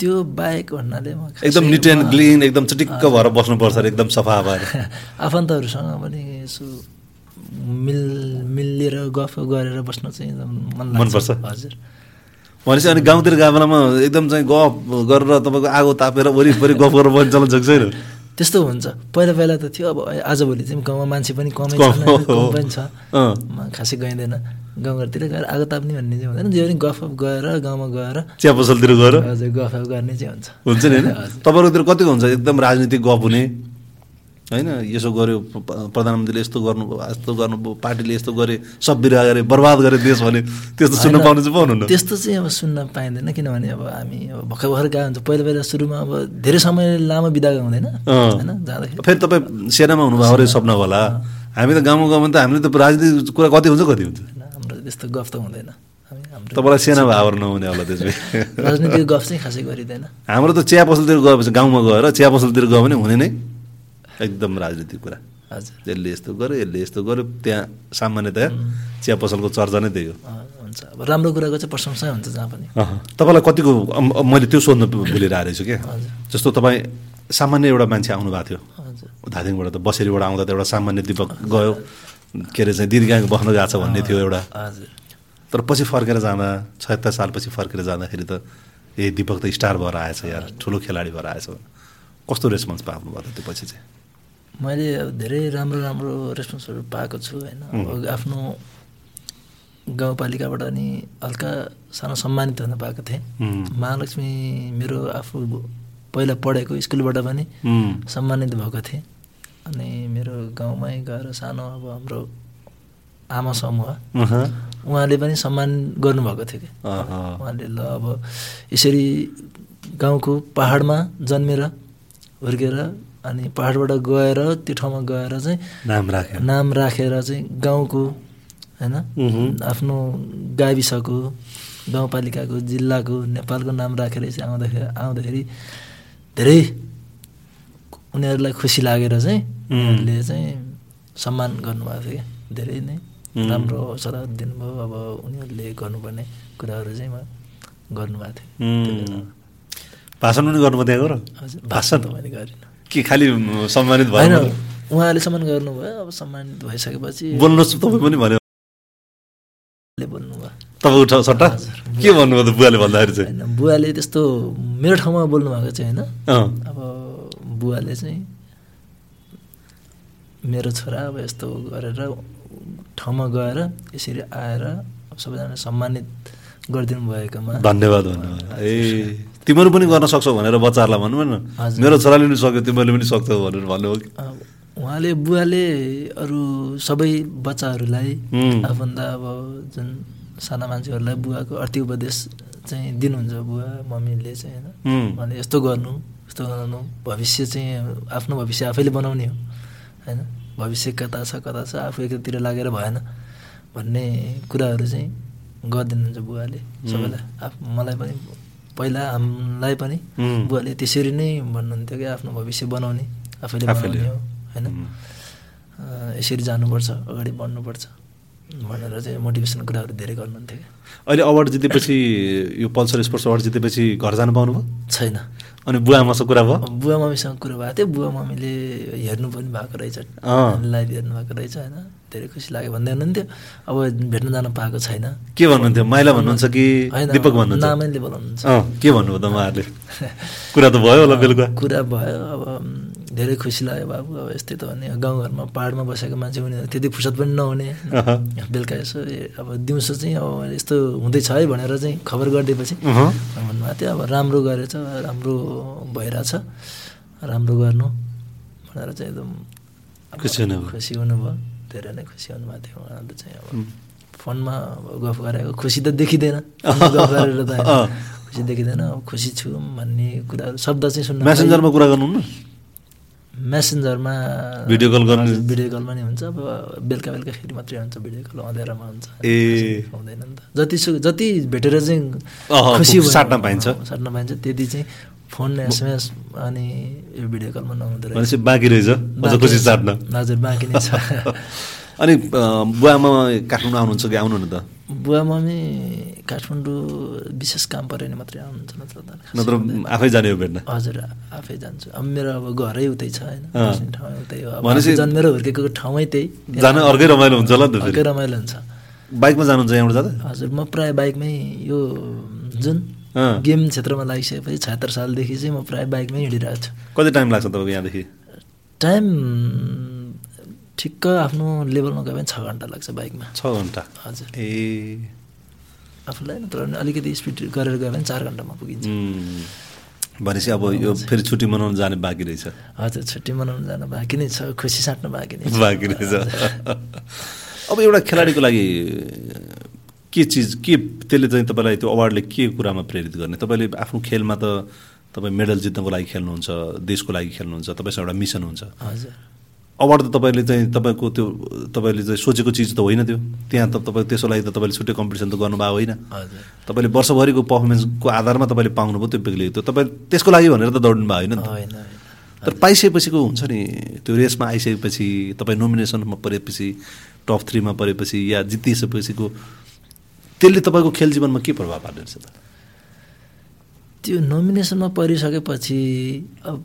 Speaker 2: त्यो बाहेक भन्नाले म खासै
Speaker 1: एकदम निट एन्ड
Speaker 2: म-
Speaker 1: क्लिन एकदम चटिक्क भएर बस्नुपर्छ अरे एकदम सफा भएर
Speaker 2: आफन्तहरूसँग पनि यसो मिल मिलेर गफ गरेर बस्न चाहिँ एकदम मन लाग्छ।
Speaker 1: मनपर्छ?
Speaker 2: हजुर
Speaker 1: भनेपछि अनि गाउँतिर गएको बेलामा एकदम चाहिँ गफ गरेर तपाईँको आगो तापेर वरिपरि गफ गरेर बस्ने चलन सक्छ छैन
Speaker 2: त्यस्तो हुन्छ पहिला पहिला त थियो अब आजभोलि चाहिँ गाउँमा मान्छे पनि कमै
Speaker 1: कम
Speaker 2: छन्, होइन,
Speaker 1: हो।
Speaker 2: कम पनि छ
Speaker 1: अँ।
Speaker 2: म खासै गइँदैन गाउँघरतिर गएर आगो ताप्ने भन्ने चाहिँ हुँदैन जे पनि गफ गएर गाउँमा गएर
Speaker 1: चिया पसलतिर गएर
Speaker 2: हजुर गफ गर्ने चाहिँ हुन्छ
Speaker 1: हुन्छ नि होइन
Speaker 2: हजुर।
Speaker 1: तपाईँहरूतिर कतिको हुन्छ एकदम राजनीतिक गफ हुने होइन यसो गर्यो प- प्रधानमन्त्रीले यस्तो गर्नु यस्तो गर्नु पार्टीले यस्तो गरे सब बिरुवा गरे बर्बाद गरे देश भने त्यस्तो सुन्न
Speaker 2: होइन,
Speaker 1: पाउनु चाहिँ पाउनुहुन्न
Speaker 2: त्यस्तो चाहिँ अब सुन्न पाइँदैन किनभने अब हामी अब भर्खर भर्खर गएको हुन्छ पहिला पहिला सुरुमा अब धेरै समय लामो बिदाको हुँदैन
Speaker 1: अँ।
Speaker 2: होइन जाँदाखेरि
Speaker 1: फेरि तपाईँ सेनामा हुनुभयो अरे सपना होला हामी त गाउँमा गाउँमा त हामीले त राजनीतिक कुरा कति हुन्छ कति हुन्छ
Speaker 2: होइन, हाम्रो त्यस्तो गफ त हुँदैन हामी- हाम्रो
Speaker 1: तपाईँलाई सेना भावर नहुने होला त्यसले
Speaker 2: राजनीतिक गफ चाहिँ खासै गरिँदैन
Speaker 1: हाम्रो त चिया पसलतिर गएपछि गाउँमा गएर चिया पसलतिर गयो भने हुने नै एकदम राजनीतिक कुरा
Speaker 2: हजुर
Speaker 1: यसले यस्तो गर्यो यसले यस्तो गर्यो त्यहाँ सामान्यतया चिया पसलको चर्चा नै त्यही हो
Speaker 2: अँ, हुन्छ अब राम्रो कुराको चाहिँ प्रशंसा हुन्छ जहाँ पनि
Speaker 1: अहँ। तपाईँलाई कतिको अम- अम- मैले त्यो सोध्न भुलिरहेको रहेछु क्या
Speaker 2: हजुर
Speaker 1: जस्तो तपाईँ सामान्य एउटा मान्छे आउनुभएको थियो
Speaker 2: हजुर
Speaker 1: धादिङबाट त बसेरीबाट आउँदा त एउटा सामान्य दिपक गयो के अरे चाहिँ दिदीगाङ बस्न गएको छ भन्ने थियो एउटा
Speaker 2: हजुर
Speaker 1: तर पछि फर्केर जाँदा छयत्तर सालपछि फर्केर जाँदाखेरि त ए दिपक त स्टार भएर आएछ यार ठुलो खेलाडी भएर आएछ भनेर। कस्तो रेस्पोन्स पाउनुभयो त त्यो पछि चाहिँ
Speaker 2: मैले अब धेरै राम्रो राम्रो रेस्पोन्सहरू पाएको छु होइन अब आफ्नो गाउँपालिकाबाट नि हल्का सानो सम्मानित हुन पाएको थिएँ
Speaker 1: उम्,
Speaker 2: महालक्ष्मी मेरो आफू पहिला पढेको स्कुलबाट पनि
Speaker 1: उम्,
Speaker 2: सम्मानित भएको थिएँ अनि मेरो गाउँमै गएर सानो अब हाम्रो आमा समूह
Speaker 1: अहँ,
Speaker 2: उहाँले पनि सम्मान गर्नुभएको थियो कि
Speaker 1: अहँ,
Speaker 2: उहाँले ल अब यसरी गाउँको पाहाडमा जन्मेर हुर्केर अनि पाहाडबाट गएर त्यो ठाउँमा गएर चाहिँ
Speaker 1: नाम राख्यो
Speaker 2: नाम राखेर चाहिँ गाउँको होइन
Speaker 1: उहुँ,
Speaker 2: आफ्नो गाविसको गाउँपालिकाको जिल्लाको नेपालको नाम राखेर चाहिँ आउँदाखेरि आउँदाखेरि धेरै उनीहरूलाई खुसी लागेर चाहिँ
Speaker 1: उम्,
Speaker 2: उनीहरूले चाहिँ सम्मान गर्नुभएको थियो क्या धेरै नै
Speaker 1: उम्।
Speaker 2: राम्रो अवसर दिनुभयो अब उनीहरूले गर्नुपर्ने कुराहरू चाहिँ म गर्नुभएको थिएँ
Speaker 1: उम्।
Speaker 2: त्यो बेला।
Speaker 1: भाषण पनि गर्नुभयो त्यहाँ गएर
Speaker 2: हजुर भाषण त मैले गरिनँ
Speaker 1: के खालि म, सम्मानित भएर
Speaker 2: होइन
Speaker 1: मात्रै?
Speaker 2: उहाँले सम्मान गर्नुभयो अब सम्मानित भइसकेपछि
Speaker 1: बोल्नुहोस् तपाईँ पनि भन्यो
Speaker 2: उहाँले बोल्नुभयो
Speaker 1: तपाईँको ठाउँ सट्टा के भन्नुभयो त बुवाले भन्दाखेरि चाहिँ
Speaker 2: होइन बुवाले त्यस्तो मेरो ठाउँमा बोल्नु भएको चाहिँ होइन
Speaker 1: अँ
Speaker 2: अब बुवाले चाहिँ मेरो छोरा अब यस्तो गरेर ठाउँमा गएर यसरी आएर अब सबैजना सम्मानित गरिदिनु भएकोमा
Speaker 1: धन्यवाद धन्यवाद ए तिमीहरू पनि गर्न सक्छौ भनेर बच्चाहरूलाई भन्नु न
Speaker 2: हजुर।
Speaker 1: मेरो छोराले पनि सक्यो तिमीहरूले पनि सक्छौ भनेर भन्नुभयो कि
Speaker 2: अब उहाँले बुवाले अरू सबै बच्चाहरूलाई
Speaker 1: हुँ।
Speaker 2: आफन्दा अब जुन साना मान्छेहरूलाई बुवाको अर्थी उपदेश चाहिँ दिनुहुन्छ बुवा मम्मीले चाहिँ होइन
Speaker 1: उम्,
Speaker 2: भने यस्तो गर्नु यस्तो गर्नु भविष्य चाहिँ आफ्नो भविष्य आफैले बनाउने हो होइन भविष्य कता छ कता छ आफू एकतिर लागेर भएन भन्ने कुराहरू चाहिँ गरिदिनुहुन्छ बुवाले सबैलाई आफ- मलाई पनि पहिला हामीलाई पनि
Speaker 1: उम्,
Speaker 2: बुवाले त्यसरी नै भन्नुहुन्थ्यो कि आफ्नो भविष्य बनाउने आफैले
Speaker 1: आफैले।
Speaker 2: बनाउने हो होइन
Speaker 1: उम्,
Speaker 2: अँ, यसरी जानुपर्छ अगाडि बढ्नुपर्छ भनेर चाहिँ मोटिभेसन कुराहरू धेरै गर्नुहुन्थ्यो क्या
Speaker 1: अहिले अवार्ड जितेपछि यो पल्सर स्पोर्ट्स अवार्ड जितेपछि घर जानु पाउनुभयो
Speaker 2: छैन
Speaker 1: अनि बुवा मसँग कुरा भयो
Speaker 2: बुवा मम्मीसँग कुरो भएको थियो बुवा मम्मीले हेर्नु पनि भएको रहेछ
Speaker 1: अँ।
Speaker 2: लाइभ हेर्नु भएको रहेछ होइन धेरै खुसी लाग्यो भन्दै हुनुहुन्थ्यो अब भेट्न जान पाएको छैन
Speaker 1: के भन्नुहुन्थ्यो माइला भन्नुहुन्छ कि
Speaker 2: होइन,
Speaker 1: दिपक भन्नुहुन्छ
Speaker 2: नामैले बोलाउनुहुन्छ
Speaker 1: अँ के भन्नुभयो त उहाँहरूले कुरा त भयो होला बेलुका
Speaker 2: कुरा भयो अब उम्, धेरै खुसी लाग्यो बाबु अब यस्तै त भने गाउँघरमा पाहाडमा बसेको मान्छे हुने त्यति फुर्सद पनि नहुने
Speaker 1: अह,
Speaker 2: बेलुका यसो ए, अब दिउँसो चाहिँ अब यस्तो हुँदैछ है भनेर चाहिँ खबर गरिदिएपछि
Speaker 1: अह,
Speaker 2: भन्नुभएको थियो अब राम्रो गरेछ राम्रो भइरहेछ राम्रो गर्नु भनेर चाहिँ एकदम अब
Speaker 1: खुसी हुनुभयो।
Speaker 2: खुसी हुनुभयो धेरै नै खुसी हुनुभएको थियो उहाँहरूले चाहिँ अब फोनमा अब गफ गरेको खुसी त देखिँदैन फोनमा गफ गरेर त होइन।
Speaker 1: अँ।
Speaker 2: खुसी देखिँदैन अब खुसी छु भन्ने कुराहरू शब्द चाहिँ सुन्न
Speaker 1: म्यासेन्जरमा कुरा गर्नुहुन्न
Speaker 2: मेसेन्जरमा
Speaker 1: भिडियो कल गर्ने-
Speaker 2: हजुर, भिडियो कलमा नै हुन्छ अब बेलुका बेलुकाखेरि मात्रै हुन्छ भिडियो कल अँध्यारोमा हुन्छ
Speaker 1: ए।
Speaker 2: हुँदैन नि त जतिसुकै जति भेटेर चाहिँ
Speaker 1: अह,
Speaker 2: भयो-
Speaker 1: साट्न पाइन्छ।
Speaker 2: अँ, साट्न पाइन्छ त्यति चाहिँ फोन एसएमएस अनि यो भिडियो कलमा नहुँदो रहेछ
Speaker 1: भनेपछि बाँकी रहेछ अझ
Speaker 2: बाँकी
Speaker 1: खुसी
Speaker 2: छ।
Speaker 1: चाट्न
Speaker 2: हजुर बाँकी नै छ
Speaker 1: अनि अँ, बुवामा काठमाडौँ आउनुहुन्छ कि आउनुहुन्न त
Speaker 2: बुवा मम्मी काठमाडौँ विशेष काम पऱ्यो भने मात्रै आउनुहुन्छ नत्र त खासै
Speaker 1: नत्र
Speaker 2: हुँदैन।
Speaker 1: आफै जाने हो भेट्न
Speaker 2: हजुर आफै जान्छु अब मेरो अब घरै उतै छ होइन
Speaker 1: अँ।
Speaker 2: बस्ने ठाउँ उतै हो अब
Speaker 1: भनेपछि-
Speaker 2: आफू जन्मेर हुर्केको ठाउँै त्यही
Speaker 1: जान अर्कै रमाइलो हुन्छ होला नि त
Speaker 2: अर्कै
Speaker 1: फेरि
Speaker 2: रमाइलो हुन्छ
Speaker 1: बाइकमा जानुहुन्छ यहाँबाट जाँदा
Speaker 2: हजुर म प्राय बाइकमै यो जुन
Speaker 1: अँ।
Speaker 2: गेम क्षेत्रमा लागिसकेपछि छयत्तर सालदेखि चाहिँ म प्राय बाइकमै हिँडिरहेको छु
Speaker 1: कति टाइम लाग्छ तपाईँको यहाँदेखि
Speaker 2: टाइम ठिक्क आफ्नो लेभलमा गयो भने छ घन्टा लाग्छ बाइकमा
Speaker 1: छ घन्टा
Speaker 2: हजुर
Speaker 1: ए
Speaker 2: आफूलाई नत्र भने अलिकति स्पिड गरेर गयो भने चार घन्टामा पुगिन्छ
Speaker 1: उम्, भनेपछि अब यो फेरि छुट्टी मनाउनु जाने बाँकी रहेछ
Speaker 2: हजुर छुट्टी मनाउनु जानु बाँकी नै छ खुसी साट्नु बाँकी नै छ।
Speaker 1: बाँकी रहेछ अब एउटा खेलाडीको लागि के चिज के त्यसले चाहिँ तपाईँलाई त्यो अवार्डले के कुरामा प्रेरित गर्ने तपाईँले आफ्नो खेलमा त तपाईँ मेडल जित्नको लागि खेल्नुहुन्छ देशको लागि खेल्नुहुन्छ तपाईँसँग एउटा मिसन हुन्छ
Speaker 2: हजुर
Speaker 1: अवार्ड त तपाईँले चाहिँ तपाईँको त्यो तपाईँले चाहिँ सोचेको चिज त होइन त्यो त्यहाँ त तपाईँ त्यसको लागि त तपाईँले छुट्टै कम्पिटिसन त गर्नुभएको होइन
Speaker 2: हजुर
Speaker 1: तपाईँले वर्षभरिको पर्फर्मेन्सको आधारमा तपाईँले पाउनुभयो त्यो बेग्लै त्यो तपाईँ त्यसको लागि भनेर त दौड्नु भएको होइन नि त
Speaker 2: होइन होइन।
Speaker 1: तर पाइसकेपछिको हुन्छ नि त्यो रेसमा आइसकेपछि तपाईँ नोमिनेसनमा परेपछि टप थ्रीमा परेपछि या जितिसकेपछिको त्यसले तपाईँको खेल जीवनमा के प्रभाव पार्ने रहेछ त
Speaker 2: त्यो नोमिनेसनमा परिसकेपछि अब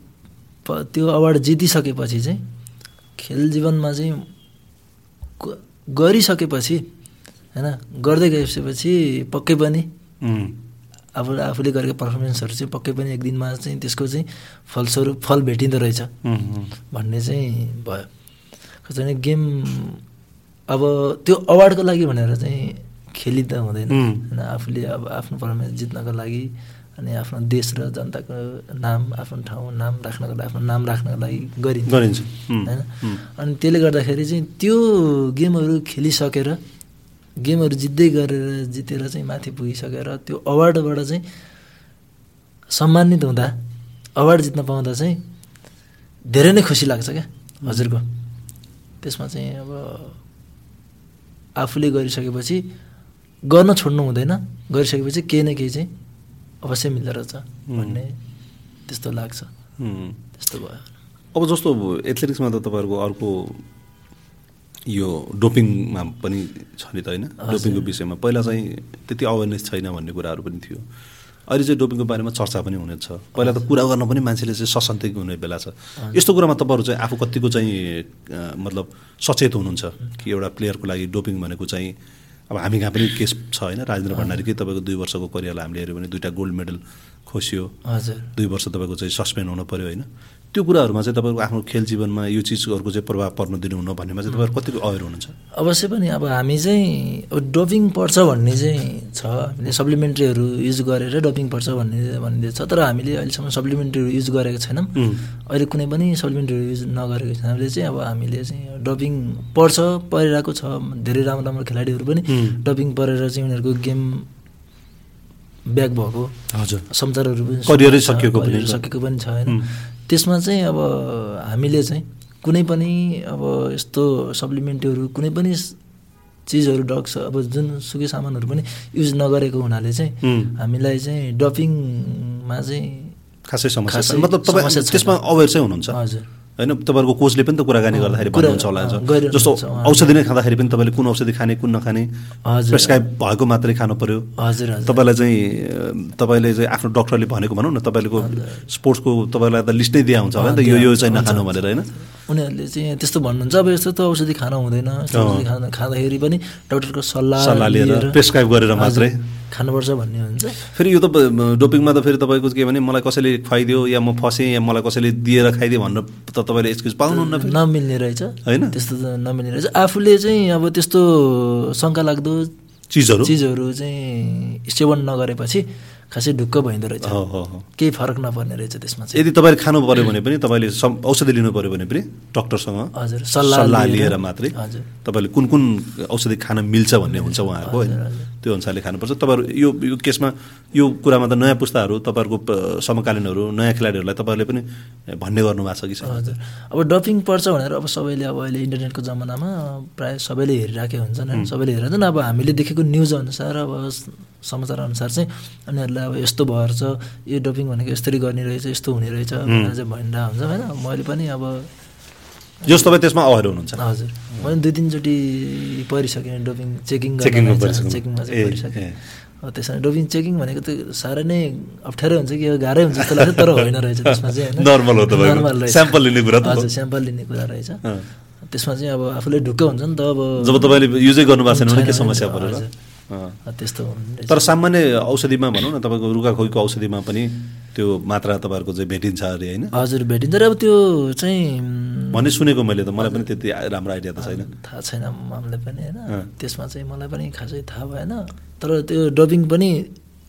Speaker 2: प- त्यो अवार्ड जितिसकेपछि चाहिँ खेल जीवनमा चाहिँ ग- गरिसकेपछि होइन गर्दै गएपछि पक्कै पनि
Speaker 1: उम्,
Speaker 2: अब आफूले गरेको पर्फर्मेन्सहरू चाहिँ पक्कै पनि एक दिनमा चाहिँ त्यसको चाहिँ फलस्वरूप फल भेटिँदो रहेछ
Speaker 1: उम्, उम्,
Speaker 2: भन्ने चाहिँ भयो कस्तो भने गेम अब त्यो अवार्डको लागि भनेर चाहिँ खेलि त हुँदैन
Speaker 1: उम्।
Speaker 2: होइन आफूले अब आफ्नो पर्फर्मेन्स जित्नको लागि अनि आफ्नो देश र जनताको नाम आफ्नो ठाउँ नाम राख्नको लागि आफ्नो नाम राख्नको लागि गरिन्छ
Speaker 1: गरिन्छ उम्,
Speaker 2: होइन
Speaker 1: उम्,
Speaker 2: अनि त्यसले गर्दाखेरि चाहिँ त्यो गेमहरू खेलिसकेर गेमहरू जित्दै गरेर जितेर चाहिँ माथि पुगिसकेर त्यो अवार्डबाट चाहिँ सम्मानित हुँदा अवार्ड जित्न पाउँदा चाहिँ धेरै नै खुसी लाग्छ क्या हजुरको त्यसमा चाहिँ अब आफूले गरिसकेपछि गर्न छोड्नु हुँदैन गरिसकेपछि केही न केही चाहिँ अवश्य मिल्दो रहेछ भन्ने त्यस्तो लाग्छ
Speaker 1: उम्।
Speaker 2: त्यस्तो भयो
Speaker 1: अब जस्तो अब एथलेटिक्समा त तपाईँहरूको अर्को यो डोपिङमा पनि छ नि त होइन
Speaker 2: हजुर।
Speaker 1: डोपिङको विषयमा पहिला चाहिँ त्यति अवेरनेस छैन भन्ने कुराहरू पनि थियो अहिले चाहिँ डोपिङको बारेमा चर्चा पनि हुनेछ पहिला त कुरा गर्न पनि मान्छेले चाहिँ सशन्तिक हुने बेला छ यस्तो कुरामा तपाईँहरू चाहिँ आफू कतिको चाहिँ अ, मतलब सचेत हुनुहुन्छ कि एउटा प्लेयरको लागि डोपिङ भनेको चाहिँ अब हामी कहाँ पनि केस छ होइन राजेन्द्र भण्डारीकै तपाईँको दुई वर्षको करियरलाई हामीले हेऱ्यो भने दुईवटा गोल्ड मेडल खोसियो
Speaker 2: हजुर
Speaker 1: दुई वर्ष तपाईँको चाहिँ सस्पेन्ड हुनु पऱ्यो होइन त्यो कुराहरूमा चाहिँ तपाईँको आफ्नो खेल जीवनमा यो चिजहरूको चाहिँ प्रभाव पर्न दिनुहुन्न भन्नेमा चाहिँ तपाईँहरू कतिको अवेर हुनुहुन्छ
Speaker 2: अवश्य पनि अब हामी चाहिँ अब डपिङ पर्छ भन्ने चाहिँ छ हामीले सप्लिमेन्ट्रीहरू युज गरेर डपिङ पर्छ भन्ने भनिदिएको छ तर हामीले अहिलेसम्म सप्लिमेन्ट्रीहरू युज गरेको छैनौँ
Speaker 1: उम्.
Speaker 2: अहिले कुनै पनि सप्लिमेन्ट्रीहरू युज नगरेको छैन हामीले चाहिँ अब हामीले चाहिँ डपिङ पर्छ परिरहेको छ धेरै राम्रो राम्रो खेलाडीहरू पनि
Speaker 1: उम्.
Speaker 2: डपिङ परेर चाहिँ उनीहरूको गेम ब्याक भएको
Speaker 1: हजुर
Speaker 2: समाचारहरू पनि
Speaker 1: करियरै
Speaker 2: सुनिन्छ,
Speaker 1: सकिएको पनि
Speaker 2: करियर
Speaker 1: छ।
Speaker 2: सकिएको पनि छ होइन
Speaker 1: हुँ।
Speaker 2: त्यसमा चाहिँ अब हामीले चाहिँ कुनै पनि अब यस्तो सप्लिमेन्टहरू कुनै पनि स- चिजहरू ड्रग्स अब जुन सुकै सामानहरू पनि युज नगरेको हुनाले चाहिँ
Speaker 1: हुँ।
Speaker 2: हामीलाई चाहिँ डपिङमा चाहिँ
Speaker 1: खासै समस्या
Speaker 2: खासै
Speaker 1: छैन। मतलब तपाईँ
Speaker 2: समस्या छैन।
Speaker 1: त्यसमा अवेर चाहिँ हुनुहुन्छ
Speaker 2: हजुर
Speaker 1: होइन तपाईँहरूको कोचले पनि त कुराकानी
Speaker 2: अँ,
Speaker 1: गर्दाखेरि
Speaker 2: कुरा-
Speaker 1: भन्नुहुन्छ होला
Speaker 2: अँ,
Speaker 1: जस्तो
Speaker 2: गरिरहनुहुन्छ
Speaker 1: जस्तो
Speaker 2: उहाँहरूले।
Speaker 1: औषधि नै खाँदाखेरि पनि तपाईँले कुन औषधि खाने कुन नखाने
Speaker 2: हजुर।
Speaker 1: प्रेसक्राइब भएको मात्रै खानु पर्यो
Speaker 2: हजुर हजुर
Speaker 1: तपाईँलाई चाहिँ अ, तपाईँले चाहिँ आफ्नो डक्टरले भनेको भनौँ न तपाईँको स्पोर्ट्सको तपाईँलाई त लिस्ट नै दिया हुन्छ होला नि त यो यो चाहिँ नखानु भनेर होइन
Speaker 2: उनीहरूले चाहिँ त्यस्तो भन्नुहुन्छ अब यस्तो त औषधि खान हुँदैन यस्तो
Speaker 1: अँ।
Speaker 2: औषधि खाँदा खाँदाखेरि पनि डक्टरको सल्लाह
Speaker 1: सल्लाह लिएर, prescribe गरेर
Speaker 2: हजुर,
Speaker 1: मात्रै।
Speaker 2: खानुपर्छ भन्ने हुन्छ
Speaker 1: फेरि यो त ब- डोपिङमा त फेरि तपाईँको के भने मलाई कसैले खुवाइदियो या म फसेँ या मलाई कसैले दिएर खाइदियो भनेर त तपाईँले एक्सक्युज पाउनुहुन्न फेरि
Speaker 2: नमिल्ने रहेछ
Speaker 1: होइन?
Speaker 2: त्यस्तो त नमिल्ने रहेछ आफूले चाहिँ अब त्यस्तो शङ्का लाग्दो
Speaker 1: चिजहरू
Speaker 2: चिजहरू चाहिँ सेवन नगरेपछि खासै ढुक्क भइँदो रहेछ
Speaker 1: हो हो हो
Speaker 2: केही फरक नपर्ने रहेछ त्यसमा चाहिँ
Speaker 1: यदि तपाईँले खानु पर्यो भने पनि तपाईँले सम- औषधि लिनु पर्यो भने पनि डक्टरसँग
Speaker 2: हजुर
Speaker 1: सल्लाह लिएर मात्रै
Speaker 2: हजुर
Speaker 1: तपाईँले कुन कुन औषधि खान मिल्छ भन्ने हुन्छ उहाँहरूको होइन त्यो अनुसारले खानुपर्छ तपाईँहरू यो यो केसमा यो कुरामा त नयाँ पुस्ताहरू तपाईँहरूको प- समकालीनहरू नयाँ खेलाडीहरूलाई तपाईँहरूले पनि भन्ने गर्नुभएको छ कि सर
Speaker 2: हजुर अब डपिङ पर्छ भनेर अब सबैले अब अहिले इन्टरनेटको जमानामा प्रायः सबैले हेरिराखेका हुन्छन् होइन सबैले हेरिरहन्छन् अब हामीले देखेको न्युज अनुसार अब स- समाचार अनुसार चाहिँ उनीहरूलाई अब यस्तो भएछ यो डपिङ भनेको यसरी गर्ने रहेछ यस्तो हुने रहेछ भनेर चाहिँ भनिरहेको हुन्छ होइन मैले पनि अब
Speaker 1: जस तपाईँ त्यसमा अवेर हुनुहुन्छ
Speaker 2: हजुर मैले दुई तिनचोटि परिसकेँ डपिङ चेकिङ
Speaker 1: चेकिङमा
Speaker 2: गरेर
Speaker 1: परिसक्नु।
Speaker 2: चेकिङमा
Speaker 1: ए,
Speaker 2: चाहिँ परिसकेँ
Speaker 1: ए।
Speaker 2: अब त्यसमा डपिङ चेकिङ भनेको त साह्रै नै अप्ठ्यारो हुन्छ कि यो गाह्रै हुन्छ जस्तो लाग्छ तर होइन रहेछ त्यसमा चाहिँ होइन।
Speaker 1: Normal हो तपाईँको।
Speaker 2: Normal रहेछ।
Speaker 1: Sample लिने कुरा त हो।
Speaker 2: हजुर स्याम्पल लिने कुरा रहेछ
Speaker 1: अँ।
Speaker 2: त्यसमा चाहिँ अब आफूले ढुक्क हुन्छ नि त अब
Speaker 1: जब तपाईँले युजै गर्नुभएको छैन भने
Speaker 2: छैन
Speaker 1: के समस्या
Speaker 2: भने
Speaker 1: परेर
Speaker 2: हजुर।
Speaker 1: अँ।
Speaker 2: अँ, त्यस्तो हुनु रहेछ।
Speaker 1: तर सामान्य औषधिमा भनौँ न तपाईँको रुगाखोकीको औषधिमा पनि त्यो मात्रा तपाईँहरूको चाहिँ भेटिन्छ अरे होइन
Speaker 2: हजुर भेटिन्छ तर अब त्यो चाहिँ उम्,
Speaker 1: भन्ने सुनेको मैले त मलाई पनि त्यति राम्रो आइडिया त छैन
Speaker 2: थाहा छैन मलाई पनि होइन
Speaker 1: अँ।
Speaker 2: त्यसमा चाहिँ मलाई पनि खासै थाहा भएन तर त्यो डबिङ पनि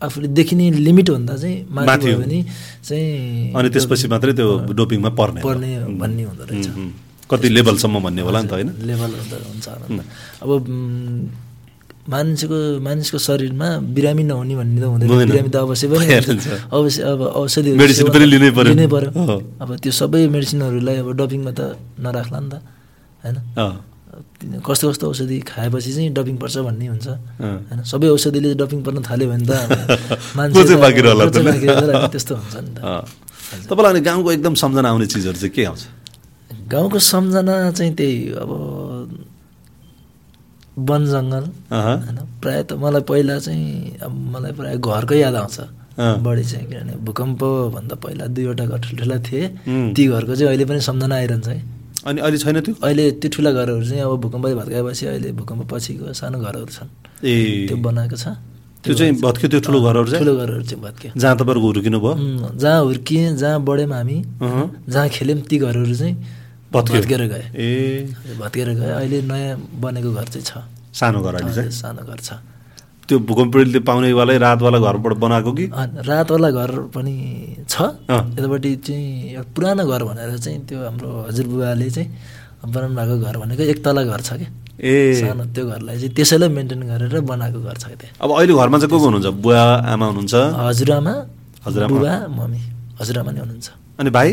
Speaker 2: आफूले देखिने लिमिटभन्दा चाहिँ
Speaker 1: माथि
Speaker 2: माथि
Speaker 1: हो।
Speaker 2: भयो भने चाहिँ
Speaker 1: अनि त्यसपछि मात्रै त्यो डोपिङमा पर्ने हो।
Speaker 2: पर्ने भन्ने हुँदो रहेछ
Speaker 1: उम्, उम्। कति लेभलसम्म भन्ने होला नि त होइन
Speaker 2: लेभल हुँदो हुन्छ होला नि त। अब उम्, मान्छेको मानिसको शरीरमा बिरामी नहुने भन्ने त हुँदैन
Speaker 1: हुँदैन।
Speaker 2: बिरामी त अवश्य पनि
Speaker 1: भइहाल्छ।
Speaker 2: हुन्छ। अवश्य अब औषधि
Speaker 1: मेडिसिन पनि लिनै पर्यो।
Speaker 2: लिनै पर्यो
Speaker 1: हो।
Speaker 2: अब त्यो सबै मेडिसिनहरूलाई अब डपिङमा त नराख्ला नि त होइन
Speaker 1: अँ,
Speaker 2: तिन- कस्तो कस्तो औषधि खाएपछि चाहिँ डपिङ पर्छ भन्ने हुन्छ
Speaker 1: अँ।
Speaker 2: होइन सबै औषधिले डपिङ पर्न थाल्यो भने त अब मान्छे
Speaker 1: को चाहिँ
Speaker 2: त
Speaker 1: बाँकी
Speaker 2: अब
Speaker 1: रहला
Speaker 2: को चाहिँ
Speaker 1: त?
Speaker 2: बाँकी रहला होइन, त्यस्तो हुन्छ नि त
Speaker 1: अँ। तपाईँलाई अनि गाउँको एकदम सम्झना आउने चिजहरू चाहिँ के आउँछ
Speaker 2: गाउँको सम्झना चाहिँ त्यही अब वन जङ्गल
Speaker 1: अहँ,
Speaker 2: होइन प्रायः त मलाई पहिला चाहिँ अब मलाई प्रायः घरकै याद आउँछ
Speaker 1: अँ।
Speaker 2: बढी चाहिँ किनभने भूकम्पभन्दा पहिला दुईवटा घर ठुल्ठुला थिए
Speaker 1: उम्।
Speaker 2: ती घरको चाहिँ अहिले पनि सम्झना आइरहन्छ है
Speaker 1: अनि अहिले छैन त्यो
Speaker 2: अहिले त्यो ठुला घरहरू चाहिँ अब भूकम्पले भत्काएपछि अहिले भूकम्प पछिको सानो घरहरू छन्
Speaker 1: ए
Speaker 2: त्यो बनाएको छ
Speaker 1: त्यो चाहिँ भत्क्यो त्यो ठुलो घरहरू
Speaker 2: ठुलो
Speaker 1: चाहिँ
Speaker 2: घरहरू चाहिँ भत्क्यो
Speaker 1: जहाँ तपाईँहरूको हुर्किनु भयो
Speaker 2: उम्, जहाँ हुर्किएँ जहाँ बढ्यौँ हामी
Speaker 1: अहँ,
Speaker 2: जहाँ खेल्यौँ ती घरहरू चाहिँ
Speaker 1: भत्क्यो।
Speaker 2: भत्केर गए
Speaker 1: ए
Speaker 2: भत्केर गयो अहिले नयाँ बनेको घर चाहिँ छ
Speaker 1: सानो घर अहिले
Speaker 2: हजुर,
Speaker 1: चाहिँ
Speaker 2: सानो घर छ
Speaker 1: त्यो भूकम्पले पाउनेवालै रातवाला घरबाट बनाएको कि
Speaker 2: अनि रातवाला घर पनि छ
Speaker 1: अँ।
Speaker 2: यतापट्टि चाहिँ एउटा पुरानो घर भनेर चाहिँ त्यो हाम्रो हजुरबुवाले चाहिँ बनाउनु भएको घर भनेको एक तला घर छ क्या
Speaker 1: ए
Speaker 2: सानो त्यो घरलाई चाहिँ त्यसैलाई मेन्टेन गरेर बनाएको घर छ क्या
Speaker 1: अब अहिले घरमा चाहिँ को को हुनुहुन्छ बुवा आमा हुनुहुन्छ
Speaker 2: त्यहाँ हजुरआमा
Speaker 1: हजुरआमा।
Speaker 2: बुबा मम्मी हजुरआमा नै हुनुहुन्छ
Speaker 1: अनि भाइ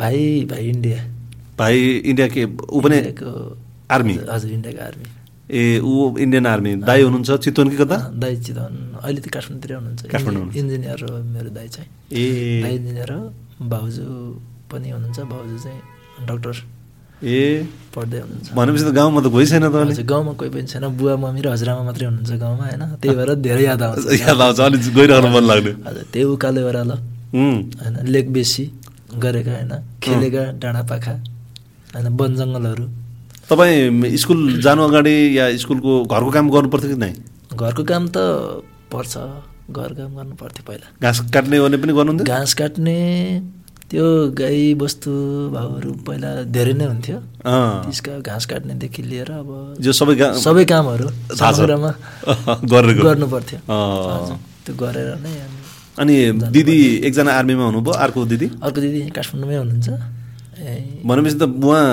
Speaker 2: भाइ भाइ इन्डिया
Speaker 1: भाइ इन्डिया के ऊ पनि
Speaker 2: इन्डियाको-
Speaker 1: आर्मी
Speaker 2: हजुर इन्डियाको आर्मी
Speaker 1: ए ऊ इन्डियन आर्मी दाई हुनुहुन्छ चितवन कि कता
Speaker 2: दाइ चितवन अहिले त काठमाडौँतिर हुनुहुन्छ
Speaker 1: काठमाडौँ
Speaker 2: इन्जि- इन्जिनियर हो मेरो दाइ चाहिँ दाइ
Speaker 1: ए
Speaker 2: इन्जिनियर हो भाउजू पनि हुनुहुन्छ भाउजू चाहिँ डक्टर
Speaker 1: ए
Speaker 2: पढ्दै हुनुहुन्छ
Speaker 1: भनेपछि त गाउँमा त गइ छैन त अनि
Speaker 2: हजुर, गाउँमा कोही पनि छैन बुवा मम्मी र हजुरआमा मात्रै हुनुहुन्छ गाउँमा होइन त्यही भएर धेरै याद आउँछ
Speaker 1: याद आउँछ अनि गइरहनु मन लाग्ने
Speaker 2: हजुर त्यही उकालो ओह्रालो
Speaker 1: उम्,
Speaker 2: होइन लेक बेसी गरेका होइन खेलेका डाँडापाखा होइन वन जङ्गलहरू
Speaker 1: तपाईँ स्कुल जानु अगाडि या स्कुलको घरको काम गर्नु पर्थ्यो कि नै
Speaker 2: घरको काम त पर्छ घर काम गर्नु पर्थ्यो पहिला
Speaker 1: घाँस काट्ने ओर्ने पनि गर्नुहुन्थ्यो
Speaker 2: घाँस काट्ने त्यो गाई बस्तु भाउहरू पहिला धेरै नै हुन्थ्यो
Speaker 1: अँ,
Speaker 2: त्यसका घाँस काट्नेदेखि लिएर अब
Speaker 1: जो सबै गा-
Speaker 2: सबै कामहरू
Speaker 1: थाहा छ।
Speaker 2: समग्रमा
Speaker 1: गरेर गर्नु।
Speaker 2: गर्नु पर्थ्यो
Speaker 1: अँ।
Speaker 2: त्यो गरेर नै हामी-
Speaker 1: अनि दिदी एकजना आर्मीमा हुनुभयो अर्को दिदी
Speaker 2: अर्को दिदी काठमाडौँमै हुनुहुन्छ ए,
Speaker 1: भनेपछि त उहाँ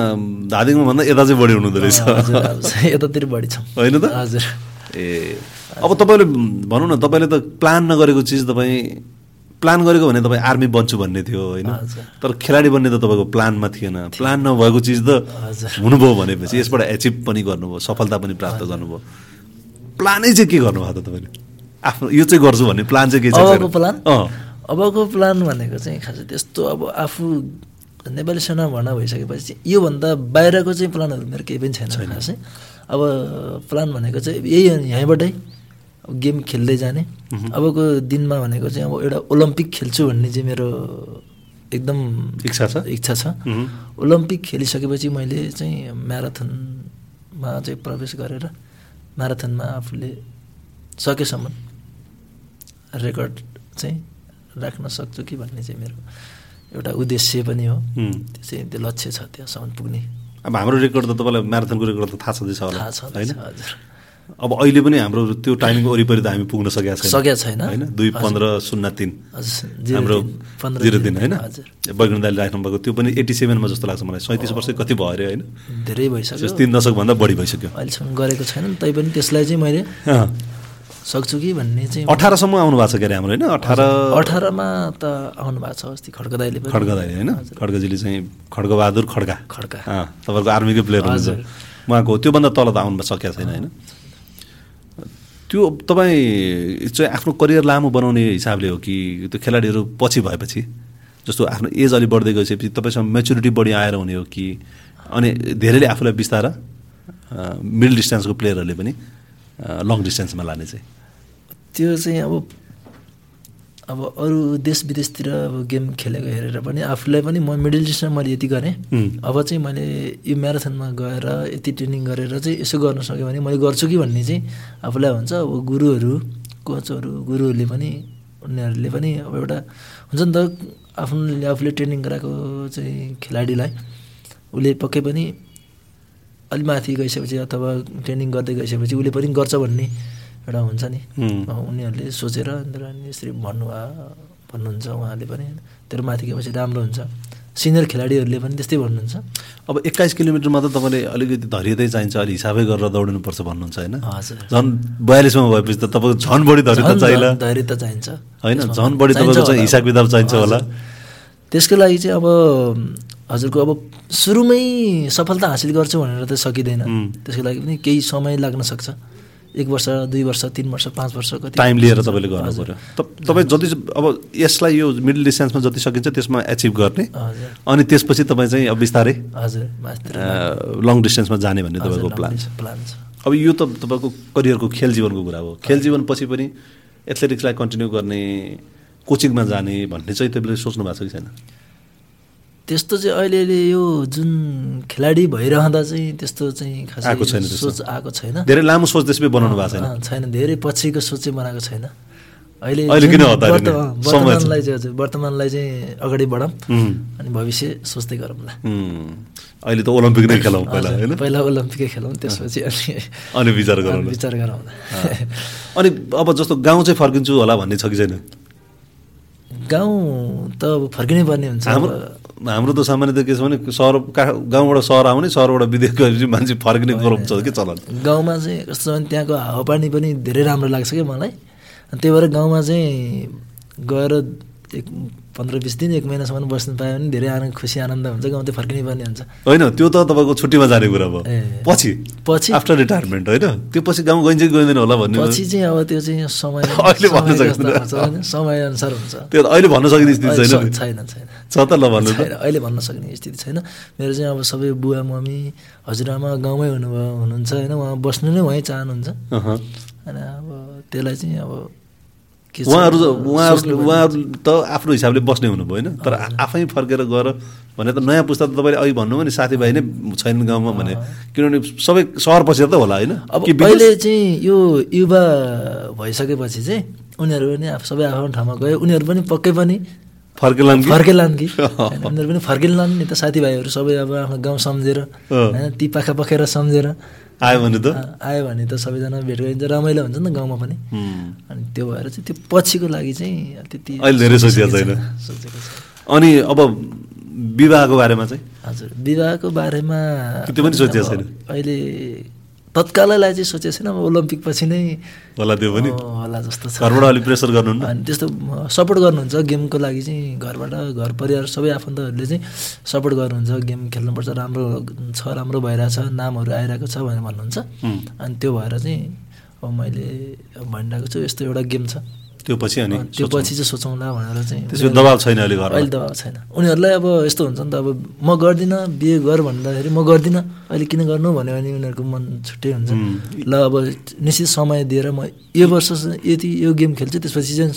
Speaker 1: धादिङमा भन्दा यता चाहिँ बढी हुनुहुँदो रहेछ
Speaker 2: हजुर, हजुर, यतातिर बढी छौँ
Speaker 1: होइन त?
Speaker 2: हजुर
Speaker 1: ए अब तपाईँले भनौँ न तपाईँले त प्लान नगरेको चिज तपाईँ प्लान गरेको भने तपाईँ आर्मी बन्छु भन्ने थियो होइन
Speaker 2: हजुर।
Speaker 1: तर खेलाडी बन्ने त तपाईँको प्लानमा थिएन प्लान नभएको चिज त
Speaker 2: हजुर।
Speaker 1: हुनुभयो भनेपछि यसबाट एचिभ पनि गर्नुभयो सफलता पनि प्राप्त गर्नुभयो प्लानै चाहिँ के गर्नुभएको त तपाईँले आफ्नो यो चाहिँ गर्छु भन्ने प्लान चाहिँ के छ
Speaker 2: अबको प्लान
Speaker 1: अँ
Speaker 2: अबको प्लान भनेको चाहिँ खासै त्यस्तो अब आफू नेपाली सेना भर्ना भइसकेपछि चाहिँ योभन्दा बाहिरको चाहिँ प्लानहरू मेरो केही पनि छैन खासै अब प्लान भनेको चाहिँ यही हो, यहीँबाटै अब गेम खेल्दै जाने अबको दिनमा भनेको चाहिँ अब एउटा ओलम्पिक खेल्छु भन्ने चाहिँ मेरो एकदम
Speaker 1: इच्छा छ
Speaker 2: इच्छा छ
Speaker 1: मह्म।
Speaker 2: ओलम्पिक खेलिसकेपछि मैले चाहिँ म्याराथनमा चाहिँ प्रवेश गरेर म्याराथनमा आफूले सकेसम्म रेकर्ड चाहिँ राख्न सक्छु कि भन्ने चाहिँ मेरो एउटा उद्देश्य पनि हो
Speaker 1: हुँ।
Speaker 2: त्यो चाहिँ त्यो लक्ष्य छ त्यहाँसम्म पुग्ने
Speaker 1: अब हाम्रो रेकर्ड त तपाईँलाई म्याराथनको रेकर्ड त थाहा छँदैछ होला
Speaker 2: थाहा छ
Speaker 1: होइन
Speaker 2: हजुर
Speaker 1: अब अहिले पनि हाम्रो त्यो टाइमिङ वरिपरि त हामी पुग्न सकेका छैनौँ
Speaker 2: सकेका छैन।
Speaker 1: होइन दुई
Speaker 2: हजुर।
Speaker 1: पन्ध्र शून्य तिन
Speaker 2: हजुर, जिरो
Speaker 1: हाम्रो
Speaker 2: दिन, पन्ध्र
Speaker 1: जिरो
Speaker 2: दिन,
Speaker 1: दिन होइन
Speaker 2: हजुर।
Speaker 1: बैगुण दाले राख्नु भएको त्यो पनि एट्टी सेभेनमा जस्तो लाग्छ मलाई सैँतिस वर्ष कति भयो अरे होइन
Speaker 2: धेरै
Speaker 1: जस
Speaker 2: भइसक्यो
Speaker 1: तिन दशकभन्दा बढी भइसक्यो
Speaker 2: अहिलेसम्म गरेको छैन तैपनि त्यसलाई चाहिँ मैले
Speaker 1: अँ।
Speaker 2: सक्छु कि भन्ने चाहिँ
Speaker 1: अठारसम्म आउनु भएको छ के अरे हाम्रो होइन अठार
Speaker 2: अठारमा त आउनु भएको छ अस्ति खड्कदाईले पनि
Speaker 1: खड्ग दाई होइन खड्गजीले चाहिँ खड्गबहादुर खड्गा
Speaker 2: खड्का
Speaker 1: अँ, तपाईँको आर्मीकै प्लेयर हुनुहुन्छ
Speaker 2: हजुर।
Speaker 1: उहाँको त्योभन्दा तल त आउनु सकेका छैन होइन त्यो तपाईँ चाहिँ आफ्नो करियर लामो बनाउने हिसाबले हो कि त्यो खेलाडीहरू पछि भएपछि जस्तो आफ्नो एज अलि बढ्दै गएपछि तपाईँसँग मेच्युरिटी बढी आएर हुने हो कि अनि धेरैले आफूलाई बिस्तार मिडल डिस्टेन्सको प्लेयरहरूले पनि लङ डिस्टेन्समा लाने चाहिँ
Speaker 2: त्यो चाहिँ अब अब अरू देश विदेशतिर अब गेम खेलेको हेरेर पनि आफूलाई पनि म मिडल डिस्टमा मैले यति गरेँ
Speaker 1: हुँ।
Speaker 2: अब चाहिँ मैले यो म्याराथनमा गएर यति ट्रेनिङ गरेर चाहिँ यसो गर्न सक्यो भने मैले गर्छु कि भन्ने चाहिँ आफूलाई हुन्छ अब गुरुहरू कोचहरू गुरुहरूले पनि उनीहरूले पनि अब एउटा हुन्छ नि त आफ्नो आफूले ट्रेनिङ गराएको चाहिँ खेलाडीलाई उसले पक्कै पनि अलि माथि गइसकेपछि अथवा ट्रेनिङ गर्दै गइसकेपछि उसले पनि गर्छ भन्ने एउटा हुन्छ नि
Speaker 1: हुँ।
Speaker 2: अँ, उनीहरूले सोचेर अन्त अनि यसरी भन्नुभयो भन्नुहुन्छ उहाँले पनि होइन। तेरो माथि गएपछि राम्रो हुन्छ सिनियर खेलाडीहरूले पनि त्यस्तै भन्नुहुन्छ
Speaker 1: अब एक्काइस किलोमिटरमा त तपाईँले अलिकति धैर्यतै चाहिन्छ अलि हिसाबै गरेर दौडिनुपर्छ भन्नुहुन्छ होइन
Speaker 2: हजुर
Speaker 1: झन् बयालिसमा भएपछि त तपाईँको झन् बढी धैर्य त
Speaker 2: झन्-
Speaker 1: चाहिला
Speaker 2: झन् धैर्य त चाहिन्छ
Speaker 1: होइन
Speaker 2: त्यसमा
Speaker 1: झन् बढी
Speaker 2: चाहिन्छ
Speaker 1: तपाईँको चाहिँ
Speaker 2: होला।
Speaker 1: हिसाब किताब चाहिन्छ होला
Speaker 2: त्यसको लागि चाहिँ अब हजुरको अब सुरुमै सफलता हासिल गर्छु भनेर त सकिँदैन
Speaker 1: हुँ।
Speaker 2: त्यसको लागि पनि केही समय लाग्न सक्छ एक वर्ष दुई वर्ष तिन वर्ष पाँच वर्ष कति
Speaker 1: टाइम लिएर तपाईँले गर्नु पऱ्यो त- तपाईँ जति अब यसलाई यो मिडल डिस्टेन्समा जति सकिन्छ त्यसमा एचिभ गर्ने
Speaker 2: हजुर
Speaker 1: अनि त्यसपछि तपाईँ चाहिँ अब बिस्तारै
Speaker 2: हजुर मास्टर
Speaker 1: लङ डिस्टेन्समा जाने भन्ने तपाईँको प्लान छ
Speaker 2: प्लान छ
Speaker 1: अब यो त तपाईँको करियरको खेल जीवनको कुरा हो खेल जीवनपछि पनि एथलेटिक्सलाई कन्टिन्यू गर्ने कोचिङमा जाने भन्ने चाहिँ तपाईँले सोच्नु भएको छ कि छैन
Speaker 2: त्यस्तो चाहिँ अहिले अहिले यो जुन खेलाडी भइरहँदा चाहिँ त्यस्तो चाहिँ खासै
Speaker 1: आएको छैन त्यस्तो।
Speaker 2: सोच आएको छैन
Speaker 1: धेरै लामो सोच त्यसपछि बनाउनु भएको छैन
Speaker 2: अँ, छैन धेरै पछिको सोच चाहिँ बनाएको छैन अहिले
Speaker 1: अहिले
Speaker 2: जुन
Speaker 1: किन हतारिने?
Speaker 2: वर्तमान-
Speaker 1: समय छ।
Speaker 2: वर्तमानलाई चाहिँ हजुर, वर्तमानलाई चाहिँ अगाडि बढाउँ
Speaker 1: उम्,
Speaker 2: अनि भविष्य सोच्दै गरौँला
Speaker 1: उम्। अहिले त ओलम्पिक नै खेलाउँ पहिला
Speaker 2: हजुर,
Speaker 1: होइन
Speaker 2: पहिला ओलम्पिकै खेलौँ त्यसपछि अनि
Speaker 1: अनि विचार गरौँ
Speaker 2: अनि
Speaker 1: न।
Speaker 2: विचार गरौँला
Speaker 1: अनि अब जस्तो गाउँ चाहिँ फर्किन्छु होला भन्ने छ कि छैन
Speaker 2: गाउँ त अब फर्किनै पर्ने हुन्छ
Speaker 1: हाम्रो
Speaker 2: अब-
Speaker 1: हाम्रो त सामान्यतः के छ भने सहर का- गाउँबाट सहर आउने सहरबाट विदेश गएपछि मान्छे फर्किने क्रम छ कि चलन
Speaker 2: गाउँमा चाहिँ कस्तो छ भने त्यहाँको हावापानी पनि धेरै राम्रो लाग्छ क्या मलाई अनि त्यही भएर गाउँमा चाहिँ गएर एक पन्ध्र बिस दिन एक महिनासम्म बस्नु पायो भने धेरै आनन्द खुसी आनन्द हुन्छ गाउँ चाहिँ फर्किनै पर्ने हुन्छ
Speaker 1: होइन त्यो त तपाईँको छुट्टीमा जाने कुरा भयो
Speaker 2: ए।
Speaker 1: पछि
Speaker 2: पछि
Speaker 1: आफ्टर रिटायरमेन्ट होइन त्यो पछि गाउँ गइन्छ कि गइँदैन होला भन्ने
Speaker 2: पछि चाहिँ अब त्यो चाहिँ समय
Speaker 1: अहिले भन्नु
Speaker 2: समयको
Speaker 1: सक्दैन।
Speaker 2: अवस्था हुन्छ, होइन? समयअनुसार हुन्छ
Speaker 1: त्यो त अहिले भन्न सकिने स्थिति
Speaker 2: अहिले
Speaker 1: छैन
Speaker 2: स-
Speaker 1: नि।
Speaker 2: छैन छैन
Speaker 1: छ त ल भन्नु त
Speaker 2: छैन, अहिले भन्न सक्ने स्थिति छैन मेरो चाहिँ अब सबै बुवा मम्मी हजुरआमा गाउँमै हुनुभयो हुनुहुन्छ होइन उहाँ बस्नु नै उहाँ चाहनुहुन्छ
Speaker 1: अहँ।
Speaker 2: होइन अब त्यसलाई चाहिँ अब के छ,
Speaker 1: उहाँहरू उहाँहरू
Speaker 2: सोच्नुपर्ने
Speaker 1: उहाँहरू त आफ्नो हिसाबले बस्ने हुनुभयो होइन तर आफै फर्केर गएर भने त नयाँ पुस्ता त तपाईँले अघि भन्नुभयो नि साथीभाइ नै छैनन् गाउँमा भने किनभने सबै सहर पछि त होला होइन
Speaker 2: अब
Speaker 1: कि विदेश-
Speaker 2: अहिले चाहिँ यो युवा भइसकेपछि चाहिँ उनीहरू पनि आफ- सबै आफ्नो ठाउँमा गयो उनीहरू पनि पक्कै पनि
Speaker 1: फर्केलान् कि?
Speaker 2: फर्केलान् कि होइन, उनीहरू पनि फर्केलान् नि त साथीभाइहरू सबै अब आफ्नो गाउँ सम्झेर
Speaker 1: अँ।
Speaker 2: होइन ती पाखा पखेर सम्झेर
Speaker 1: आयो भने त
Speaker 2: आ- आयो भने त सबैजना भेट गरिन्छ रमाइलो हुन्छ नि त गाउँमा पनि
Speaker 1: हुँ।
Speaker 2: अनि त्यो भएर चाहिँ त्यो पछिको लागि चाहिँ त्यति
Speaker 1: अहिले धेरै सोचिएको
Speaker 2: सोचेको
Speaker 1: छैन।
Speaker 2: सोचेको छैन।
Speaker 1: अनि अब विवाहको बारेमा चाहिँ
Speaker 2: हजुर विवाहको बारेमा
Speaker 1: त्यो पनि सोचेको छैन?
Speaker 2: अब अहिले तत्कालैलाई चाहिँ सोचेको छैन अब ओलम्पिक पछि नै
Speaker 1: होला त्यो पनि
Speaker 2: अँ, होला जस्तो छ
Speaker 1: घरबाट अलिक प्रेसर गर्नुहुन्न
Speaker 2: अनि त्यस्तो अँ, सपोर्ट गर्नुहुन्छ गेमको लागि चाहिँ घरबाट घर परिवार सबै आफन्तहरूले चाहिँ सपोर्ट गर्नुहुन्छ गेम खेल्नुपर्छ राम्रो छ राम्रो भइरहेछ नामहरू आइरहेको छ भनेर भन्नुहुन्छ
Speaker 1: हुँ।
Speaker 2: अनि त्यो भएर चाहिँ अब मैले भनिरहेको छु यस्तो एउटा गेम छ
Speaker 1: त्यो पछि अनि
Speaker 2: अँ, त्यो पछि चाहिँ सोचौँला भनेर चाहिँ
Speaker 1: त्यसको दबाब छैन अहिले घरमा
Speaker 2: अहिले दबाब छैन उनीहरूलाई अब यस्तो हुन्छ नि त अब म गर्दिनँ बिहे गर भन्दाखेरि म गर्दिनँ अहिले किन गर्नु भन्यो भने उनीहरूको मन छुट्टै हुन्छ
Speaker 1: हुँ।
Speaker 2: ल अब निश्चित समय दिएर म यो वर्ष चाहिँ यति यो गेम खेल्छु त्यसपछि चाहिँ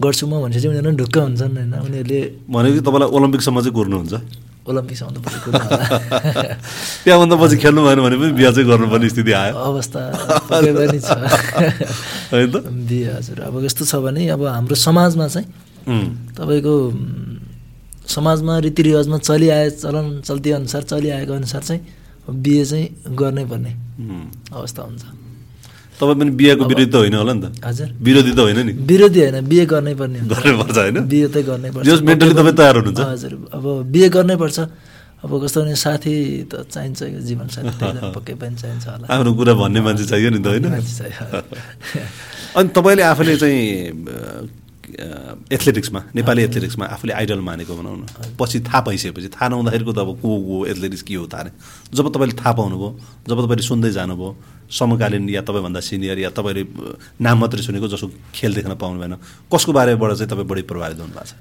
Speaker 2: गर्छु म भनेपछि चाहिँ उनीहरू ढुक्क हुन्छन् होइन उनीहरूले
Speaker 1: भनेपछि तपाईँलाई ओलम्पिकसम्म चाहिँ कुर्नुहुन्छ
Speaker 2: ओलम्पिकसम्म त पुगेको होला।
Speaker 1: त्यहाँभन्दा पछि खेल्नु भएन भने पनि बिहा चाहिँ गर्नुपर्ने स्थिति आयो
Speaker 2: अवस्था पुगेको पनि छ
Speaker 1: होइन त
Speaker 2: बिहे हजुर अब यस्तो छ भने अब हाम्रो समाजमा चाहिँ
Speaker 1: उम्,
Speaker 2: तपाईँको उम्, समाजमा रीतिरिवाजमा चलिआए चलन चल्तीअनुसार चलिआएको अनुसार चाहिँ बिहे चाहिँ गर्नै पर्ने
Speaker 1: उम्।
Speaker 2: अवस्था हुन्छ
Speaker 1: तपाईँ पनि बिहाको विरोधी त होइन होला नि त
Speaker 2: हजुर
Speaker 1: विरोधी त होइन नि
Speaker 2: विरोधी होइन बिहे गर्नै पर्ने हुन्छ।
Speaker 1: गर्नुपर्छ होइन
Speaker 2: बिहे त गर्नै पर्छ
Speaker 1: जस mentally तपाईँ तयार हुनुहुन्छ।
Speaker 2: हजुर अब बिहे गर्नै पर्छ अब कस्तो भने साथी त चाहिन्छ यो जीवन साथी त्यही त पक्कै पनि चाहिन्छ होला
Speaker 1: आफ्नो कुरा भन्ने मान्छे चाहियो नि त होइन
Speaker 2: मान्छे चाहियो।
Speaker 1: अनि तपाईँले आफूले चाहिँ अ, एथलेटिक्समा नेपाली एथलेटिक्समा आफूले आइडल मानेको भनौँ न पछि थाहा पाइसकेपछि थाहा नहुँदाखेरिको त अब को हो एथलेटिक्स के हो थाहा नै जब तपाईँले थाहा पाउनुभयो जब तपाईँले सुन्दै जानुभयो समकालीन या तपाईँभन्दा सिनियर या तपाईँले अ, नाम मात्रै सुनेको जसको खेल देख्न पाउनु भएन कसको बारेबाट चाहिँ तपाईँ बढी प्रभावित हुनुभएको छ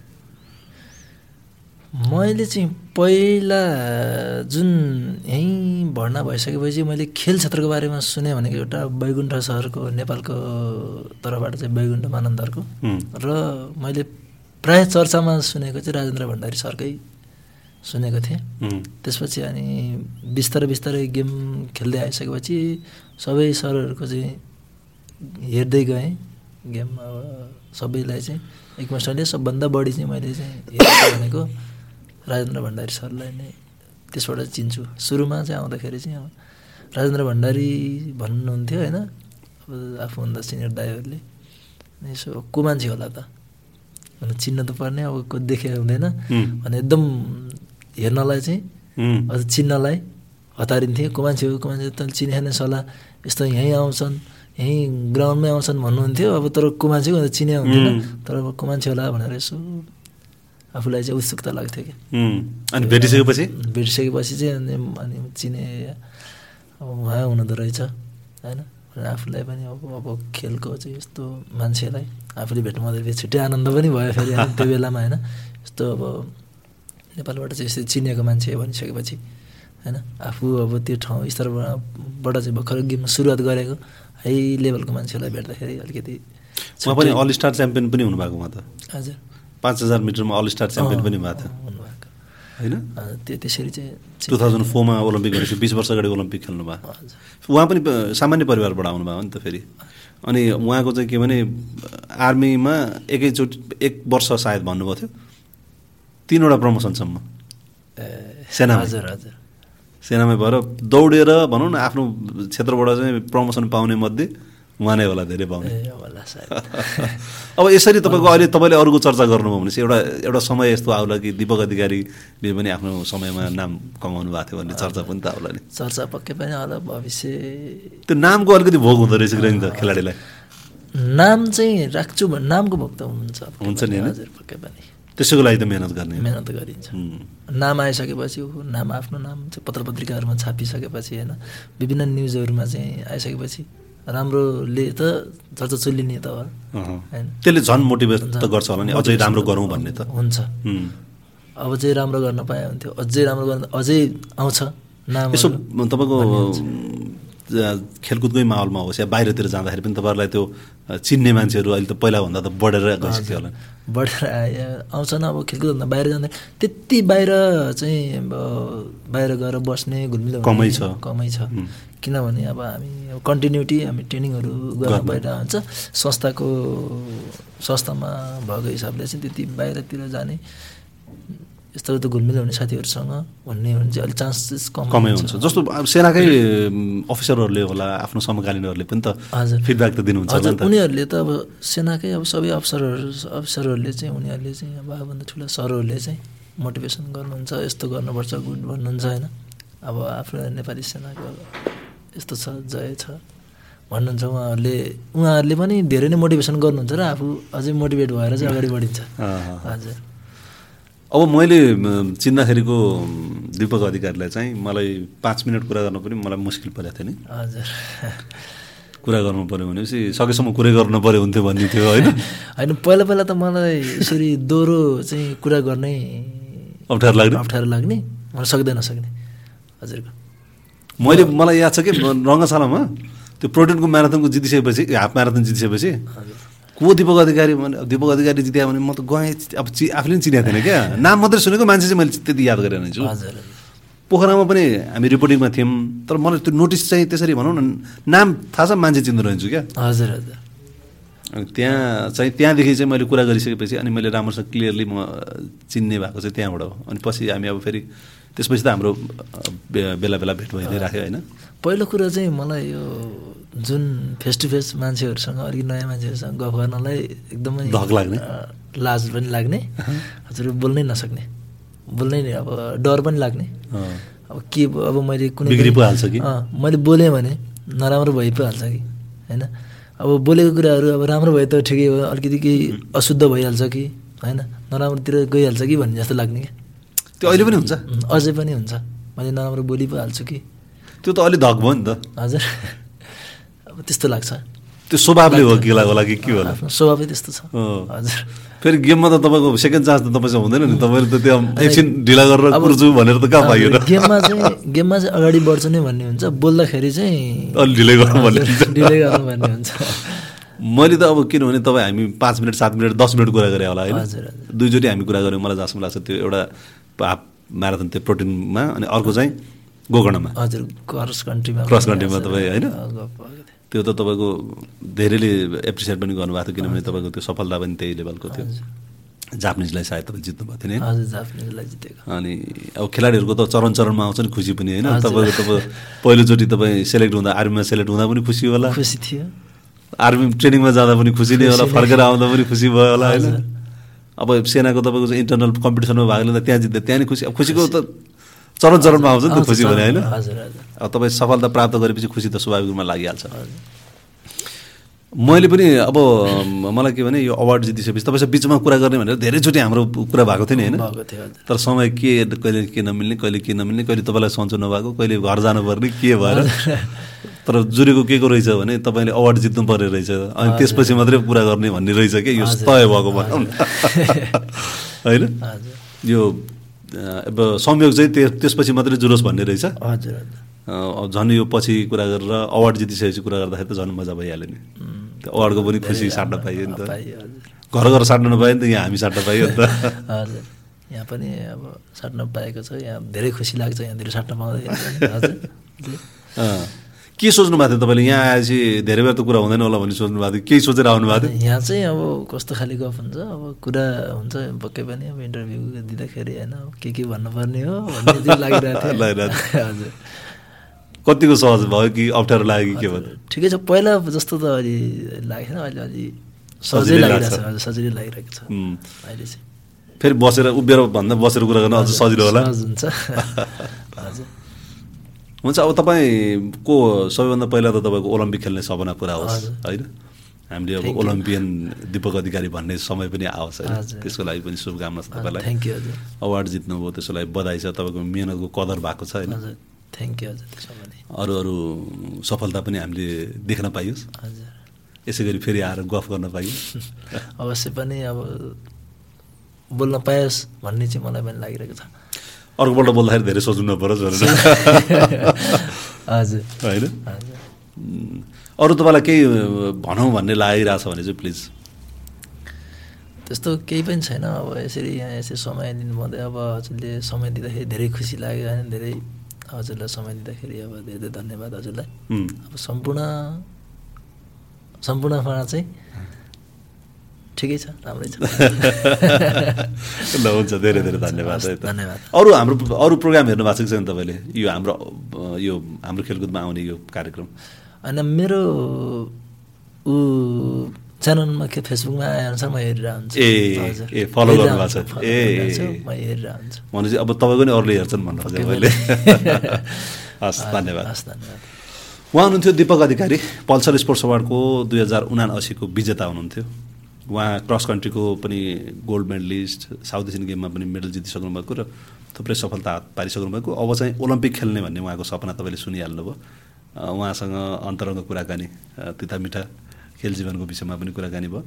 Speaker 2: मैले चाहिँ पहिला जुन यहीँ भर्ना भइसकेपछि मैले खेल क्षेत्रको बारेमा सुने भनेको एउटा बैकुण्ठ सहरको नेपालको तर्फबाट चाहिँ बैकुण्ठ मानन्दरको
Speaker 1: हुँ।
Speaker 2: र मैले प्राय चर्चामा सुनेको चाहिँ राजेन्द्र भण्डारी सरकै सुनेको थिएँ
Speaker 1: हुँ।
Speaker 2: त्यसपछि अनि बिस्तारै बिस्तारै गेम खेल्दै आइसकेपछि सबै सरहरूको चाहिँ हेर्दै गएँ गेम अब सबैलाई चाहिँ एकमास्टरले सबभन्दा बढी चाहिँ मैले चाहिँ हेरेको भनेको राजेन्द्र भण्डारी सरलाई नै त्यसबाट चिन्छु सुरुमा चाहिँ आउँदाखेरि चाहिँ अब राजेन्द्र भण्डारी भन्नुहुन्थ्यो होइन अब आफूभन्दा सिनियर दाईहरूले अनि यसो को मान्छे होला त भनेर चिन्न त पर्ने अब को देखेको हुँदैन
Speaker 1: हुँ।
Speaker 2: भने एकदम हेर्नलाई चाहिँ
Speaker 1: हुँ।
Speaker 2: अझ चिन्नलाई हतारिन्थे को मान्छे हो को मान्छे हो, तैँले चिने नै सल्लाह यस्तो यहीँ आउँछन् यहीँ ग्राउन्डमै आउँछन् भन्नुहुन्थ्यो अब तर को मान्छे हो भनेर चिने हुन्थेन
Speaker 1: उम्।
Speaker 2: तर अब को मान्छे होला भनेर यसो आफूलाई चाहिँ उत्सुकता लाग्थ्यो कि
Speaker 1: हुँ। अनि भेटिसकेपछि
Speaker 2: भेटिसकेपछि चाहिँ अनि अनि चिने अब उहाँ हुनुहुँदो रहेछ होइन र आफूलाई पनि अब अब खेलको चाहिँ यस्तो मान्छेलाई आफूले भेट्नु पाउँदाखेरि छुट्टै आनन्द पनि भयो फेरि अनि त्यो बेलामा होइन यस्तो अब नेपालबाट चाहिँ यस्तो चिनिएको मान्छे भनिसकेपछि होइन आफू अब त्यो ठाउँ स्तरबाट चाहिँ भर्खर गेम सुरुवात गरेको हाई लेभलको मान्छेलाई भेट्दाखेरि अलिकति
Speaker 1: उहाँ पनि अल स्टार च्याम्पियन पनि हुनुभएको उहाँ त
Speaker 2: हजुर
Speaker 1: पाँच हजार मिटरमा अल स्टार च्याम्पियन पनि भएको थियो
Speaker 2: हुनुभएको
Speaker 1: होइन
Speaker 2: अँ, त्यो त्यसरी चाहिँ
Speaker 1: टु थाउजन्ड फोरमा ओलम्पिक गरेपछि बिस वर्ष अगाडि ओलम्पिक खेल्नु भयो
Speaker 2: हजुर
Speaker 1: उहाँ पनि प- सामान्य परिवारबाट आउनुभयो नि त फेरि अनि उहाँको चाहिँ के भने आर्मीमा एकैचोटि एक वर्ष सायद भन्नुभएको थियो तिनवटा प्रमोसनसम्म
Speaker 2: ए,
Speaker 1: सेनामा।
Speaker 2: हजुर हजुर
Speaker 1: सेनामा भएर दौडेर भनौँ न आफ्नो क्षेत्रबाट चाहिँ प्रमोसन पाउने मध्ये उहाँ नै होला धेरै पाउने
Speaker 2: ए होला सायद
Speaker 1: अब यसरी तपाईँको अहिले तपाईँले अरूको चर्चा गर्नुभयो भने चाहिँ एउटा एउटा समय यस्तो आउला कि दिपक अधिकारीले पनि आफ्नो समयमा नाम कमाउनु भएको थियो भन्ने चर्चा पनि त आउला नि
Speaker 2: चर्चा पक्कै पनि होला भविष्य
Speaker 1: त्यो नामको अलिकति भोग हुँदो रहेछ किनभने त खेलाडीलाई
Speaker 2: नाम चाहिँ राख्छु भने नामको भक्त हुन्छ पक्कै
Speaker 1: हुन्छ नि,
Speaker 2: पनि,
Speaker 1: होइन?
Speaker 2: हजुर पक्कै पनि
Speaker 1: त्यसैको लागि त मिहिनेत गर्ने हो।
Speaker 2: मेहनत गरिन्छ
Speaker 1: हुँ।
Speaker 2: नाम आइसकेपछि ऊ नाम आफ्नो नाम चाहिँ पत्र पत्रिकाहरूमा छापिसकेपछि होइन विभिन्न न्युजहरूमा चाहिँ आइसकेपछि राम्रोले त चर्चा चुलिने त हो
Speaker 1: अहँ।
Speaker 2: होइन
Speaker 1: त्यसले झन् मोटिभेट त गर्छ होला नि अझै राम्रो गरौँ भन्ने त
Speaker 2: हुन्छ
Speaker 1: हुँ।
Speaker 2: अब चाहिँ राम्रो गर्न पाए हुन्थ्यो अझै राम्रो गर्न अझै आउँछ नाम
Speaker 1: यसो तपाईँको खेलकुदकै माहौलमा होस् या बाहिरतिर जाँदाखेरि पनि तपाईँहरूलाई त्यो चिन्ने मान्छेहरू अहिले त पहिलाभन्दा त बढेर गइसक्यो होला
Speaker 2: बढेर आयो आउँछन् अब खेलकुदभन्दा बाहिर जाँदा त्यति बाहिर चाहिँ अब बाहिर गएर बस्ने घुलमिल हुने
Speaker 1: कमै छ।
Speaker 2: कमै छ
Speaker 1: हुँ।
Speaker 2: किनभने अब हामी अब कन्टिन्युटी हामी ट्रेनिङहरू गर्न
Speaker 1: गर्न।
Speaker 2: भइरहेको हुन्छ संस्थाको संस्थामा भएको हिसाबले चाहिँ त्यति बाहिरतिर जाने यस्तो त घुलमिल हुने साथीहरूसँग भन्ने हो भने चाहिँ अलिक चान्सेस कम
Speaker 1: कमै हुन्छ जस्तो अब सेनाकै अम, अफिसरहरूले होला आफ्नो समकालीनहरूले पनि त
Speaker 2: हजुर।
Speaker 1: फिडब्याक त दिनुहुन्छ होला
Speaker 2: हजुर
Speaker 1: नि त।
Speaker 2: उनीहरूले त अब सेनाकै अब सबै अफसरहरू अफसरहरूले चाहिँ उनीहरूले चाहिँ अब आफूभन्दा ठुला सरहरूले चाहिँ मोटिभेसन गर्नुहुन्छ यस्तो गर्नुपर्छ गुड भन्नुहुन्छ होइन अब आफ्नो नेपाली सेनाको यस्तो छ जय छ भन्नुहुन्छ उहाँहरूले उहाँहरूले पनि धेरै नै मोटिभेसन गर्नुहुन्छ र आफू अझै मोटिभेट भएर चाहिँ अगाडि बढिन्छ
Speaker 1: अँ।
Speaker 2: हजुर
Speaker 1: अब मैले म, चिन्दाखेरिको म, दीपक अधिकारीलाई चाहिँ मलाई पाँच मिनट कुरा गर्नु पनि मलाई मुस्किल परेको थियो नि
Speaker 2: हजुर
Speaker 1: कुरा गर्नु पऱ्यो भनेपछि सकेसम्म कुरै गर्नु पऱ्यो हुन्थ्यो भन्ने थियो होइन
Speaker 2: होइन पहिला पहिला त मलाई यसरी दोहोरो चाहिँ कुरा गर्नै
Speaker 1: अप्ठ्यारो लाग्ने
Speaker 2: अप्ठ्यारो लाग्ने मलाई सक्दै नसक्ने हजुरको
Speaker 1: मैले मलाई याद छ कि म रङ्गशालामा त्यो प्रोटिनको म्याराथनको जितिसकेपछि ए, हाफ म्याराथन जितिसकेपछि को दीपक अधिकारी भने अब दीपक अधिकारी जित्यो भने म त गएँ अब चि आफूले पनि चिनेको थिएन क्या नाम मात्रै सुनेको मान्छे चाहिँ मैले त्यति याद गरेन छु
Speaker 2: हजुर
Speaker 1: पोखरामा पनि हामी रिपोर्टिङमा थियौँ तर मलाई त्यो नोटिस चाहिँ त्यसरी भनौँ न नाम थाहा छ मान्छे चिन्दो रहन्छु क्या
Speaker 2: हजुर हजुर
Speaker 1: अनि त्यहाँ चाहिँ त्यहाँदेखि चाहिँ मैले कुरा गरिसकेपछि अनि मैले राम्रोसँग क्लियरली म चिन्ने भएको चाहिँ त्यहाँबाट हो अनि पछि हामी अब फेरि त्यसपछि त हाम्रो अ, बे- बेला बेला भेट भइ नै राख्यो होइन
Speaker 2: पहिलो कुरा चाहिँ मलाई यो जुन फेस टु फेस मान्छेहरूसँग अलिक नयाँ मान्छेहरूसँग गफ गर्नलाई एकदमै
Speaker 1: धक लाग्ने?
Speaker 2: अ, लाज पनि लाग्ने हजुर बोल्नै नसक्ने बोल्नै नै अब डर पनि लाग्ने
Speaker 1: अँ।
Speaker 2: अब के ब- अब मैले कुनै
Speaker 1: बिग्री
Speaker 2: पनि-
Speaker 1: पो हाल्छ कि?
Speaker 2: अँ, मैले बोलेँ भने नराम्रो भइ पो हाल्छ कि होइन अब बोलेको कुराहरू अब राम्रो भए त ठिकै हो अलिकति केही अशुद्ध भइहाल्छ कि होइन नराम्रोतिर गइहाल्छ कि भन्ने जस्तो लाग्ने क्या
Speaker 1: त्यो अहिले पनि हुन्छ
Speaker 2: उम्, अझै पनि हुन्छ मैले नराम्रो बोली पो हाल्छु कि
Speaker 1: त्यो त अलि धक भयो नि त
Speaker 2: हजुर अब त्यस्तो लाग्छ
Speaker 1: त्यो स्वभावले हो कि होला कि के होला
Speaker 2: आफ्नो स्वभावै त्यस्तो छ
Speaker 1: अँ।
Speaker 2: हजुर
Speaker 1: फेरि गेममा त तपाईँको सेकेन्ड चान्स त तपाईँसँग हुँदैन नि तपाईँले त त्यहाँ एकछिन ढिला गरेर
Speaker 2: अब-
Speaker 1: कुर्छु भनेर त कहाँ
Speaker 2: अब
Speaker 1: पाइयो र
Speaker 2: गेममा चाहिँ गेममा चाहिँ अगाडि बढ्छु नै भन्ने हुन्छ बोल्दाखेरि चाहिँ
Speaker 1: अलि ढिलै गर्नु भन्ने
Speaker 2: हजुर,
Speaker 1: हुन्छ।
Speaker 2: ढिलै गर्नु भन्ने हुन्छ
Speaker 1: मैले त अब किनभने तपाईँ हामी पाँच मिनट सात मिनट दस मिनट कुरा गरे होला
Speaker 2: हजुर,
Speaker 1: होइन दुईचोटि हामी कुरा गऱ्यौँ मलाई जहाँसम्म लाग्छ त्यो एउटा हाफ म्याराथन त्यो प्रोटिनमा अनि अर्को चाहिँ गोकर्णमा
Speaker 2: हजुर क्रस कन्ट्रीमा
Speaker 1: क्रस कन्ट्रीमा तपाईँ होइन?
Speaker 2: होइन
Speaker 1: त्यो त तपाईँको धेरैले एप्रिसिएट पनि गर्नुभएको थियो किनभने तपाईँको त्यो सफलता पनि त्यही लेभलको थियो जापानिजलाई सायद तपाईँ जित्नुभएको थियो नि होइन?
Speaker 2: हजुर जापानिजलाई जितेको
Speaker 1: अनि अब खेलाडीहरूको त चरण चरणमा आउँछ नि खुसी पनि होइन
Speaker 2: हजुर।
Speaker 1: तपाईँको तपाईँ पहिलोचोटि तपाईँ सेलेक्ट हुँदा आर्मीमा सेलेक्ट हुँदा पनि खुसी होला
Speaker 2: खुसी थियो
Speaker 1: आर्मी ट्रेनिङमा जाँदा पनि खुसी नै होला
Speaker 2: खुसी नै।
Speaker 1: फर्केर आउँदा पनि खुसी भयो होला होइन
Speaker 2: हजुर।
Speaker 1: अब सेनाको तपाईँको चाहिँ इन्टरनल कम्पिटिसनमा भाग लिँदा त्यहाँ जित्दा त्यहाँ नै खुसी अब खुसीको त चरण चरणमा आउँछ नि त
Speaker 2: आउँछ,
Speaker 1: खुसी भने होइन
Speaker 2: हजुर हजुर
Speaker 1: अब तपाईँ सफलता प्राप्त गरेपछि खुसी त स्वाभाविक रूपमा लागिहाल्छ मैले पनि अब म- मलाई के भने यो अवार्ड जितिसकेपछि तपाईँसँग बिचमा कुरा गर्ने भनेर धेरैचोटि हाम्रो कुरा भएको थियो नि होइन
Speaker 2: भएको थियो हजुर
Speaker 1: तर समय के कहिले के नमिल्ने कहिले के नमिल्ने कहिले तपाईँलाई सन्चो नभएको कहिले घर जानुपर्ने के भएर तर जुरेको के को रहेछ भने तपाईँले अवार्ड जित्नु पर्ने रहेछ अनि त्यसपछि मात्रै कुरा गर्ने भन्ने रहेछ कि यो तय भएको भनौँ न। होइन
Speaker 2: हजुर
Speaker 1: यो अ, अब संयोग चाहिँ त्यो- त्यसपछि मात्रै जुरोस् भन्ने रहेछ
Speaker 2: हजुर हजुर
Speaker 1: अ, झन् यो पछि कुरा गरेर अवार्ड जितिसकेपछि कुरा गर्दाखेरि त झन् मजा भइहाल्यो नि त्यो अवार्डको पनि खुसी साट्न पाइयो नि त
Speaker 2: पाइयो हजुर
Speaker 1: घर घर साट्न नपायो नि त यहाँ हामी साट्न पाइयो नि त
Speaker 2: हजुर यहाँ पनि अब साट्न पाएको छ यहाँ धेरै खुसी लाग्छ यहाँनिर साट्न पाउँदाखेरि हजुर
Speaker 1: अँ। के सोच्नु भएको थियो तपाईँले यहाँ आएपछि धेरै बेर त कुरा हुँदैन होला भन्ने सोच्नु भएको थियो केही सोचेर आउनु भएको थियो
Speaker 2: यहाँ चाहिँ अब कस्तो खाले गफ हुन्छ अब कुरा हुन्छ पक्कै पनि अब इन्टरभ्यू दिँदाखेरि होइन अब के के भन्नुपर्ने हो भन्ने चाहिँ लागिरहेको
Speaker 1: लागिरहेको
Speaker 2: थियो हजुर
Speaker 1: कतिको सहज भयो कि अप्ठ्यारो लाग्यो कि के भन्नु
Speaker 2: ठिकै छ पहिला जस्तो त अलि लागेको छैन अहिले अलि सजिलै
Speaker 1: सजिलै लाग्छ।
Speaker 2: लागिरहेको छ हजुर सजिलै लागिरहेको छ
Speaker 1: उम्,
Speaker 2: अहिले चाहिँ
Speaker 1: फेरि बसेर उभिएर भन्दा बसेर कुरा गर्न अझ सजिलो होला
Speaker 2: सहज हुन्छ हजुर
Speaker 1: हुन्छ अब तपाईँको सबैभन्दा पहिला त तपाईँको ओलम्पिक खेल्ने सपना पुरा होस् होइन हामीले अब ओलम्पियन दीपक अधिकारी भन्ने समय पनि आओस् होइन
Speaker 2: हजुर।
Speaker 1: त्यसको लागि पनि शुभकामना छ तपाईँलाई
Speaker 2: थ्याङ्क यू हजुर
Speaker 1: अवार्ड जित्नुभयो त्यसको लागि बधाई छ तपाईँको मिहिनेतको कदर भएको छ होइन
Speaker 2: हजुर थ्याङ्क यू हजुर त्यसो भने
Speaker 1: अरू अरू सफलता पनि हामीले देख्न पाइयोस्
Speaker 2: हजुर
Speaker 1: यसै गरी फेरि आएर गफ गर्न पाइयो
Speaker 2: अवश्य पनि अब बोल्न पायोस् भन्ने चाहिँ मलाई पनि लागिरहेको छ
Speaker 1: अर्कोपल्ट बोल्दाखेरि धेरै सोच्नु नपरोस् भनेर
Speaker 2: हजुर
Speaker 1: होइन
Speaker 2: हजुर
Speaker 1: अरू तपाईँलाई केही भनौँ भन्ने लागिरहेछ भने चाहिँ प्लिज
Speaker 2: त्यस्तो केही पनि छैन अब यसरी यहाँ यसरी समय दिनुभयो अब हजुरले समय दिँदाखेरि धेरै खुसी लाग्यो होइन धेरै हजुरलाई समय दिँदाखेरि अब धेरै धेरै धन्यवाद हजुरलाई
Speaker 1: उम्,
Speaker 2: अब सम्पूर्ण सम्पूर्णमा चाहिँ ठिकै छ राम्रै छ
Speaker 1: ल हुन्छ धेरै धेरै धन्यवाद है त।
Speaker 2: धन्यवाद
Speaker 1: अरू हाम्रो अरू प्रोग्राम हेर्नु भएको छ कि छैन तपाईँले यो हाम्रो अ, यो हाम्रो खेलकुदमा आउने यो कार्यक्रम
Speaker 2: होइन मेरो ऊ च्यानलमा के फेसबुकमा आएअनुसार म हेरिरहन्छु
Speaker 1: ए,
Speaker 2: हजुर।
Speaker 1: ए, follow गर्नुभएको छ।
Speaker 2: हेरिरहन्छु,
Speaker 1: ए, ए,
Speaker 2: follow गरिरहन्छु,
Speaker 1: ए।
Speaker 2: म हेरिरहन्छु
Speaker 1: भनेपछि अब तपाईँ पनि अरूले हेर्छन् भन्नु खोजेँ मैले हस् धन्यवाद
Speaker 2: हस् धन्यवाद
Speaker 1: उहाँ हुनुहुन्थ्यो दीपक अधिकारी पल्सर स्पोर्ट्स अवार्डको दुई हजार उनासीको विजेता हुनुहुन्थ्यो उहाँ क्रस कन्ट्रीको पनि गोल्ड मेडलिस्ट साउथ एसियन गेममा पनि मेडल जितिसक्नु भएको र थुप्रै सफलता हात पारिसक्नु भएको अब चाहिँ ओलम्पिक खेल्ने भन्ने उहाँको सपना तपाईँले सुनिहाल्नुभयो अ, उहाँसँग अन्तरङ्ग कुराकानी अ, तिता मिठा खेल जीवनको विषयमा पनि कुराकानी भयो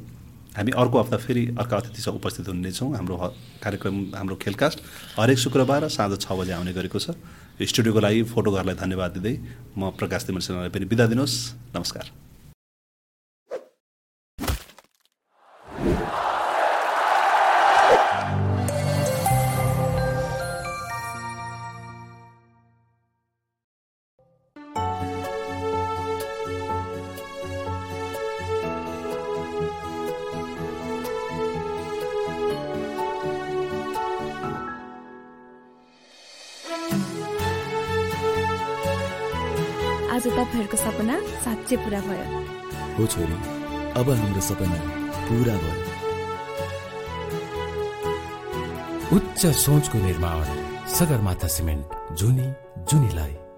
Speaker 1: हामी अर्को हप्ता फेरि अर्का अतिथिसँग उपस्थित हुनेछौँ हाम्रो ह- कार्यक्रम हाम्रो खेलकास्ट हरेक शुक्रबार साँझ छ बजे आउने गरेको छ स्टुडियोको लागि फोटोघरलाई धन्यवाद दिँदै म प्रकाश तिमल सेनालाई पनि बिदा दिनुहोस् नमस्कार
Speaker 3: आज तपाईँहरूको सपना साँच्चै पुरा भयो
Speaker 4: हो छोरी अब हाम्रो सपना पुरा भयो
Speaker 5: उच्च सोचको निर्माण सगरमाथा सिमेन्ट जुनी जुनीलाई